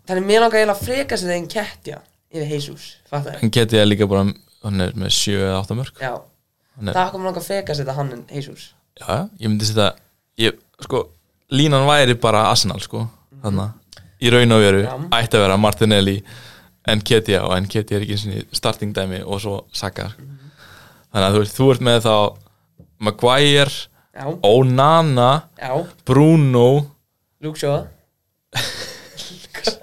[SPEAKER 5] Þannig mér langaði eiginlega að freka setja einn kettja Yfir Heisus, fattu þau
[SPEAKER 6] hann geti það líka bara, hann er með 7 eða 8 mörg
[SPEAKER 5] Já,
[SPEAKER 6] Hann er-
[SPEAKER 5] það kom langaði að freka setja hann en Heisus
[SPEAKER 6] já, já, ég myndi setja ég, sko, línan væri bara Arsenal, sko, þannig í raun og veru,
[SPEAKER 5] Já.
[SPEAKER 6] ætti að vera Martinelli Nketia og Nketia er ekki sinni starting dæmi og svo Saka þannig að þú veist, þú ert með þá Maguire,
[SPEAKER 5] Já,
[SPEAKER 6] Onana
[SPEAKER 5] já,
[SPEAKER 6] Bruno
[SPEAKER 5] Luke Shaw
[SPEAKER 6] við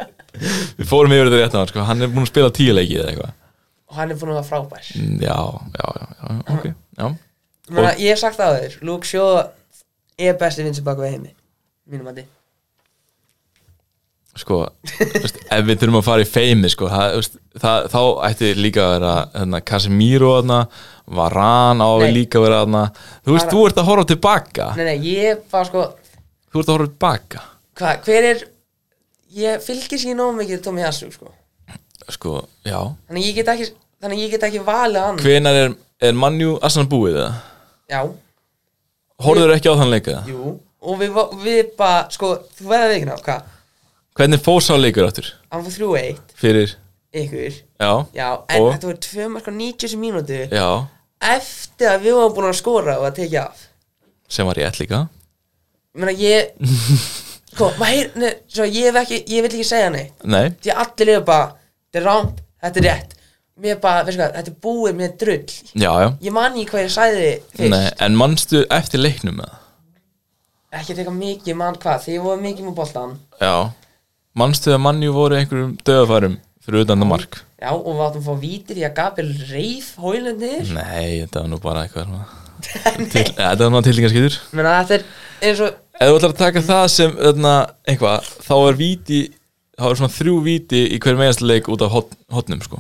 [SPEAKER 6] við fórum yfir þetta rétt á hann sko. hann er búin að spila tíu leiki eða eitthvað
[SPEAKER 5] og hann er búin að vera frábær
[SPEAKER 6] Mm, já, já, já, já, ok já.
[SPEAKER 5] Menna, ég hef sagt það á þér, Luke Shaw er besti vinsir baka við heimi mínum að
[SPEAKER 6] sko, þú veist, ef við þurfum að fara í feimi sko, það, þú veist, það, þá ætti líka að vera hérna, Casemiro þarna, Varan á að
[SPEAKER 5] Nei.
[SPEAKER 6] líka að vera þarna þú veist,
[SPEAKER 5] Bara-
[SPEAKER 6] þú ert að horfa tilbaka
[SPEAKER 5] nei, nei, ég bara sko
[SPEAKER 6] þú ert að horfa tilbaka
[SPEAKER 5] hva, hver er ég fylgir sér nóg mikið Tommy Hassu sko.
[SPEAKER 6] sko, já,
[SPEAKER 5] þannig að ég get ekki þannig að ég get ekki valið hann
[SPEAKER 6] hvenar er, er mannjú assan búið eða?
[SPEAKER 5] já,
[SPEAKER 6] Horður ekki á þann leika?
[SPEAKER 5] jú og við, vo- við bara, sko, þú veðað við ekki ná hvað,
[SPEAKER 6] Hvernig fór sá leikur áttur?
[SPEAKER 5] hann fór 3-1
[SPEAKER 6] Fyrir,
[SPEAKER 5] ykkur,
[SPEAKER 6] já,
[SPEAKER 5] já en
[SPEAKER 6] Og?
[SPEAKER 5] þetta voru 2 marka 90 mínútu
[SPEAKER 6] já
[SPEAKER 5] eftir að við varum búin að skora og að tekja af
[SPEAKER 6] sem var rétt líka
[SPEAKER 5] Menna, ég sko, maður, ne, svo, ég, hef ekki, ég vil ekki segja neitt
[SPEAKER 6] Nei,
[SPEAKER 5] því að allir eru bara þetta er rámt, þetta er rétt mér bara, veistu hvað, þetta er búið með drull
[SPEAKER 6] já, já
[SPEAKER 5] ég man ekki hvað ég sæði fyrst
[SPEAKER 6] Nei, en mannstu eftir leiknum með
[SPEAKER 5] ekki teka mikið, ég man hvað, því ég voru mikið með boltan
[SPEAKER 6] Já Manstu að mannjú voru einhverjum döðafærum fyrir utan það mark?
[SPEAKER 5] já, og við áttum að fá víti því að Gabriel reif hóilundir
[SPEAKER 6] Nei, þetta var nú bara eitthvað svona. [laughs] Til, ja, Þetta var nú tilningarskýtur
[SPEAKER 5] menna þetta er eins og
[SPEAKER 6] Ef þú ætlar að taka það sem þarna, eitthvað, þá er víti þá er svona þrjú víti í hver meðast leik út af hot, hotnum sko.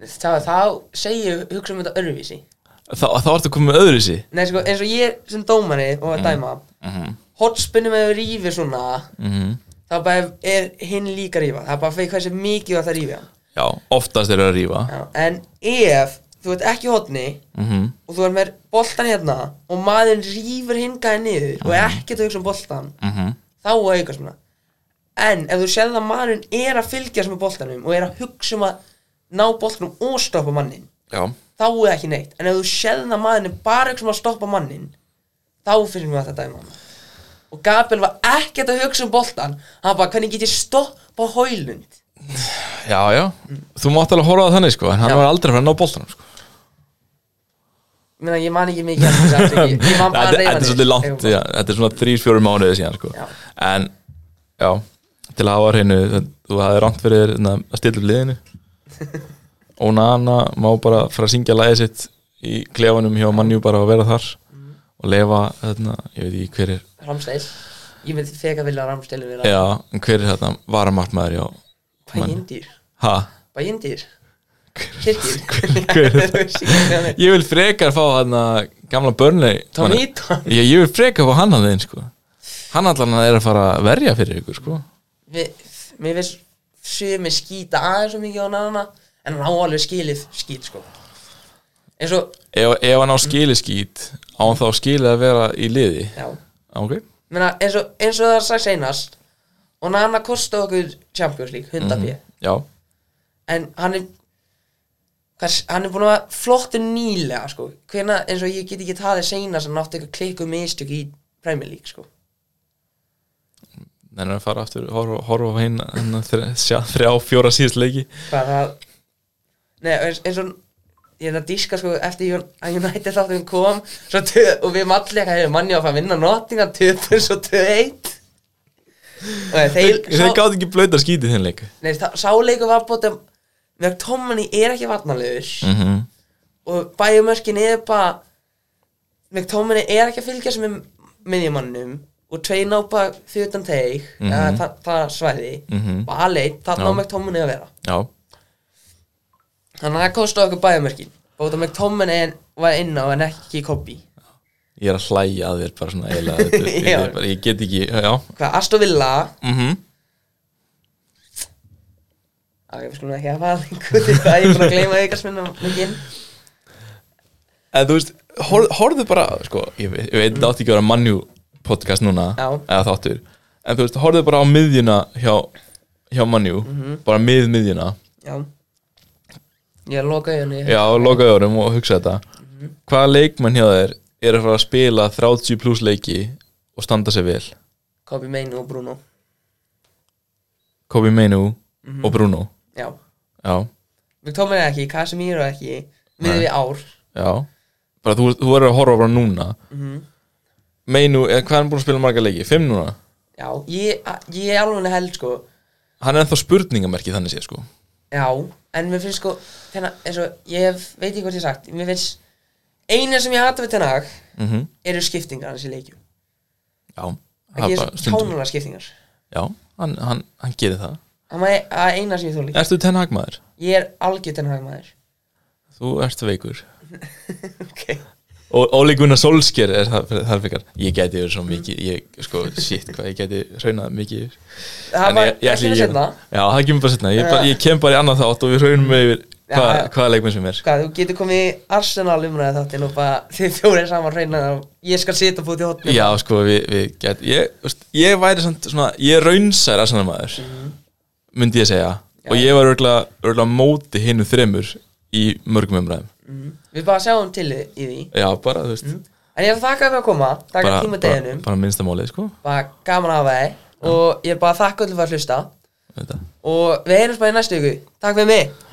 [SPEAKER 5] þá, þá segir ég hugsa um þetta öðruvísi
[SPEAKER 6] Þá, þá ertu komið með öðru sér
[SPEAKER 5] Nei, sko, eins og ég sem dómari og að dæma mm -hmm. hotspinnum eða rífir svona þá bara er- er hinn líka að rífa það er bara fyrir hversu mikið var það að rífa hann
[SPEAKER 6] Já, oftast er það að rífa
[SPEAKER 5] Já, en ef þú ert ekki í hotni
[SPEAKER 6] Mhm.
[SPEAKER 5] og þú ert með boltan hérna og maðurinn rýfur hingaði niður og er ekkert að hugsa um boltan
[SPEAKER 6] Mhm.
[SPEAKER 5] þá á auka svona um en ef þú sér að maðurinn er að fylgjast með boltanum og er að hugsa um að ná boltanum og stoppa mannin
[SPEAKER 6] Já,
[SPEAKER 5] þá er ekki neitt, en ef þú sér að maðurinn er bara að hugsa um að stoppa mannin þá finnst mér að þetta dæma hann og Gabriel var ekkert að hugsa um boltan hann bara, hvernig get ég stoppa hólund
[SPEAKER 6] já, já. Þú mátt alveg horfa á það þannig sko, en hann
[SPEAKER 5] Já.
[SPEAKER 6] var aldrei að fara að ná boltanum sko.
[SPEAKER 5] Meina, ég man ekki mikið eftir þessu
[SPEAKER 6] [laughs]
[SPEAKER 5] atviki. Ég man bara
[SPEAKER 6] þetta,
[SPEAKER 5] að reyfa
[SPEAKER 6] þetta er svolítið langt já, þetta er svona 3-4 mánuði síðan sko.
[SPEAKER 5] Já.
[SPEAKER 6] en já, til að hafa á hreinu það- þú hafði rámt fyrir þér, na, að stilla upp
[SPEAKER 5] [laughs]
[SPEAKER 6] liðinu Onana má bara fara að syngja lagið sitt í klefanum hjá mannjú bara að vera þar
[SPEAKER 5] Mhm.
[SPEAKER 6] og lefa, þarna, ég veit ekki hver er
[SPEAKER 5] Ramsteil Ég myndi feka vilja að Ramsteil vera
[SPEAKER 6] já, en hver er þarna varamartmaður hjá
[SPEAKER 5] Bara indýr
[SPEAKER 6] ha,
[SPEAKER 5] Bara indýr Kirkir
[SPEAKER 6] [laughs]
[SPEAKER 5] [laughs]
[SPEAKER 6] hver er það ég vil frekar fá þarna gamla börnlei
[SPEAKER 5] Tom Eaton
[SPEAKER 6] ég, ég vil frekar fá hann að þeim sko hann allan er að fara að verja fyrir ykkur sko
[SPEAKER 5] Vi- Mér finnst Sumi skýta aðeins svo mikið á nana En hann á alveg skilið skýt sko Eins og
[SPEAKER 6] ef, ef hann á skili skýt á hann þá skilið að vera í liði
[SPEAKER 5] Já
[SPEAKER 6] ok,
[SPEAKER 5] Meina, eins, og, eins og það er sagt seinast Og nana kosti okkur Champions League 100 mm
[SPEAKER 6] já,
[SPEAKER 5] en hann er hvers, hann er búin að vera flottur nýlega sko. Hvena, eins og ég get ekki talið seinast hann átti eitthvað klikku mistök í Premier League sko.
[SPEAKER 6] þannig að fara aftur horfa, horfa á hinn hérna, þre- sjá þrjá fjóra síðast leiki
[SPEAKER 5] hvað það Nei, eins, eins og ég er að díska sko, eftir Jón- að United þáttum kom svo tö, og við malli eitthvað hefur manni á að fara að vinna Nottingham töpur svo 2-1 og þeir,
[SPEAKER 6] þeir gáði ekki blöyta skítið þinn leik
[SPEAKER 5] Nei, þá- sá leikur var bóttum með Tomani er ekki varnalegur
[SPEAKER 6] Mhm.
[SPEAKER 5] og bæjumörkin er bara með Tomani er ekki að fylgja sem er miðjumannum og tvei ná bara fyrir utan teig mm það, það svæði
[SPEAKER 6] Mhm.
[SPEAKER 5] bara alveg, það ná
[SPEAKER 6] Já.
[SPEAKER 5] með Tomani að vera
[SPEAKER 6] já,
[SPEAKER 5] þannig að það kosti okkur bæjumörkin bóttum með Tomani var inn á en ekki Kobi
[SPEAKER 6] ég er að hlæja að þér bara svona
[SPEAKER 5] [laughs]
[SPEAKER 6] eiginlega þetta,
[SPEAKER 5] Já.
[SPEAKER 6] ég, ég, bara, ég get ekki, já
[SPEAKER 5] hvað, Aston Villa
[SPEAKER 6] mm
[SPEAKER 5] að við skulum ekki að fara lengur til það, ég er búin að gleyma aukarsminnum leikinn
[SPEAKER 6] en þú veist, hor, horfðu bara sko, ég, veit- ég veit þetta átti ekki að vera mannjú podcast núna,
[SPEAKER 5] Já.
[SPEAKER 6] eða þáttur en þú veist, horfðu bara á miðjuna hjá, hjá mannjú,
[SPEAKER 5] Mhm.
[SPEAKER 6] bara mið miðjuna
[SPEAKER 5] já ég er að loka augunni
[SPEAKER 6] Já, lokaði árum og hugsa þetta Hvaða leikmenn hjá þér er að fara að spila 30 pluss leiki og standa sér vel?
[SPEAKER 5] Kobi Meinu og Bruno
[SPEAKER 6] Kobi Meinu og Bruno
[SPEAKER 5] já
[SPEAKER 6] Já,
[SPEAKER 5] Við tómum það ekki, Casemiro ekki miðið við ár
[SPEAKER 6] já bara, þú, þú verður að horfa bara núna Meinu, eh, hvað er hann búin að spila marga leiki? Fimm núna?
[SPEAKER 5] Já, ég, ég alveg held sko
[SPEAKER 6] hann er ennþá spurningamerki þannig sé sko
[SPEAKER 5] Já, en mér finnst sko tenna, eins og, ég hef, veit ekki hvað ég hef sagt mér finnst, eina sem ég hata við tenna
[SPEAKER 6] mm
[SPEAKER 5] eru skiptingar hans í leikjum
[SPEAKER 6] já, það
[SPEAKER 5] ekki
[SPEAKER 6] er
[SPEAKER 5] er
[SPEAKER 6] bara
[SPEAKER 5] svo
[SPEAKER 6] stundum
[SPEAKER 5] kjánulega skiptingar
[SPEAKER 6] já, hann, hann, hann gerir það
[SPEAKER 5] það er það er eina sem ég þóli
[SPEAKER 6] ertu tenn hagmaður?
[SPEAKER 5] ég er algjör tenna maður [laughs]
[SPEAKER 6] þú ert veikur
[SPEAKER 5] ok
[SPEAKER 6] og Óli Gunnar Solskjær er það, það er fyrir ég gæti verið svo mikið ég, sko, shit, hvað ég gæti raunað mikið yfir.
[SPEAKER 5] það
[SPEAKER 6] En
[SPEAKER 5] var,
[SPEAKER 6] ég, ég,
[SPEAKER 5] það
[SPEAKER 6] ætli
[SPEAKER 5] kemur
[SPEAKER 6] ég,
[SPEAKER 5] setna
[SPEAKER 6] já, það kemur bara setna ég,
[SPEAKER 5] Já.
[SPEAKER 6] bara, ég kem bara í annað þátt og við raunum yfir hvað,
[SPEAKER 5] Já, já.
[SPEAKER 6] hvaða leikmenn sem er
[SPEAKER 5] hvað, þú getur komið í Arsenal umræða þáttinn og bara þið fjórir saman reyna og ég skal sita búið í hotnum
[SPEAKER 6] já, sko, við, við gæti ég, þú veist, ég væri samt svona, ég raunsæri að maður
[SPEAKER 5] Mhm.
[SPEAKER 6] myndi ég segja og ég var örgulega, örgulega móti hinnu þremur í mörgum umræðum
[SPEAKER 5] við bara sjáum til í í því
[SPEAKER 6] já, bara, þú veist
[SPEAKER 5] en ég ætla að þakka fyrir að koma, þakka
[SPEAKER 6] bara,
[SPEAKER 5] tíma
[SPEAKER 6] bara,
[SPEAKER 5] deginum
[SPEAKER 6] bara minnstamálið, sko
[SPEAKER 5] bara gaman að hafa þig og ég er bara að þakka öllum fyrir að hlusta
[SPEAKER 6] þetta
[SPEAKER 5] og við heyrums bara í næstu ykkur takk fyrir mig